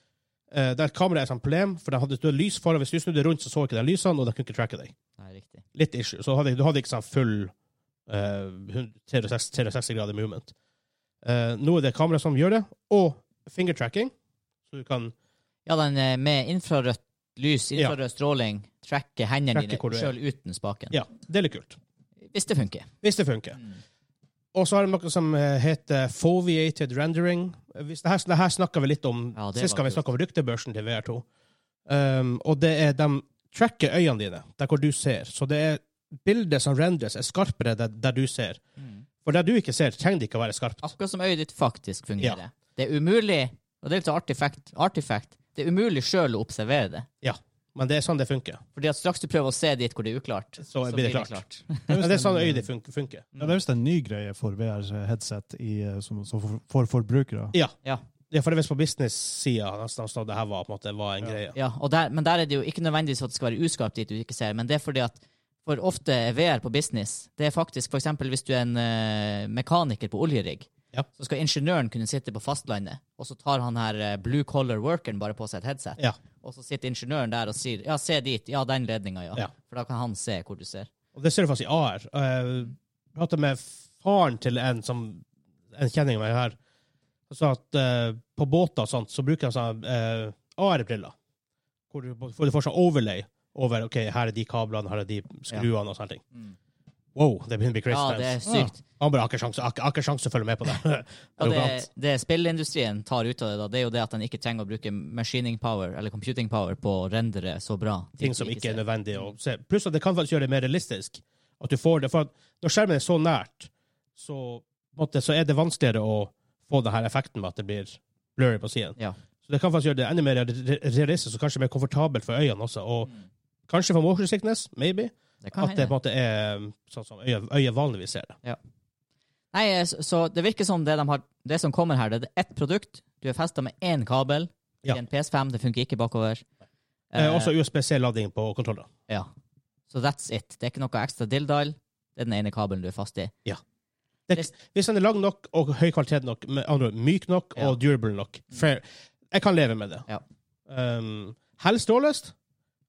Speaker 1: Eh, der kameraet er et sånt problem, for den hadde du hadde lys foran. Hvis du snudde rundt, så så ikke den lysene, og den kunne ikke tracke deg.
Speaker 2: Nei, riktig.
Speaker 1: Litt issue. Så hadde, du hadde ikke sånn full eh, 360, 360 grader movement. Eh, nå er det kamera som gjør det, og finger tracking. Så du kan
Speaker 2: Ja, den eh, med infrarødt lys,
Speaker 1: Ja.
Speaker 2: infrarød stråling, tracker hendene
Speaker 1: Tracker
Speaker 2: dine
Speaker 1: hvor du er.
Speaker 2: sjøl uten spaken.
Speaker 1: Ja, det er litt kult.
Speaker 2: Hvis det funker.
Speaker 1: Hvis det funker.
Speaker 2: Mm.
Speaker 1: Og så har de noe som eh, heter foviated rendering. Eh, Hvis det, her, det her snakka vi litt om
Speaker 2: Ja, det
Speaker 1: sist
Speaker 2: var
Speaker 1: gang vi
Speaker 2: kult.
Speaker 1: snakka om ryktebørsen til VR2. Um, og det er de tracker øynene dine, der hvor du ser. Så det er bildet som rendres, er skarpere der, der du ser.
Speaker 2: Mm. Ah.
Speaker 1: For der du ikke ser, trenger det ikke å være skarpt.
Speaker 2: Akkurat som øyet ditt faktisk fungerer. Det er umulig, og det er litt artifact, artifact. Det er umulig sjøl å observere det.
Speaker 1: Men det er sånn det funker.
Speaker 2: Fordi at straks du prøver å se dit hvor det er uklart,
Speaker 1: Så blir det klart.
Speaker 3: Det
Speaker 1: Men
Speaker 3: er
Speaker 1: det er sånn øyet
Speaker 3: visst en,
Speaker 1: ditt funker. funker.
Speaker 3: ja, det er visst en ny greie for VR-headset eh, som, som for, for forbrukere.
Speaker 1: Ja, for det er visst på business-sida han sa det her var, på en måte, var en
Speaker 3: Ja.
Speaker 1: greie.
Speaker 2: Ja, og der, men der er det jo ikke nødvendigvis at det skal være uskarpt dit du ikke ser, men det er fordi at for ofte er VR på business, det er faktisk for eksempel hvis du er en eh, mekaniker på oljerigg,
Speaker 1: Ja.
Speaker 2: så skal ingeniøren kunne sitte på fastlandet, og så tar han her eh, blue collar workeren bare på seg et headset,
Speaker 1: Ja.
Speaker 2: og så sitter ingeniøren der og sier, ja, se dit, ja, den ledningen, ja.
Speaker 1: Ja.
Speaker 2: For da kan han se hvor du ser.
Speaker 1: Og det ser du faktisk i AR. Eh, Jeg pratet med faren til en som en kjenning av meg her. Han sa at eh, på båter og sånt, så bruker han sånne eh, AR-briller. Hvor du, hvor du får sånn overlay over ok, her er de kablene, her er de skruene og sånne ting. Wow, det begynner å bli crazy.
Speaker 2: Mm. Ja,
Speaker 1: times.
Speaker 2: det er sykt.
Speaker 1: Han bare har ikke sjanse, har ikke- har ikke sjanse å følge med på det.
Speaker 2: Ja, det,
Speaker 1: Arrogant.
Speaker 2: det spillindustrien tar ut av det, da, det er jo det at den ikke trenger å bruke machining power, eller computing power, på å rendere så bra.
Speaker 1: ting
Speaker 2: du
Speaker 1: som ikke er
Speaker 2: ser.
Speaker 1: nødvendig å se. Pluss at det kan faktisk gjøre det mer realistisk. At du får det, for at Når skjermen er så nært, så, på en måte, så er det vanskeligere å få denne effekten med at det blir blurry på siden.
Speaker 2: Ja.
Speaker 1: Så det kan faktisk gjøre det enda mer re- realistisk og kanskje mer komfortabelt for øynene også. Og kanskje for motion sickness, maybe,
Speaker 2: Det kan
Speaker 1: at det
Speaker 2: hende.
Speaker 1: på en måte er sånn som øyet, øyet vanligvis ser det.
Speaker 2: Nei, eh, så, så det virker som det, de har, det som kommer her, det er ett produkt. Du er festa med én kabel
Speaker 1: Ja.
Speaker 2: til en PS5. Det funker ikke bakover.
Speaker 1: Eh, også USBC-lading på kontroller.
Speaker 2: ja. Så that's it. Det er ikke noe ekstra dilldall. Det er den ene kabelen du er fast i.
Speaker 1: Hvis den er lang nok og høy kvalitet nok, med andre ord myk nok
Speaker 2: Ja.
Speaker 1: og durable nok, fair. Jeg kan leve med det.
Speaker 2: Ja.
Speaker 1: Um, helst ståløst,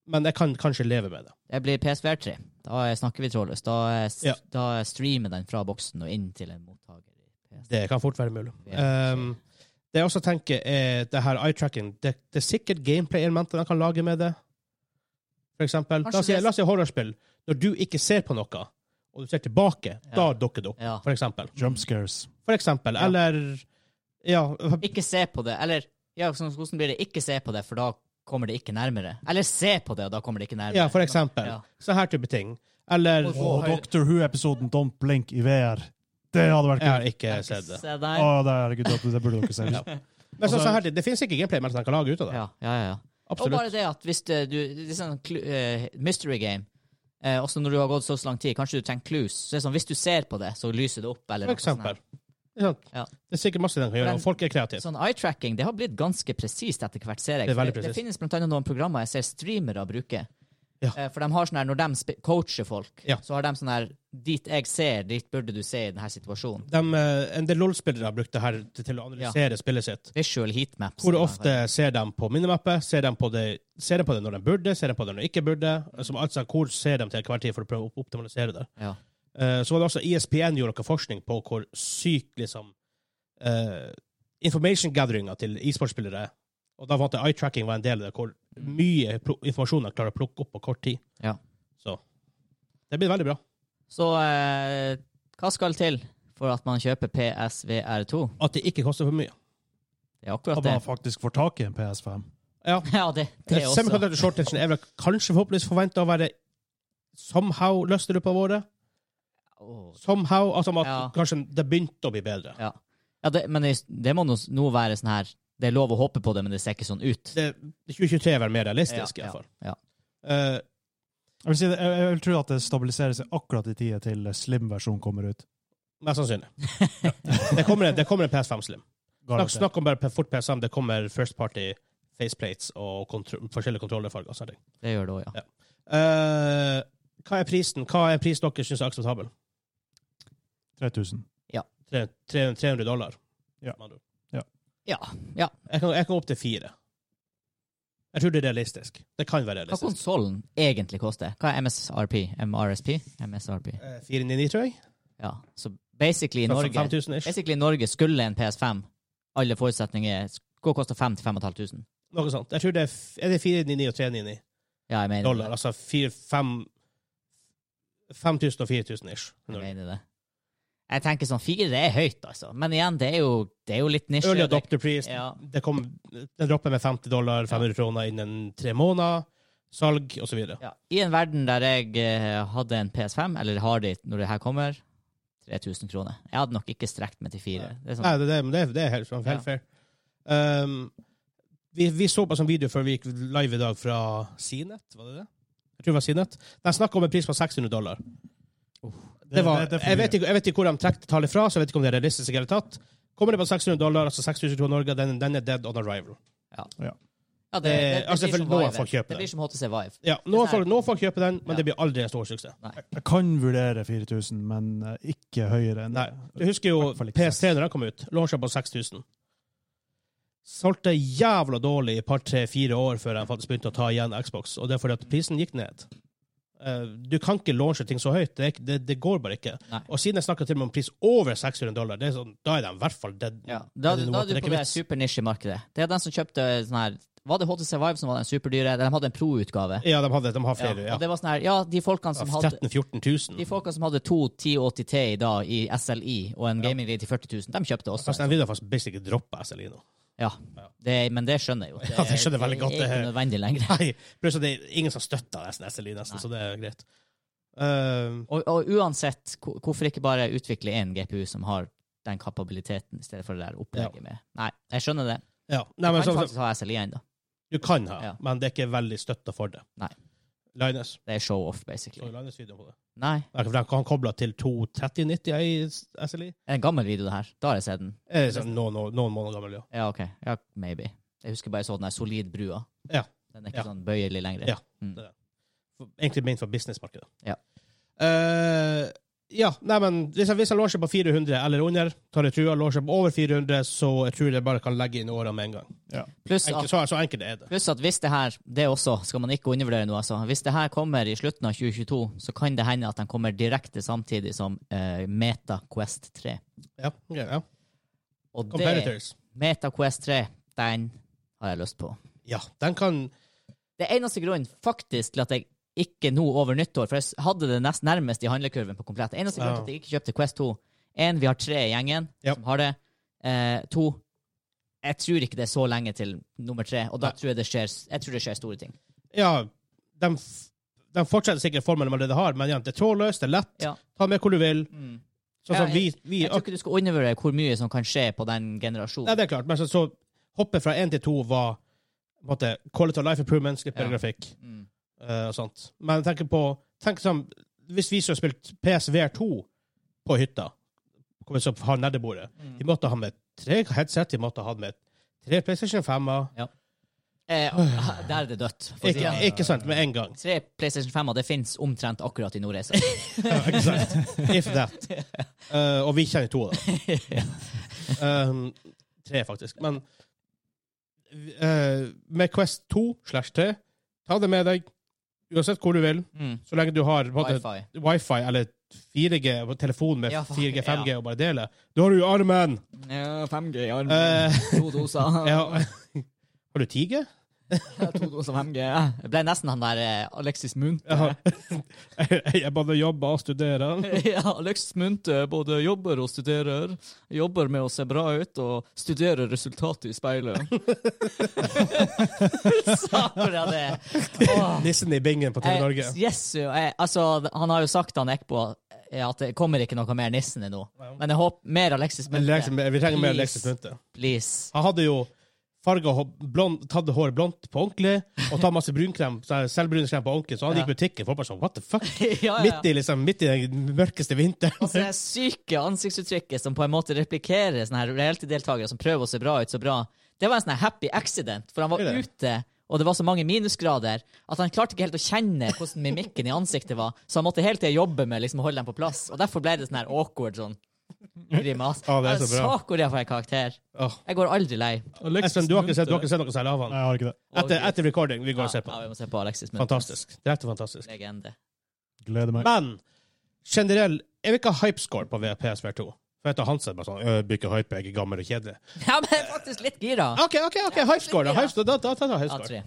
Speaker 1: men jeg kan kanskje leve med det.
Speaker 2: Det blir PSVR 3. Da eh, snakker vi trådløst. Da, eh, s-
Speaker 1: Ja.
Speaker 2: da streamer den fra boksen og inn til en mottaker. i PS.
Speaker 1: Det kan fort være mulig.
Speaker 2: Ja.
Speaker 1: Um, det jeg også tenker, er det her eye-tracking. Det, det er sikkert gameplay-elementer de kan lage med det. For eksempel, la oss si,
Speaker 2: Kanskje det-
Speaker 1: la oss si horrorspill. Når du ikke ser på noe, og du ser tilbake, da
Speaker 2: Ja.
Speaker 1: dukker det opp,
Speaker 2: Ja.
Speaker 1: for eksempel.
Speaker 3: Jumpscares.
Speaker 1: For eksempel.
Speaker 2: Ja.
Speaker 1: Eller Ja.
Speaker 2: Ikke se på det. Eller ja, sånn, hvordan blir det? Ikke se på det, for da kommer det ikke nærmere. Eller se på det, og da kommer det ikke nærmere.
Speaker 1: ja, for eksempel.
Speaker 2: Ja.
Speaker 1: Sånne her type ting. Eller
Speaker 2: Og-
Speaker 3: Og Doctor Who-episoden Don't Blink i VR. Det hadde vært
Speaker 1: Jeg
Speaker 3: kult.
Speaker 1: har ikke
Speaker 2: Ikke
Speaker 1: sett det.
Speaker 2: se der.
Speaker 3: Å, herregud, det det burde dere se.
Speaker 1: Ja. Men så, sånn her, det, det finnes ikke gameplay-elementer de kan lage ut av det.
Speaker 2: Ja, ja, ja. ja. Og
Speaker 1: Absolutt.
Speaker 2: bare det at hvis det, du det er sånn clu- eh, Mystery game. Eh, også når du har gått så lang tid, kanskje du trenger clues. Så det er sånn, Hvis du ser på det, så lyser det opp. Eller
Speaker 1: For
Speaker 2: noe sånt her.
Speaker 1: eksempel. Ikke sant?
Speaker 2: Ja.
Speaker 1: Det er sikkert masse de kan gjøre, og folk er kreative.
Speaker 2: Sånn Eye-tracking det har blitt ganske presist etter hvert, ser jeg.
Speaker 1: Det er
Speaker 2: For
Speaker 1: veldig
Speaker 2: Det, det
Speaker 1: presist.
Speaker 2: finnes blant annet noen programmer jeg ser streamere bruke.
Speaker 1: Ja.
Speaker 2: Eh, For de har sånn her, Når de spe- coacher folk,
Speaker 1: Ja.
Speaker 2: så har de sånn her Dit jeg ser, dit burde du se i denne situasjonen.
Speaker 1: de, eh, en del LOL-spillere har brukt det her til, til å analysere spillet sitt.
Speaker 2: Visual heatmaps.
Speaker 1: Hvor ofte ser de på minimappet? Ser de på, det, ser de på det når de burde? Ser de på det når de ikke burde? Som altså, Hvor ser de til hver tid for å prøve å optimalisere det?
Speaker 2: Ja.
Speaker 1: Eh, så var det også ISPN gjorde noe forskning på hvor syk liksom, eh, information gatheringa til e-sportspillere er. Og da fant jeg eye-tracking var en del av det, hvor mye pro- informasjon de klarer å plukke opp på kort tid.
Speaker 2: Ja.
Speaker 1: Så det blir veldig bra.
Speaker 2: Så eh, hva skal til for at man kjøper PSVR2?
Speaker 1: At det ikke koster for mye.
Speaker 2: Det er
Speaker 3: At
Speaker 2: akkurat det.
Speaker 3: man faktisk får tak i en PS5.
Speaker 1: Ja,
Speaker 2: Ja, det, det også.
Speaker 1: Semiconductor short tension er vel kanskje forhåpentligvis forventa å være somehow løst i løpet av året.
Speaker 2: Åh.
Speaker 1: Somehow, altså at
Speaker 2: Ja.
Speaker 1: kanskje det begynte å bli bedre.
Speaker 2: Ja. Ja, det, men det, det må nå s- nå være sånn her Det er lov å håpe på det, men det ser ikke sånn ut.
Speaker 1: Det, 2023 er vel mer realistisk, i
Speaker 2: ja,
Speaker 1: hvert fall.
Speaker 2: ja.
Speaker 1: Eh,
Speaker 3: Jeg vil, si det, jeg, jeg vil tro at det stabiliserer seg akkurat i tida til slim-versjonen kommer ut.
Speaker 1: mest sannsynlig. det, kommer en, det kommer en PS5 Slim. Snakk,
Speaker 3: Garantert.
Speaker 1: snakk om bare fort PS5, det kommer first party faceplates og kontro forskjellige kontrollerfarger. og sånne ting.
Speaker 2: Det gjør det òg, ja.
Speaker 1: Eh, hva er prisen? Hva er en pris dere syns er akseptabel?
Speaker 3: 3000.
Speaker 1: Tre- 300 dollar?
Speaker 3: Ja.
Speaker 1: med andre ord.
Speaker 2: ja.
Speaker 1: Jeg kan, jeg kan opp til fire. Jeg tror det er realistisk. Det kan være
Speaker 2: Hva
Speaker 1: realistisk.
Speaker 2: konsollen egentlig koster? Hva er MSRP? MRSP? MSRP.
Speaker 1: Eh, 499, tror jeg.
Speaker 2: Ja. Så basically i Norge,
Speaker 1: 5000 ish.
Speaker 2: basically i Norge skulle en PS5, alle forutsetninger, skulle koste 5 til 5500.
Speaker 1: Noe sånt. Jeg tror det er, f- er det 499 og 399
Speaker 2: Ja, jeg mener
Speaker 1: dollar.
Speaker 2: det.
Speaker 1: Altså 5000 og 4000 ish.
Speaker 2: Jeg mener det. Jeg tenker sånn, fire er høyt, altså. Men igjen, det er jo, det er jo litt nisje.
Speaker 1: Early
Speaker 2: og det-
Speaker 1: adopter pris.
Speaker 2: Ja.
Speaker 1: Det kom, den dropper med 50 dollar, 500 kroner innen tre måneder. Salg osv.
Speaker 2: Ja. I en verden der jeg eh, hadde en PS5, eller har det når det her kommer, 3000 kroner. Jeg hadde nok ikke strekt meg til fire. Det er sånn,
Speaker 1: Nei, det, det, men det, det er helt, helt
Speaker 2: Ja.
Speaker 1: fair. Um, vi, vi så på en sånn video før vi gikk live i dag fra Cnet, var det det? Jeg tror det var Cnet. De snakka om en pris på 600 dollar. Det var,
Speaker 3: det er for
Speaker 1: jeg,
Speaker 3: mye.
Speaker 1: vet ikke, jeg vet ikke hvor de trakk tallet fra, så jeg vet ikke om det er realistisk i det hele tatt. Kommer det på 600 dollar, altså 6000 kroner i Norge, den, den er dead on arrival.
Speaker 2: ja,
Speaker 1: det- altså,
Speaker 2: blir
Speaker 1: for
Speaker 2: som
Speaker 1: noen
Speaker 2: Vive.
Speaker 1: folk kjøper
Speaker 2: det
Speaker 1: det.
Speaker 2: blir som HTC Vive.
Speaker 1: Ja,
Speaker 2: Det er
Speaker 1: noen folk, noen folk kjøper den, men
Speaker 2: Ja.
Speaker 1: det blir aldri en stor suksess.
Speaker 3: Jeg kan vurdere 4000, men eh, ikke høyere enn
Speaker 1: Nei. Du husker jo
Speaker 3: I hvert fall ikke
Speaker 1: PS3 når den kom ut. Launcha på 6000. Solgte jævla dårlig i et par, tre, fire år før de faktisk begynte å ta igjen Xbox, og det er fordi at prisen gikk ned. Eh, Du kan ikke launche ting så høyt. Det, er ikke- det, det går bare ikke.
Speaker 2: Nei.
Speaker 1: Og siden jeg snakka til og med om pris over 600 dollar, det er sånn, da er de i hvert fall dead.
Speaker 2: Ja. Da,
Speaker 1: dead in the
Speaker 2: da
Speaker 1: water.
Speaker 2: er du
Speaker 1: Det er
Speaker 2: på
Speaker 1: ikke
Speaker 2: det
Speaker 1: vits.
Speaker 2: supernisjemarkedet. Det er den som kjøpte sånn her Var det HTC Vive som var den superdyre? De hadde en pro-utgave.
Speaker 1: Ja, de, hadde, de har flere. Ja.
Speaker 2: Og det var sånn her Ja, de folkene som hadde
Speaker 1: 13 000-14
Speaker 2: de
Speaker 1: 000.
Speaker 2: folkene som hadde to 1080 T i dag i SLI og en gaming-rig til 40 000, de kjøpte også.
Speaker 1: Fast de Altså, vil da faktisk basically ikke droppe SLI nå.
Speaker 2: Ja, det, men det skjønner jeg jo.
Speaker 1: Ja, det skjønner jeg veldig godt,
Speaker 2: Det er
Speaker 1: det
Speaker 2: ikke nødvendig lenger.
Speaker 1: Nei, pluss at det er ingen som støtter nesten SLI, nesten,
Speaker 2: Nei.
Speaker 1: så det er greit. Eh,
Speaker 2: Og, og uansett, hvor- hvorfor ikke bare utvikle én GPU som har den kapabiliteten, i stedet for det der opplegget med Nei, jeg skjønner det.
Speaker 1: ja. Nei,
Speaker 2: Du
Speaker 1: men
Speaker 2: kan
Speaker 1: så,
Speaker 2: faktisk ha SLI ennå.
Speaker 1: Du kan ha,
Speaker 2: Ja.
Speaker 1: men det er ikke veldig støtta for det.
Speaker 2: Nei.
Speaker 1: Linus.
Speaker 2: Det er show-off,
Speaker 1: Så
Speaker 2: basically.
Speaker 1: Linus video på det.
Speaker 2: Nei,
Speaker 1: Nei, for Han kobla til 2.3090 i SLI.
Speaker 2: er det en gammel video, det her? Da har jeg sett den.
Speaker 1: Er det sånn noen, år- noen måneder gammel, ja.
Speaker 2: Ja, OK. Ja, maybe. Jeg husker bare jeg så den der solid brua.
Speaker 1: Ja.
Speaker 2: Den er
Speaker 1: Ja.
Speaker 2: ikke sånn bøyelig lenger.
Speaker 1: Ja. For, egentlig ment for businessmarkedet.
Speaker 2: Ja.
Speaker 1: Eh, Ja, nei, men hvis jeg, hvis jeg lår seg på 400 eller under, tar jeg trua, lår seg på over 400, så jeg tror jeg bare kan legge inn årene med en gang.
Speaker 2: Pluss at
Speaker 1: Enkelt, så, så enkelt er det.
Speaker 2: Pluss at hvis det her, det også, skal man ikke undervurdere noe, altså. Hvis det her kommer i slutten av 2022, så kan det hende at den kommer direkte samtidig som eh, Meta Quest 3.
Speaker 1: Ja, ja, ja.
Speaker 2: Og det,
Speaker 1: Competitors.
Speaker 2: Meta Quest 3, den har jeg lyst på.
Speaker 1: Ja, den kan
Speaker 2: Det er eneste grunnen faktisk til at jeg ikke nå over nyttår, for jeg s- hadde det nest nærmest i handlekurven på komplett. Eneste grunn
Speaker 1: Ja.
Speaker 2: til at jeg ikke kjøpte Quest 2. En, vi har tre i gjengen
Speaker 1: Ja.
Speaker 2: som har det. Eh, to, jeg tror ikke det er så lenge til nummer tre, og da
Speaker 1: Nei.
Speaker 2: tror jeg det skjer, jeg tror det skjer store ting.
Speaker 1: Ja, de, f- de fortsetter sikkert formen de allerede har, men ja, det er trådløst, det er lett.
Speaker 2: Ja.
Speaker 1: Ta med hvor du vil.
Speaker 2: Mm.
Speaker 1: Sånn
Speaker 2: Ja,
Speaker 1: som vi, vi
Speaker 2: Jeg tror ikke du skal undervurdere hvor mye som kan skje på den
Speaker 1: Nei,
Speaker 2: generasjonen.
Speaker 1: det er klart, men så, så hoppet fra én til to var på en måte, quality of life improvement, slipper
Speaker 2: Ja.
Speaker 1: grafikk
Speaker 2: Mm.
Speaker 1: eh, og sånt. Men tenk på tenk som, Hvis vi som har spilt PSVR2 på hytta, kommer til å ha nedebordet
Speaker 2: Mm.
Speaker 1: Vi måtte ha med tre headset, vi måtte ha med tre PlayStation 5-er.
Speaker 2: Eh, der er det dødt. Fordi
Speaker 1: Ikke,
Speaker 2: at
Speaker 1: ikke sant, med en gang.
Speaker 2: tre PlayStation 5-er det finnes omtrent akkurat i Nordreisa.
Speaker 1: Ja, ikke sant? If that. Eh, og vi kjenner to, da. Um, tre, faktisk. Men eh, med Quest 2 slash 3, ta det med deg uansett hvor du vil,
Speaker 2: Mm.
Speaker 1: så lenge du har på en måte,
Speaker 2: Wifi.
Speaker 1: wifi eller 4G på telefon med
Speaker 2: Ja, faen,
Speaker 1: 4G, 5G
Speaker 2: ja.
Speaker 1: og bare dele. Da har du jo armen!
Speaker 2: Ja, 5G i armen.
Speaker 1: Eh,
Speaker 2: to doser.
Speaker 1: ja. Har du 10G?
Speaker 2: to doser 5G. Jeg ble nesten han der eh, Alexis Munthe.
Speaker 1: Jeg, har, jeg både jobber og studerer.
Speaker 2: Ja, Alexis Munthe både jobber og studerer. Jobber med å se bra ut og studerer resultatet i speilet. Sa jeg det? Åh.
Speaker 1: Nissen i bingen på TV Norge.
Speaker 2: Eh, yes, jo, eh, altså, han har jo sagt han Ekbo eh, at det kommer ikke noe mer Nissen nå. Men jeg håper mer Alexis
Speaker 1: Men
Speaker 2: Munthe.
Speaker 1: Alexis- Vi trenger mer
Speaker 2: Please.
Speaker 1: Alexis Munthe.
Speaker 2: Please.
Speaker 1: Han hadde jo farga hå- blond, tatt håret blondt på ordentlig, og tatt masse brunkrem, så- selvbruningskrem på ordentlig, så han
Speaker 2: Ja.
Speaker 1: gikk i butikken, folk bare sånn, what the fuck?
Speaker 2: ja, ja.
Speaker 1: Midt i, liksom, midt i den mørkeste vinteren.
Speaker 2: Altså, det syke ansiktsuttrykket som på en måte replikerer sånne her reality-deltakere som prøver å se bra ut så bra, det var en sånn her happy accident, for han var
Speaker 1: Det er det.
Speaker 2: ute, og det var så mange minusgrader, at han klarte ikke helt å kjenne hvordan mimikken i ansiktet var, så han måtte hele tiden jobbe med liksom, å holde dem på plass, og derfor ble det sånn her awkward sånn grimas.
Speaker 1: Ja, det er så bra.
Speaker 2: Jeg sa hvor jeg får en karakter.
Speaker 1: Åh.
Speaker 2: Jeg går aldri lei.
Speaker 1: Espen, du har ikke sett, du har ikke sett noe særlig av
Speaker 3: Nei,
Speaker 1: han.
Speaker 3: jeg har ikke det.
Speaker 1: Etter, etter recording, vi går og ser på
Speaker 2: Ja,
Speaker 1: det.
Speaker 2: vi må se på Alexis Munthe.
Speaker 1: Fantastisk. Direkte fantastisk.
Speaker 2: Legende.
Speaker 3: Gleder meg.
Speaker 1: Men generell, jeg vil ikke ha hypescore på PSVR2. For jeg vet at Hansen bare sånn, jeg blir ikke hype, jeg er gammel og kjedelig.
Speaker 2: Ja, men jeg er faktisk litt gira.
Speaker 1: Ok, ok, ok, hypescore da, hypescore, da, da, da, da,
Speaker 2: Ja,
Speaker 1: hypescore.
Speaker 2: tre.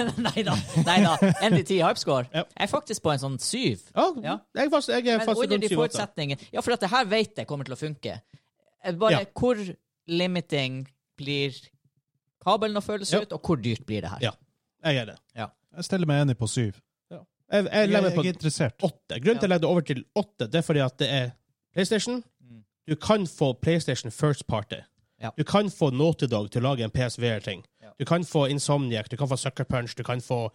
Speaker 2: Nei da. Nei da. En til ti hypescore.
Speaker 1: Ja.
Speaker 2: Jeg er faktisk på en sånn syv.
Speaker 1: Ja,
Speaker 2: Ja.
Speaker 1: jeg er fast, jeg er
Speaker 2: Men
Speaker 1: fast
Speaker 2: under
Speaker 1: rundt
Speaker 2: de
Speaker 1: 7-8.
Speaker 2: forutsetningene Ja, for at det her vet jeg kommer til å funke. Eh, Bare
Speaker 1: Ja.
Speaker 2: hvor limiting blir kabelen å føles
Speaker 1: Ja.
Speaker 2: ut, og hvor dyrt blir det her?
Speaker 1: Ja. Jeg er det.
Speaker 3: Jeg stiller meg enig på syv.
Speaker 1: Jeg, jeg,
Speaker 3: Jeg,
Speaker 1: legger
Speaker 3: jeg
Speaker 1: meg på
Speaker 3: er interessert.
Speaker 1: åtte. Grunnen til at jeg legger det over til åtte, det er fordi at det er PlayStation.
Speaker 2: Mm.
Speaker 1: Du kan få PlayStation First Party.
Speaker 2: Ja.
Speaker 1: Du kan få Naughty Dog til å lage en PSVR-ting.
Speaker 2: Ja.
Speaker 1: Du kan få Insomniac, du kan få Sucker Punch, du kan få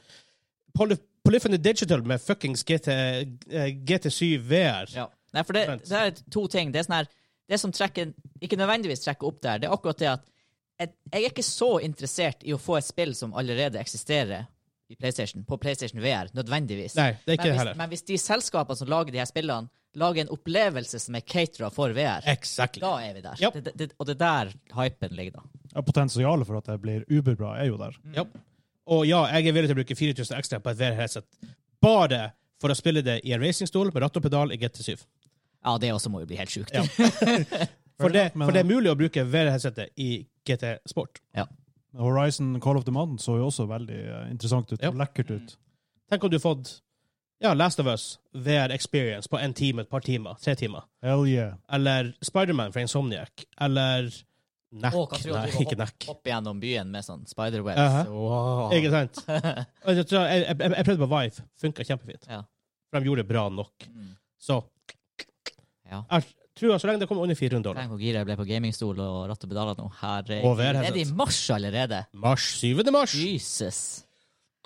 Speaker 1: Poly Polyphony Digital med fuckings GT, eh, GT7 VR.
Speaker 2: Ja. Nei, for det,
Speaker 1: Vent.
Speaker 2: det er to ting. Det er sånn her Det som trekker Ikke nødvendigvis trekker opp der, det er akkurat det at jeg, jeg er ikke så interessert i å få et spill som allerede eksisterer i PlayStation, på PlayStation VR, nødvendigvis.
Speaker 1: Nei, det er ikke
Speaker 2: men,
Speaker 1: det
Speaker 2: hvis,
Speaker 1: heller.
Speaker 2: men hvis de selskapene som lager de her spillene, lager en opplevelse som er catera for VR,
Speaker 1: Exactly.
Speaker 2: da er vi der.
Speaker 1: Ja.
Speaker 2: Det, det, og det er der hypen ligger, da.
Speaker 3: Ja, Potensialet for at jeg blir uberbra, er jo der.
Speaker 1: Ja. Og ja, jeg er villig til å bruke 4000 ekstra på et VR-headset bare for å spille det i en racingstol med ratt og pedal i GT7.
Speaker 2: Ja, det også må jo bli helt sjukt.
Speaker 1: Ja. For
Speaker 3: Fair
Speaker 1: det,
Speaker 3: enough, men-
Speaker 1: for det er mulig å bruke VR-headsetet i GT Sport.
Speaker 3: Horizon Call of the Mountain så jo også veldig eh, interessant ut.
Speaker 1: Ja.
Speaker 3: og Lekkert ut.
Speaker 1: Tenk om du har fått ja, Last of Us, VR Experience på en time, et par timer, tre timer.
Speaker 3: Hell yeah.
Speaker 1: Eller Spiderman fra Insomniac. Eller Nack.
Speaker 2: Å,
Speaker 1: Nei,
Speaker 2: kanskje du driver og
Speaker 1: ikke Nack.
Speaker 2: Hoppe gjennom byen med sånn spiderwebs.
Speaker 1: Aha.
Speaker 2: wow.
Speaker 1: Ikke sant? Og Jeg, tror- jeg, jeg, jeg prøvde på Vive. Funka kjempefint.
Speaker 2: Ja.
Speaker 1: For de gjorde det bra nok.
Speaker 2: Mm.
Speaker 1: Så
Speaker 2: Ja.
Speaker 1: jeg tror så lenge det kommer under 400 dollar.
Speaker 2: Tenk hvor gira jeg ble på gamingstol og ratt og pedaler nå.
Speaker 1: Og
Speaker 2: Herregud.
Speaker 1: VR
Speaker 2: Er det i
Speaker 1: headset.
Speaker 2: mars allerede?
Speaker 1: Mars 7. mars.
Speaker 2: Jesus.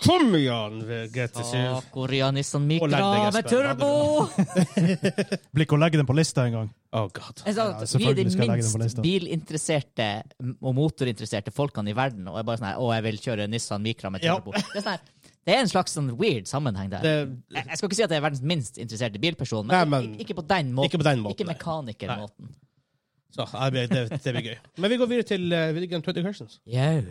Speaker 1: Kom igjen, GT7.
Speaker 2: Koreanistan
Speaker 1: Og lærte
Speaker 2: Mikra
Speaker 1: jeg
Speaker 2: med
Speaker 1: Espen,
Speaker 2: turbo!
Speaker 3: Blir ikke å legge den på lista engang.
Speaker 1: Oh god.
Speaker 2: Jeg sa
Speaker 3: Ja,
Speaker 2: at Vi er
Speaker 3: selvfølgelig
Speaker 2: de
Speaker 3: skal jeg legge den på
Speaker 2: minst
Speaker 3: lista.
Speaker 2: bilinteresserte og motorinteresserte folkene i verden, og jeg bare sånn her Å, jeg vil kjøre Nissan Micra med
Speaker 1: Ja.
Speaker 2: turbo. Det er sånn her Det er en slags sånn weird sammenheng der.
Speaker 1: Det,
Speaker 2: Jeg jeg skal ikke si at jeg er verdens minst interesserte bilperson, men,
Speaker 1: Nei, men-
Speaker 2: ikke, ikke på den måten.
Speaker 1: ikke på den måten,
Speaker 2: Ikke
Speaker 1: nei.
Speaker 2: mekanikermåten.
Speaker 1: så det blir, det, det blir gøy. Men vi går videre til uh, video game 20 questions.
Speaker 2: Jau.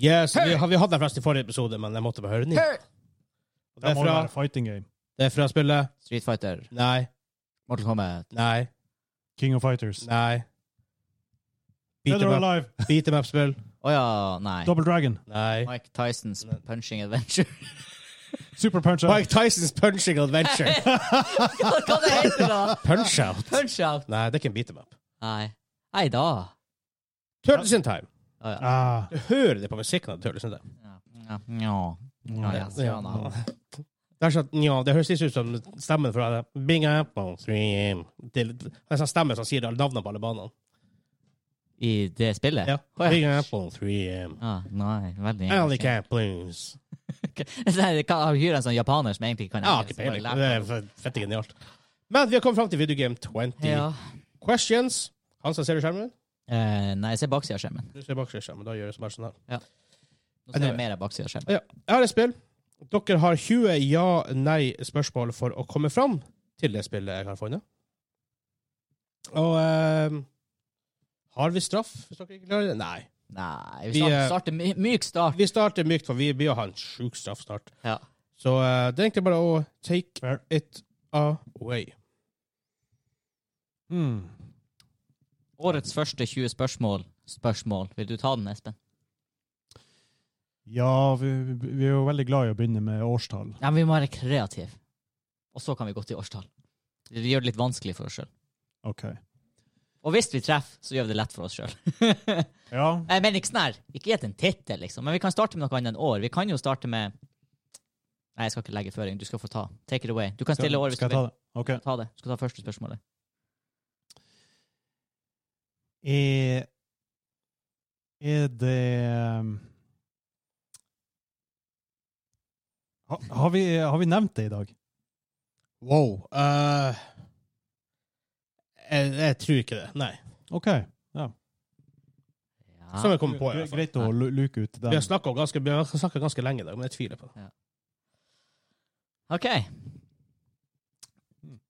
Speaker 1: Yes, vi, har- vi hadde den flest i forrige episode, men jeg måtte bare høre den inn.
Speaker 2: Hey!
Speaker 3: Det
Speaker 1: Det er
Speaker 3: må jo
Speaker 1: fra,
Speaker 3: være fighting game.
Speaker 1: det er fra spillet
Speaker 2: Street Fighter,
Speaker 1: Nei,
Speaker 2: Mortal Kombat,
Speaker 1: nei,
Speaker 3: King of Fighters.
Speaker 1: nei. Beat
Speaker 3: Dead or
Speaker 1: em up-
Speaker 3: Alive.
Speaker 1: beat em up-spill.
Speaker 2: Å ja, nei.
Speaker 3: Double Dragon.
Speaker 1: Nei.
Speaker 2: Mike Tysons Punching Adventure.
Speaker 3: Super Punch Out.
Speaker 1: Mike Tysons Punching Adventure.
Speaker 2: Hva hva det heter det da?
Speaker 1: Punch out.
Speaker 2: Punch Out?
Speaker 1: Nei, det er ikke en beat em up.
Speaker 2: Nei. Nei da.
Speaker 1: Turtles in Time.
Speaker 2: Å ja.
Speaker 3: Ah.
Speaker 1: Du hører det på musikken av Turtles in Time.
Speaker 2: Ja. Ja. Ja. Ja, ja, så ja, da.
Speaker 1: Det, er sånn, ja, det høres litt ut som stemmen fra det. Bing up on stream. Til, det er en sånn stemme som sier alle navnene på alle banene.
Speaker 2: I det spillet?
Speaker 1: Ja.
Speaker 2: Å ja.
Speaker 1: Bing up on stream.
Speaker 2: Ah, nei, veldig
Speaker 1: Alley cat blues.
Speaker 2: Nei, kan han hyre en sånn japaner som egentlig ikke kan
Speaker 1: Ja, ikke peiling. Det er fett genialt. Men vi har kommet fram til Video Game 20.
Speaker 2: Ja.
Speaker 1: Questions. Han som ser i skjermen?
Speaker 2: Eh, nei, jeg ser baksida av skjermen.
Speaker 1: Du ser bak skjermen. Da gjør jeg som er sånn her.
Speaker 2: Nå ser jeg mer av baksida av skjermen.
Speaker 1: Ja. Jeg har et spill. Dere har 20 ja-nei-spørsmål for å komme fram til det spillet jeg har funnet. Og eh, har vi straff hvis dere ikke klarer det? Nei.
Speaker 2: Nei, vi
Speaker 1: Vi,
Speaker 2: starter,
Speaker 1: eh,
Speaker 2: starter my myk start.
Speaker 1: Vi starter mykt, for vi blir å ha en sjuk straff snart.
Speaker 2: Ja.
Speaker 1: Så eh, det er egentlig bare å take
Speaker 3: Fair.
Speaker 1: it away.
Speaker 3: Mm.
Speaker 2: Årets første 20 spørsmål. Spørsmål. Vil du ta den, Espen?
Speaker 3: Ja, vi, vi vi er jo veldig glad i å begynne med årstall.
Speaker 2: Ja, men vi må være kreative. Og så kan vi gå til årstall. Vi gjør det litt vanskelig for oss sjøl.
Speaker 3: Ok.
Speaker 2: Og hvis vi treffer, så gjør vi det lett for oss sjøl.
Speaker 3: Ja.
Speaker 2: Jeg mener ikke sånn her. Ikke gjett en tittel, liksom. Men vi kan starte med noe annet enn år. Vi kan jo starte med Nei, jeg skal ikke legge føring. Du skal få ta. Take it away. Du kan stille år hvis du
Speaker 3: Skal jeg
Speaker 2: vil.
Speaker 3: ta det? Ok.
Speaker 2: Ta det. Du skal ta første spørsmålet.
Speaker 3: Er, er det um, ha, har, vi, har vi nevnt det i dag?
Speaker 1: Wow. eh, jeg, jeg tror ikke det. Nei.
Speaker 3: OK.
Speaker 2: Ja.
Speaker 1: Som jeg kom på. i hvert fall.
Speaker 3: Greit å lu- luke ut
Speaker 1: Vi har
Speaker 3: den.
Speaker 1: snakka ganske, vi har snakket ganske lenge i dag, men jeg tviler på det.
Speaker 2: OK.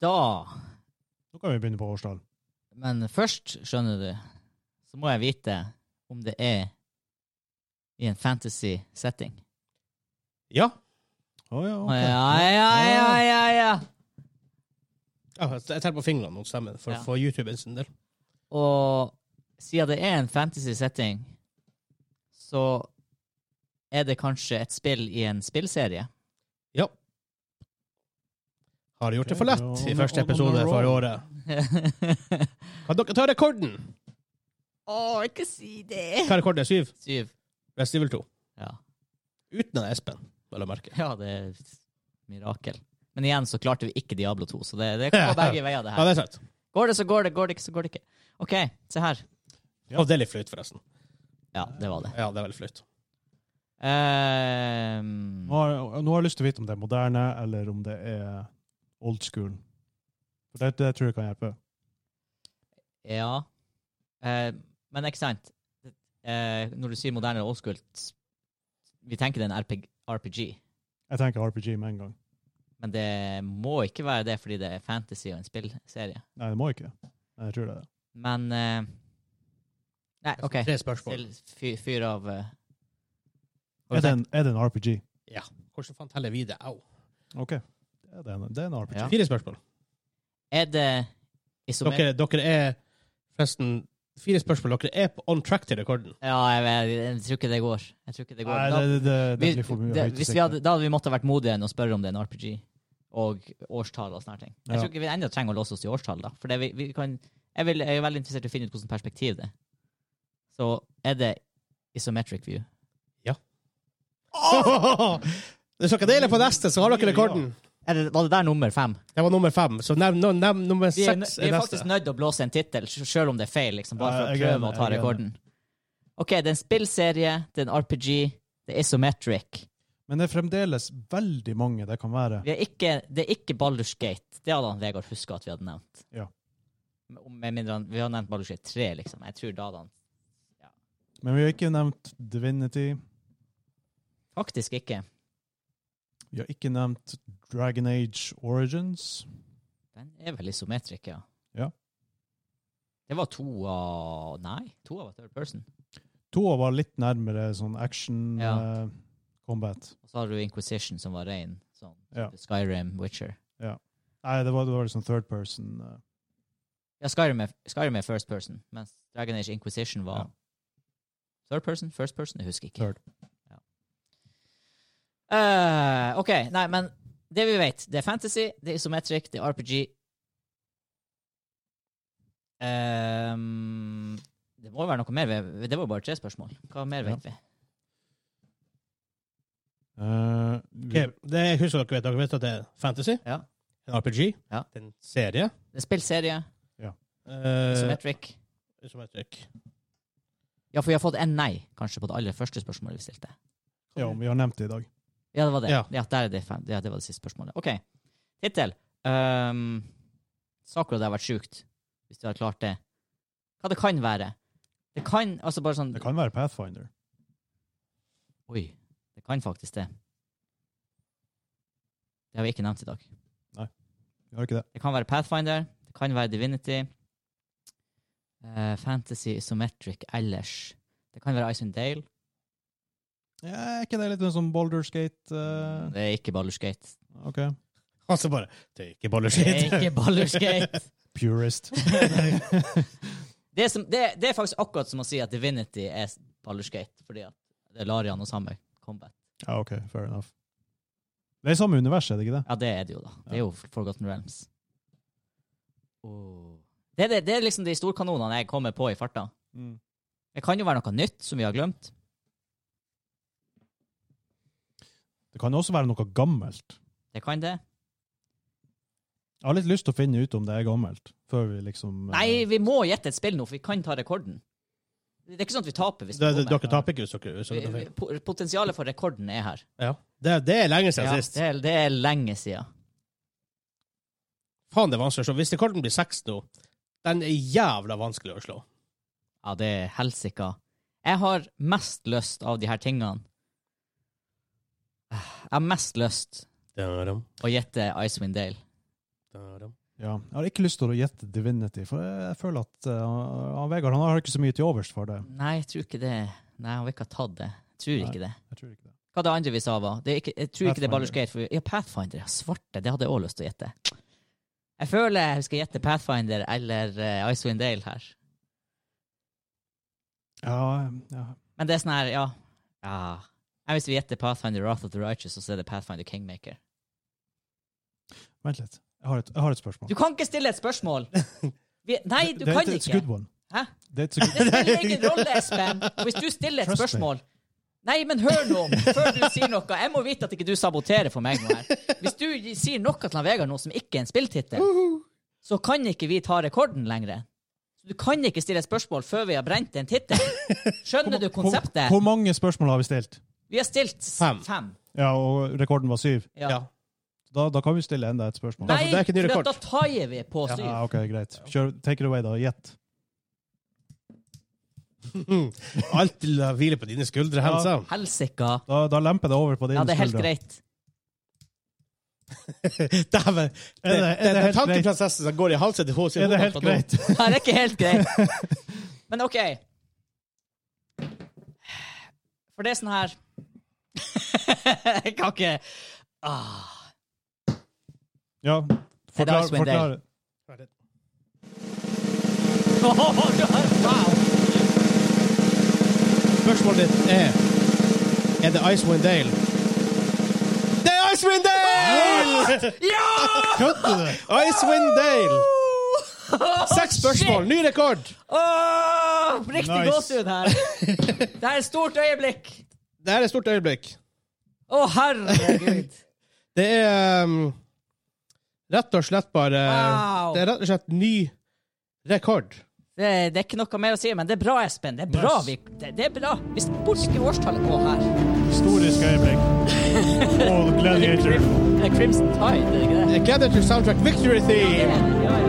Speaker 2: Da
Speaker 3: Nå kan vi begynne på årstall.
Speaker 2: Men først, skjønner du, så må jeg vite om det er i en fantasy-setting.
Speaker 1: Ja.
Speaker 3: Å ja,
Speaker 2: Å,
Speaker 3: ok.
Speaker 2: Ja, ja, ja, ja, ja.
Speaker 1: ja jeg teller på fingrene mot stemmen for,
Speaker 2: Ja.
Speaker 1: for YouTube sin del.
Speaker 2: Og siden det er en fantasy-setting, så er det kanskje et spill i en spillserie.
Speaker 1: Ja. Har gjort det for lett i første episode for året.
Speaker 2: Å,
Speaker 1: Kan dere ta rekorden?
Speaker 2: ikke si det!
Speaker 1: Hva er rekorden? Syv?
Speaker 2: Syv.
Speaker 1: Resident Evil 2.
Speaker 2: Ja.
Speaker 1: Uten en Espen, vel å merke.
Speaker 2: ja, det er et mirakel. Men igjen så klarte vi ikke Diablo 2, så det, det kan gå begge veier, det
Speaker 1: Ja,
Speaker 2: her.
Speaker 1: det er sant.
Speaker 2: Går det, så går det. Går det ikke, så går det ikke. OK, se her.
Speaker 1: Og det er litt flaut, forresten.
Speaker 2: Ja, det var det.
Speaker 1: Ja, det er veldig flaut.
Speaker 2: Ehm,
Speaker 3: Nå har, nå har jeg lyst til å vite om det er moderne, eller om det er old school. For det, det tror jeg kan hjelpe.
Speaker 2: ja. Ehm, men ikke sant Eh, Når du sier moderne old school, s- vi tenker det er en RPG, RPG.
Speaker 3: Jeg tenker RPG med en gang.
Speaker 2: Men det må ikke være det fordi det er fantasy og en spillserie.
Speaker 3: Nei, det må ikke. Men jeg tror det er det.
Speaker 2: Men eh, Nei, OK.
Speaker 1: Tre spørsmål.
Speaker 2: Still Fyr, fyr av eh,
Speaker 3: Er det en, er det en RPG?
Speaker 1: Hvordan faen teller vi det? Au.
Speaker 3: OK. Det er en, det er en RPG.
Speaker 2: Ja.
Speaker 1: Fire spørsmål.
Speaker 2: Er det isomer...
Speaker 1: Dere, dere er forresten Fire spørsmål. Dere er på on track til rekorden.
Speaker 2: Ja, jeg, jeg, jeg tror ikke det går. Jeg tror ikke det går.
Speaker 3: Nei,
Speaker 2: Da-
Speaker 3: det, det, det, det
Speaker 2: Vi-
Speaker 3: blir for mye.
Speaker 2: det-
Speaker 3: høyt å
Speaker 2: hvis vi
Speaker 3: sikte.
Speaker 2: hadde, da hadde vi måttet vært modige enn å spørre om det er en RPG og årstall og sånne her ting. Jeg
Speaker 3: Ja.
Speaker 2: tror ikke vi enda trenger å låse oss til årstall, da. For det, vi, vi kan, jeg, vil, jeg er veldig interessert i å finne ut hvilket perspektiv det er. Så er det isometric view.
Speaker 1: Hvis dere deler på neste, så har dere rekorden.
Speaker 2: Er det, var det der nummer fem?
Speaker 1: Det var nummer fem. Så nevn nevn- nevn nummer
Speaker 2: Vi er, nø-
Speaker 1: seks
Speaker 2: vi
Speaker 1: er
Speaker 2: er faktisk
Speaker 1: neste.
Speaker 2: nødt til å blåse en tittel, sj- selv om det er feil, liksom, bare for
Speaker 3: Ja,
Speaker 2: å
Speaker 3: jeg er
Speaker 2: prøve
Speaker 3: enig,
Speaker 2: å ta
Speaker 3: jeg er
Speaker 2: rekorden. OK, det er en spillserie, det er en RPG, det er isometric.
Speaker 3: Men det er fremdeles veldig mange det kan være.
Speaker 2: Vi er ikke, det er ikke Baldur's Gate. Det hadde han Vegard huska at vi hadde nevnt.
Speaker 3: Ja.
Speaker 2: Med mindre han, Vi har nevnt Baldur's Gate 3, liksom. Jeg tror da hadde han
Speaker 3: Men vi har ikke nevnt Divinity.
Speaker 2: faktisk ikke
Speaker 3: Vi har ikke nevnt Dragon Age Origins.
Speaker 2: Den er vel isometric, ja.
Speaker 3: Ja.
Speaker 2: Det var to av Nei, to av third person.
Speaker 3: Toa var litt nærmere sånn action
Speaker 2: Ja.
Speaker 3: eh, combat.
Speaker 2: Og så har du Inquisition, som var rein. Sånn,
Speaker 3: Ja.
Speaker 2: Skyrim, Witcher.
Speaker 3: Nei, det var, det var liksom third person. eh.
Speaker 2: Ja, Skyrim er, Skyrim er first person, mens Dragon Age Inquisition var
Speaker 3: Ja.
Speaker 2: third person? First person? Jeg husker ikke.
Speaker 3: Third.
Speaker 2: Ja. Eh, OK, nei, men det vi vet, det er fantasy, det er isometric, det er RPG. Ehm, det må jo være noe mer. vi- Det var jo bare tre spørsmål. Hva mer vet vi?
Speaker 3: Eh,
Speaker 1: Ok, det husker dere vet. Dere vet at det er fantasy,
Speaker 2: Ja.
Speaker 1: en RPG,
Speaker 2: Ja.
Speaker 1: det er en serie.
Speaker 2: Det er spillserie,
Speaker 3: Eh.
Speaker 1: Uh,
Speaker 2: isometric.
Speaker 1: isometric.
Speaker 2: Ja, for vi har fått en nei, kanskje, på det aller første spørsmålet vi stilte.
Speaker 3: vi, ja, vi har nevnt det i dag.
Speaker 2: Ja, det var det. Ja.
Speaker 1: Ja.
Speaker 2: der er det, fan- ja, det var det siste spørsmålet. OK. Tittel. Um, Sakura, det har vært sjukt, hvis du har klart det. Hva det kan være. Det kan altså bare sånn
Speaker 3: Det kan være Pathfinder.
Speaker 2: Oi. Det kan faktisk det. Det har vi ikke nevnt i dag.
Speaker 3: Vi har ikke det.
Speaker 2: Det kan være Pathfinder, det kan være Divinity. eh, fantasy, Isometric, ellers. Det kan være Icewind Dale.
Speaker 3: Ja, er ikke det litt sånn Baldur's Gate eh,
Speaker 2: Det er ikke Baldur's Gate.
Speaker 3: OK.
Speaker 1: Altså bare Det er ikke
Speaker 2: Det er
Speaker 1: bolleskit.
Speaker 2: ikke Baldur's Gate.
Speaker 3: Purist.
Speaker 2: Det, som, det, det er faktisk akkurat som å si at Divinity er Baldur's Gate, fordi at det er Larian og samme combat.
Speaker 3: ja, OK. Fair enough. Det er samme univers, er det ikke det?
Speaker 2: Ja, det er det jo, da. Det er jo Forgotten Realms. Åh. Det, er det, det er liksom de storkanonene jeg kommer på i farta.
Speaker 1: Mm.
Speaker 2: Det kan jo være noe nytt som vi har glemt.
Speaker 3: Det kan også være noe gammelt.
Speaker 2: Det kan det.
Speaker 3: Jeg har litt lyst til å finne ut om det er gammelt, før vi liksom eh,
Speaker 2: Nei, vi må gjette et spill nå, for vi kan ta rekorden. Det er ikke sånn at vi taper hvis vi
Speaker 1: Det- det-
Speaker 2: bommer.
Speaker 1: Dere taper ikke hvis dere hvis
Speaker 2: Vi-
Speaker 1: dere
Speaker 2: vi-
Speaker 1: vet.
Speaker 2: po- Potensialet for rekorden er her.
Speaker 1: Ja. Det, det er lenge siden
Speaker 2: Ja,
Speaker 1: sist.
Speaker 2: det, er, det er lenge siden.
Speaker 1: Faen, det er vanskelig å slå. Hvis rekorden blir seks nå, den er jævla vanskelig å slå.
Speaker 2: Ja, det er helsika. Jeg har mest lyst av de her tingene. Jeg har mest lyst
Speaker 1: Dødum,
Speaker 2: å gjette Icewind Dale.
Speaker 1: dødum.
Speaker 3: Ja, jeg har ikke lyst til å gjette Divinity, for jeg, jeg føler at eh, han- Vegard han har ikke så mye til overs for det.
Speaker 2: Nei, jeg tror ikke det. Nei, han vil ikke ha tatt det. Jeg tror
Speaker 3: Nei.
Speaker 2: ikke det.
Speaker 3: Jeg tror ikke det.
Speaker 2: Hva det andre vi sa var? Det er ikke, jeg tror ikke det er Baldur's
Speaker 3: Pathfinder.
Speaker 2: Gate. For, ja, Pathfinder. Ja, svarte. Det hadde jeg òg lyst til å gjette. Jeg føler jeg skal gjette Pathfinder eller eh, Icewind Dale her.
Speaker 3: Ja, ja.
Speaker 2: Men det er sånn her, ja. ja. Jeg Hvis vi gjetter Pathfinder Wrath of the Righteous, og så er det Pathfinder Kingmaker.
Speaker 3: Vent litt. Jeg har et, jeg har et spørsmål.
Speaker 2: Du kan ikke stille et spørsmål! Vi, nei, du
Speaker 3: det,
Speaker 2: kan
Speaker 3: det,
Speaker 2: ikke!
Speaker 3: It's a good one.
Speaker 2: Hæ?
Speaker 3: Det er et good
Speaker 2: Det spiller ingen rolle, Espen. Hvis du stiller et
Speaker 3: Trust me.
Speaker 2: spørsmål Nei, men hør nå, før du sier noe. Jeg må vite at ikke du saboterer for meg nå her. Hvis du sier noe til han Vegard nå som ikke er en spilltittel, så kan ikke vi ta rekorden lenger. Så du kan ikke stille et spørsmål før vi har brent en tittel. Skjønner du
Speaker 3: Hvor,
Speaker 2: konseptet?
Speaker 3: hvor mange spørsmål har vi stilt?
Speaker 2: Vi har stilt s-
Speaker 1: Fem.
Speaker 2: fem.
Speaker 3: Ja, og rekorden var syv.
Speaker 1: Ja.
Speaker 2: Ja.
Speaker 3: Da, da kan vi stille enda et spørsmål.
Speaker 2: Nei,
Speaker 1: det er ikke ny
Speaker 2: for
Speaker 1: rekord.
Speaker 2: da taier vi på syv.
Speaker 3: Ja, ok, greit. Kjør, take it away, da. Gjett.
Speaker 1: Alt la hvile på dine skuldre, Hensa.
Speaker 2: Helsika.
Speaker 3: Da, da lemper det over på dine
Speaker 2: Ja, det er helt
Speaker 3: skuldre.
Speaker 2: greit.
Speaker 1: Dæven! Det
Speaker 3: det- er det
Speaker 1: det er
Speaker 3: helt
Speaker 1: tankeprosessen som går i halsen til henne.
Speaker 3: Er det helt greit?
Speaker 2: Nei, det er ikke helt greit. Men OK. For det er sånn her Jeg kan ikke ah.
Speaker 3: Ja. Forklar.
Speaker 2: Icewind Dale?
Speaker 3: forklar.
Speaker 2: Wow!
Speaker 1: Spørsmålet ditt er Er det Icewind Dale? Det er Icewind Dale!
Speaker 3: Kødder du?
Speaker 1: Icewind Dale! Seks
Speaker 2: Oh, Shit!
Speaker 1: spørsmål, ny rekord!
Speaker 2: Åh, riktig
Speaker 3: Nice.
Speaker 2: gåsehud her. Det er et stort øyeblikk.
Speaker 1: Det her er et stort øyeblikk.
Speaker 2: Å, herregud.
Speaker 1: Det er um, rett og slett bare
Speaker 2: Wow.
Speaker 1: Det er rett og slett ny rekord.
Speaker 2: Det, det er ikke noe mer å si, men det er bra, Espen. Det er bra.
Speaker 3: Nice.
Speaker 2: Vi, det, det er bra. Vi bruker årstallet på her.
Speaker 3: Historisk
Speaker 2: Det
Speaker 3: øyeblikk. Og
Speaker 2: er
Speaker 3: Gladiator.
Speaker 2: Crim- det er Crimson Tide, er det ikke det?
Speaker 1: Gladiator Soundtrack Victory
Speaker 2: Ja,
Speaker 1: Theme!
Speaker 2: ja, ja.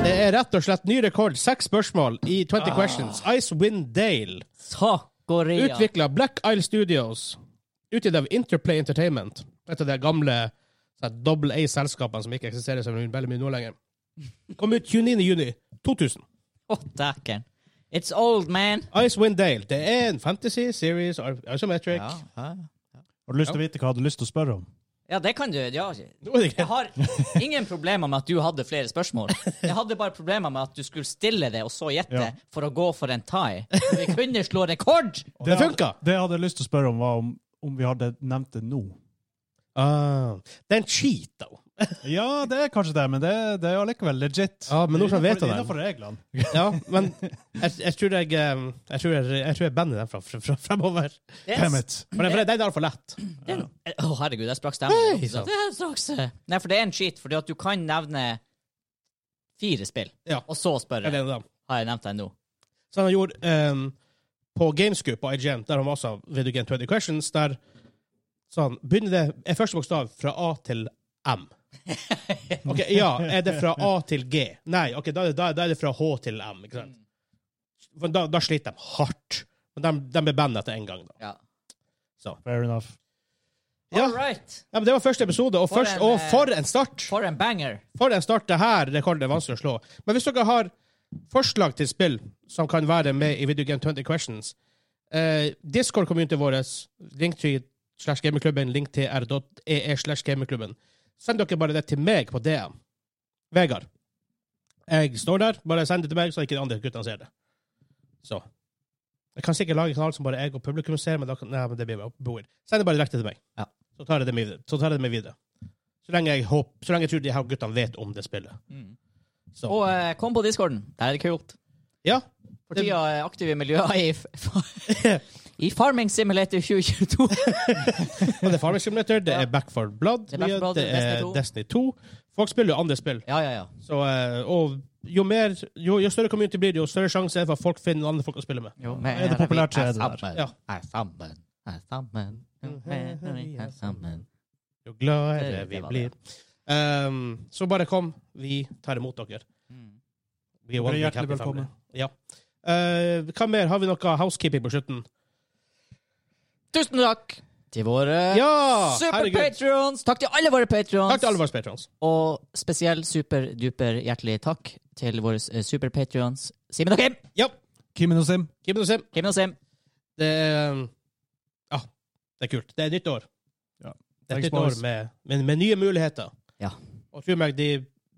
Speaker 1: Det er rett og slett ny rekord. Seks spørsmål i 20 Questions. Icewind Dale.
Speaker 2: Sakoria.
Speaker 1: Utvikla Black Isle Studios. Utgitt av Interplay Entertainment. Et av de gamle sånn double A-selskapene som ikke eksisterer så veldig mye nå lenger. Kom ut 29. juni 2000.
Speaker 2: Å, dæken. It's old, man.
Speaker 1: Icewind Dale. Det er en fantasy series ar- isometric.
Speaker 2: Ja, ja.
Speaker 3: Har du lyst til å vite hva jeg hadde lyst til å spørre om?
Speaker 2: ja, det kan du. Ja. altså.
Speaker 1: Nå er det
Speaker 2: Jeg
Speaker 1: greit.
Speaker 2: har ingen problemer med at du hadde flere spørsmål. Jeg hadde bare problemer med at du skulle stille det, og så gjette,
Speaker 3: Ja.
Speaker 2: for å gå for en tie. Vi kunne slå rekord!
Speaker 1: Det funka!
Speaker 3: Det jeg hadde lyst til å spørre om, var om, om vi hadde nevnt det nå.
Speaker 1: Ah, det er en cheat, da.
Speaker 3: Ja, det er kanskje det, men det, det er allikevel legit.
Speaker 1: Ja, men nå skal jeg vite det.
Speaker 3: Innenfor reglene.
Speaker 1: Ja, men jeg, jeg tror jeg eh, Jeg tror jeg, jeg, tror jeg banner den fra, fra, fra, fremover.
Speaker 2: Det er-
Speaker 3: Damn it.
Speaker 1: For den for den er altfor lett.
Speaker 2: det er- Å, herregud, jeg sprakk stemmen.
Speaker 1: Hei,
Speaker 2: Det
Speaker 1: sant.
Speaker 2: er straks eh. Nei, for det er en cheat, fordi at du kan nevne fire spill,
Speaker 1: Ja.
Speaker 2: og så spørre
Speaker 1: Jeg vet det.
Speaker 2: har jeg nevnt deg nå.
Speaker 1: Så han gjorde ehm, på Gamescoop på IGN, der han var også Video Game 20 Questions, der sa han begynner det er første bokstav fra A til M. Ok, Ja, er det fra A til G? Nei, ok, da, er det- da, da er det fra H til M. ikke
Speaker 2: Mm.
Speaker 1: sant? For Da, da sliter de hardt. Men de, de ble bandet etter én gang. da.
Speaker 2: Ja.
Speaker 1: Så.
Speaker 3: Fair enough.
Speaker 1: Ja.
Speaker 2: All right.
Speaker 1: Ja, men Det var første episode, og,
Speaker 2: For
Speaker 1: først,
Speaker 2: en,
Speaker 1: og
Speaker 2: eh,
Speaker 1: for en start!
Speaker 2: For en banger.
Speaker 1: For en start. Det her rekorden er vanskelig å slå. Men hvis dere har forslag til spill som kan være med i Video Game 20 Questions eh, Discord-community vår, link til slash gamingklubben, link til r.ee e slash gamingklubben. Send dere bare det til meg på DM. Vegard. Jeg står der. Bare send det til meg, så ikke de andre guttene ser det. Så. Jeg kan sikkert lage en kanal som bare jeg og publikum ser, men, da kan, nei, men det blir bare weird. Send det bare direkte til meg.
Speaker 2: Ja.
Speaker 1: Så tar jeg det med, så tar jeg det med videre. Så lenge jeg, håper, så lenge jeg tror de her guttene vet om det spillet. Så.
Speaker 2: Mm. Og eh, kom på discorden. Der er det kult.
Speaker 1: ja.
Speaker 2: For tida er aktive miljøer i, f- i Farming Simulator 2022.
Speaker 1: Og det er Farming Simulator, det
Speaker 2: Ja.
Speaker 1: er Back 4 Blood,
Speaker 2: Det er Back 4 Blood,
Speaker 1: det er Destiny 2. Folk spiller jo andre spill.
Speaker 2: Ja, ja, ja.
Speaker 1: Så, eh, og jo, mer, jo, jo større community blir det, jo større sjanse er det for at folk finner andre folk å spille med.
Speaker 2: Jo, men
Speaker 3: Er det populært, så er det der.
Speaker 2: sammen,
Speaker 1: Ja.
Speaker 2: Er sammen. Er sammen. Er sammen.
Speaker 1: Jo gladere
Speaker 2: Det-
Speaker 1: vi
Speaker 2: det var
Speaker 1: blir. Um, så bare kom. Vi tar imot dere.
Speaker 2: Mm.
Speaker 1: Vi
Speaker 3: Dere er
Speaker 1: one big
Speaker 3: hjertelig
Speaker 1: happy
Speaker 3: velkommen.
Speaker 1: family. Ja. Eh, hva mer? Har vi noe housekeeping på slutten?
Speaker 2: Tusen takk til våre
Speaker 1: Ja!
Speaker 2: Eh, super
Speaker 1: Herregud.
Speaker 2: patrons. Takk til alle våre patrons.
Speaker 1: Takk til alle våre patrons.
Speaker 2: Og spesiell superduper hjertelig takk til våre eh, super patrons Simen og Kim.
Speaker 1: Ja.
Speaker 3: Kimen og Sim.
Speaker 1: Keep it the same.
Speaker 2: Kim og Sim.
Speaker 1: Det er um, Ja, det er kult. Det er nytt år.
Speaker 3: Ja.
Speaker 1: Det er et
Speaker 3: Thanks,
Speaker 1: nytt år
Speaker 3: boys.
Speaker 1: med, med, med nye muligheter.
Speaker 2: Ja.
Speaker 1: Og tro meg, de,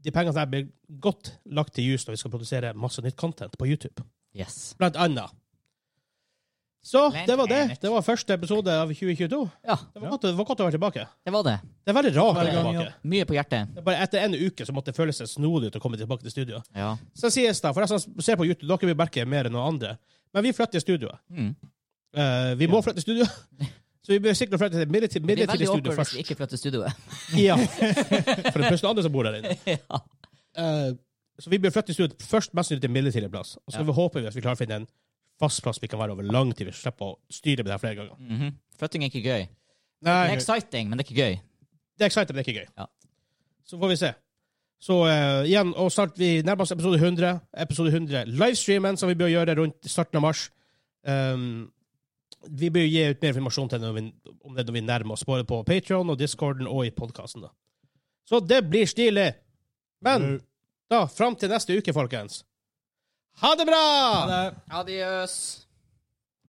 Speaker 1: de pengene der blir godt lagt til jus når vi skal produsere masse nytt content på YouTube.
Speaker 2: Yes.
Speaker 1: Blant annet. Så
Speaker 2: Blant
Speaker 1: det var det.
Speaker 2: annet.
Speaker 1: Det var første episode av 2022.
Speaker 2: Ja,
Speaker 1: Det var, godt, det var godt å være tilbake.
Speaker 2: det var det.
Speaker 1: Det er veldig rart å være
Speaker 3: Hver gang,
Speaker 1: tilbake.
Speaker 3: ja.
Speaker 2: Mye på hjertet.
Speaker 1: Det er Bare etter en uke så måtte det føles snodig ut å komme tilbake til studio.
Speaker 2: Ja.
Speaker 1: Så sies det, for jeg som ser på YouTube, dere vil merke mer enn noen andre, men vi flytter studioet.
Speaker 2: Mm.
Speaker 1: Eh, vi må flytte studio. Så vi bør sikkert flytte til et midlertidig,
Speaker 2: Det blir
Speaker 1: midlertidig
Speaker 2: veldig
Speaker 1: studio
Speaker 2: awkward hvis
Speaker 1: først.
Speaker 2: vi ikke flytter studioet.
Speaker 1: Ja. For det er plutselig andre som bor der inne.
Speaker 2: ja.
Speaker 1: Eh, så vi bør flytte studioet først mest mulig til en midlertidig plass. Og så
Speaker 2: Ja.
Speaker 1: vi håper vi at vi klarer å finne en fast plass vi kan være over lang tid. Vi slipper å styre med det her flere ganger.
Speaker 2: Mhm. Flytting er ikke gøy. Det er
Speaker 1: Nei,
Speaker 2: exciting, men det er ikke gøy.
Speaker 1: det er exciting, men det er ikke gøy.
Speaker 2: Ja.
Speaker 1: Så får vi se. Så eh, igjen, og snart vi nærmer oss episode 100. Episode 100 livestreamen som vi bør gjøre rundt starten av mars. Um, vi bør gi ut mer informasjon til det når vi, om det når vi nærmer oss, både på Patreon og Discorden og i podkasten. Så det blir stilig! Men da, fram til neste uke, folkens. Ha det bra!
Speaker 3: Ha det.
Speaker 2: Adios.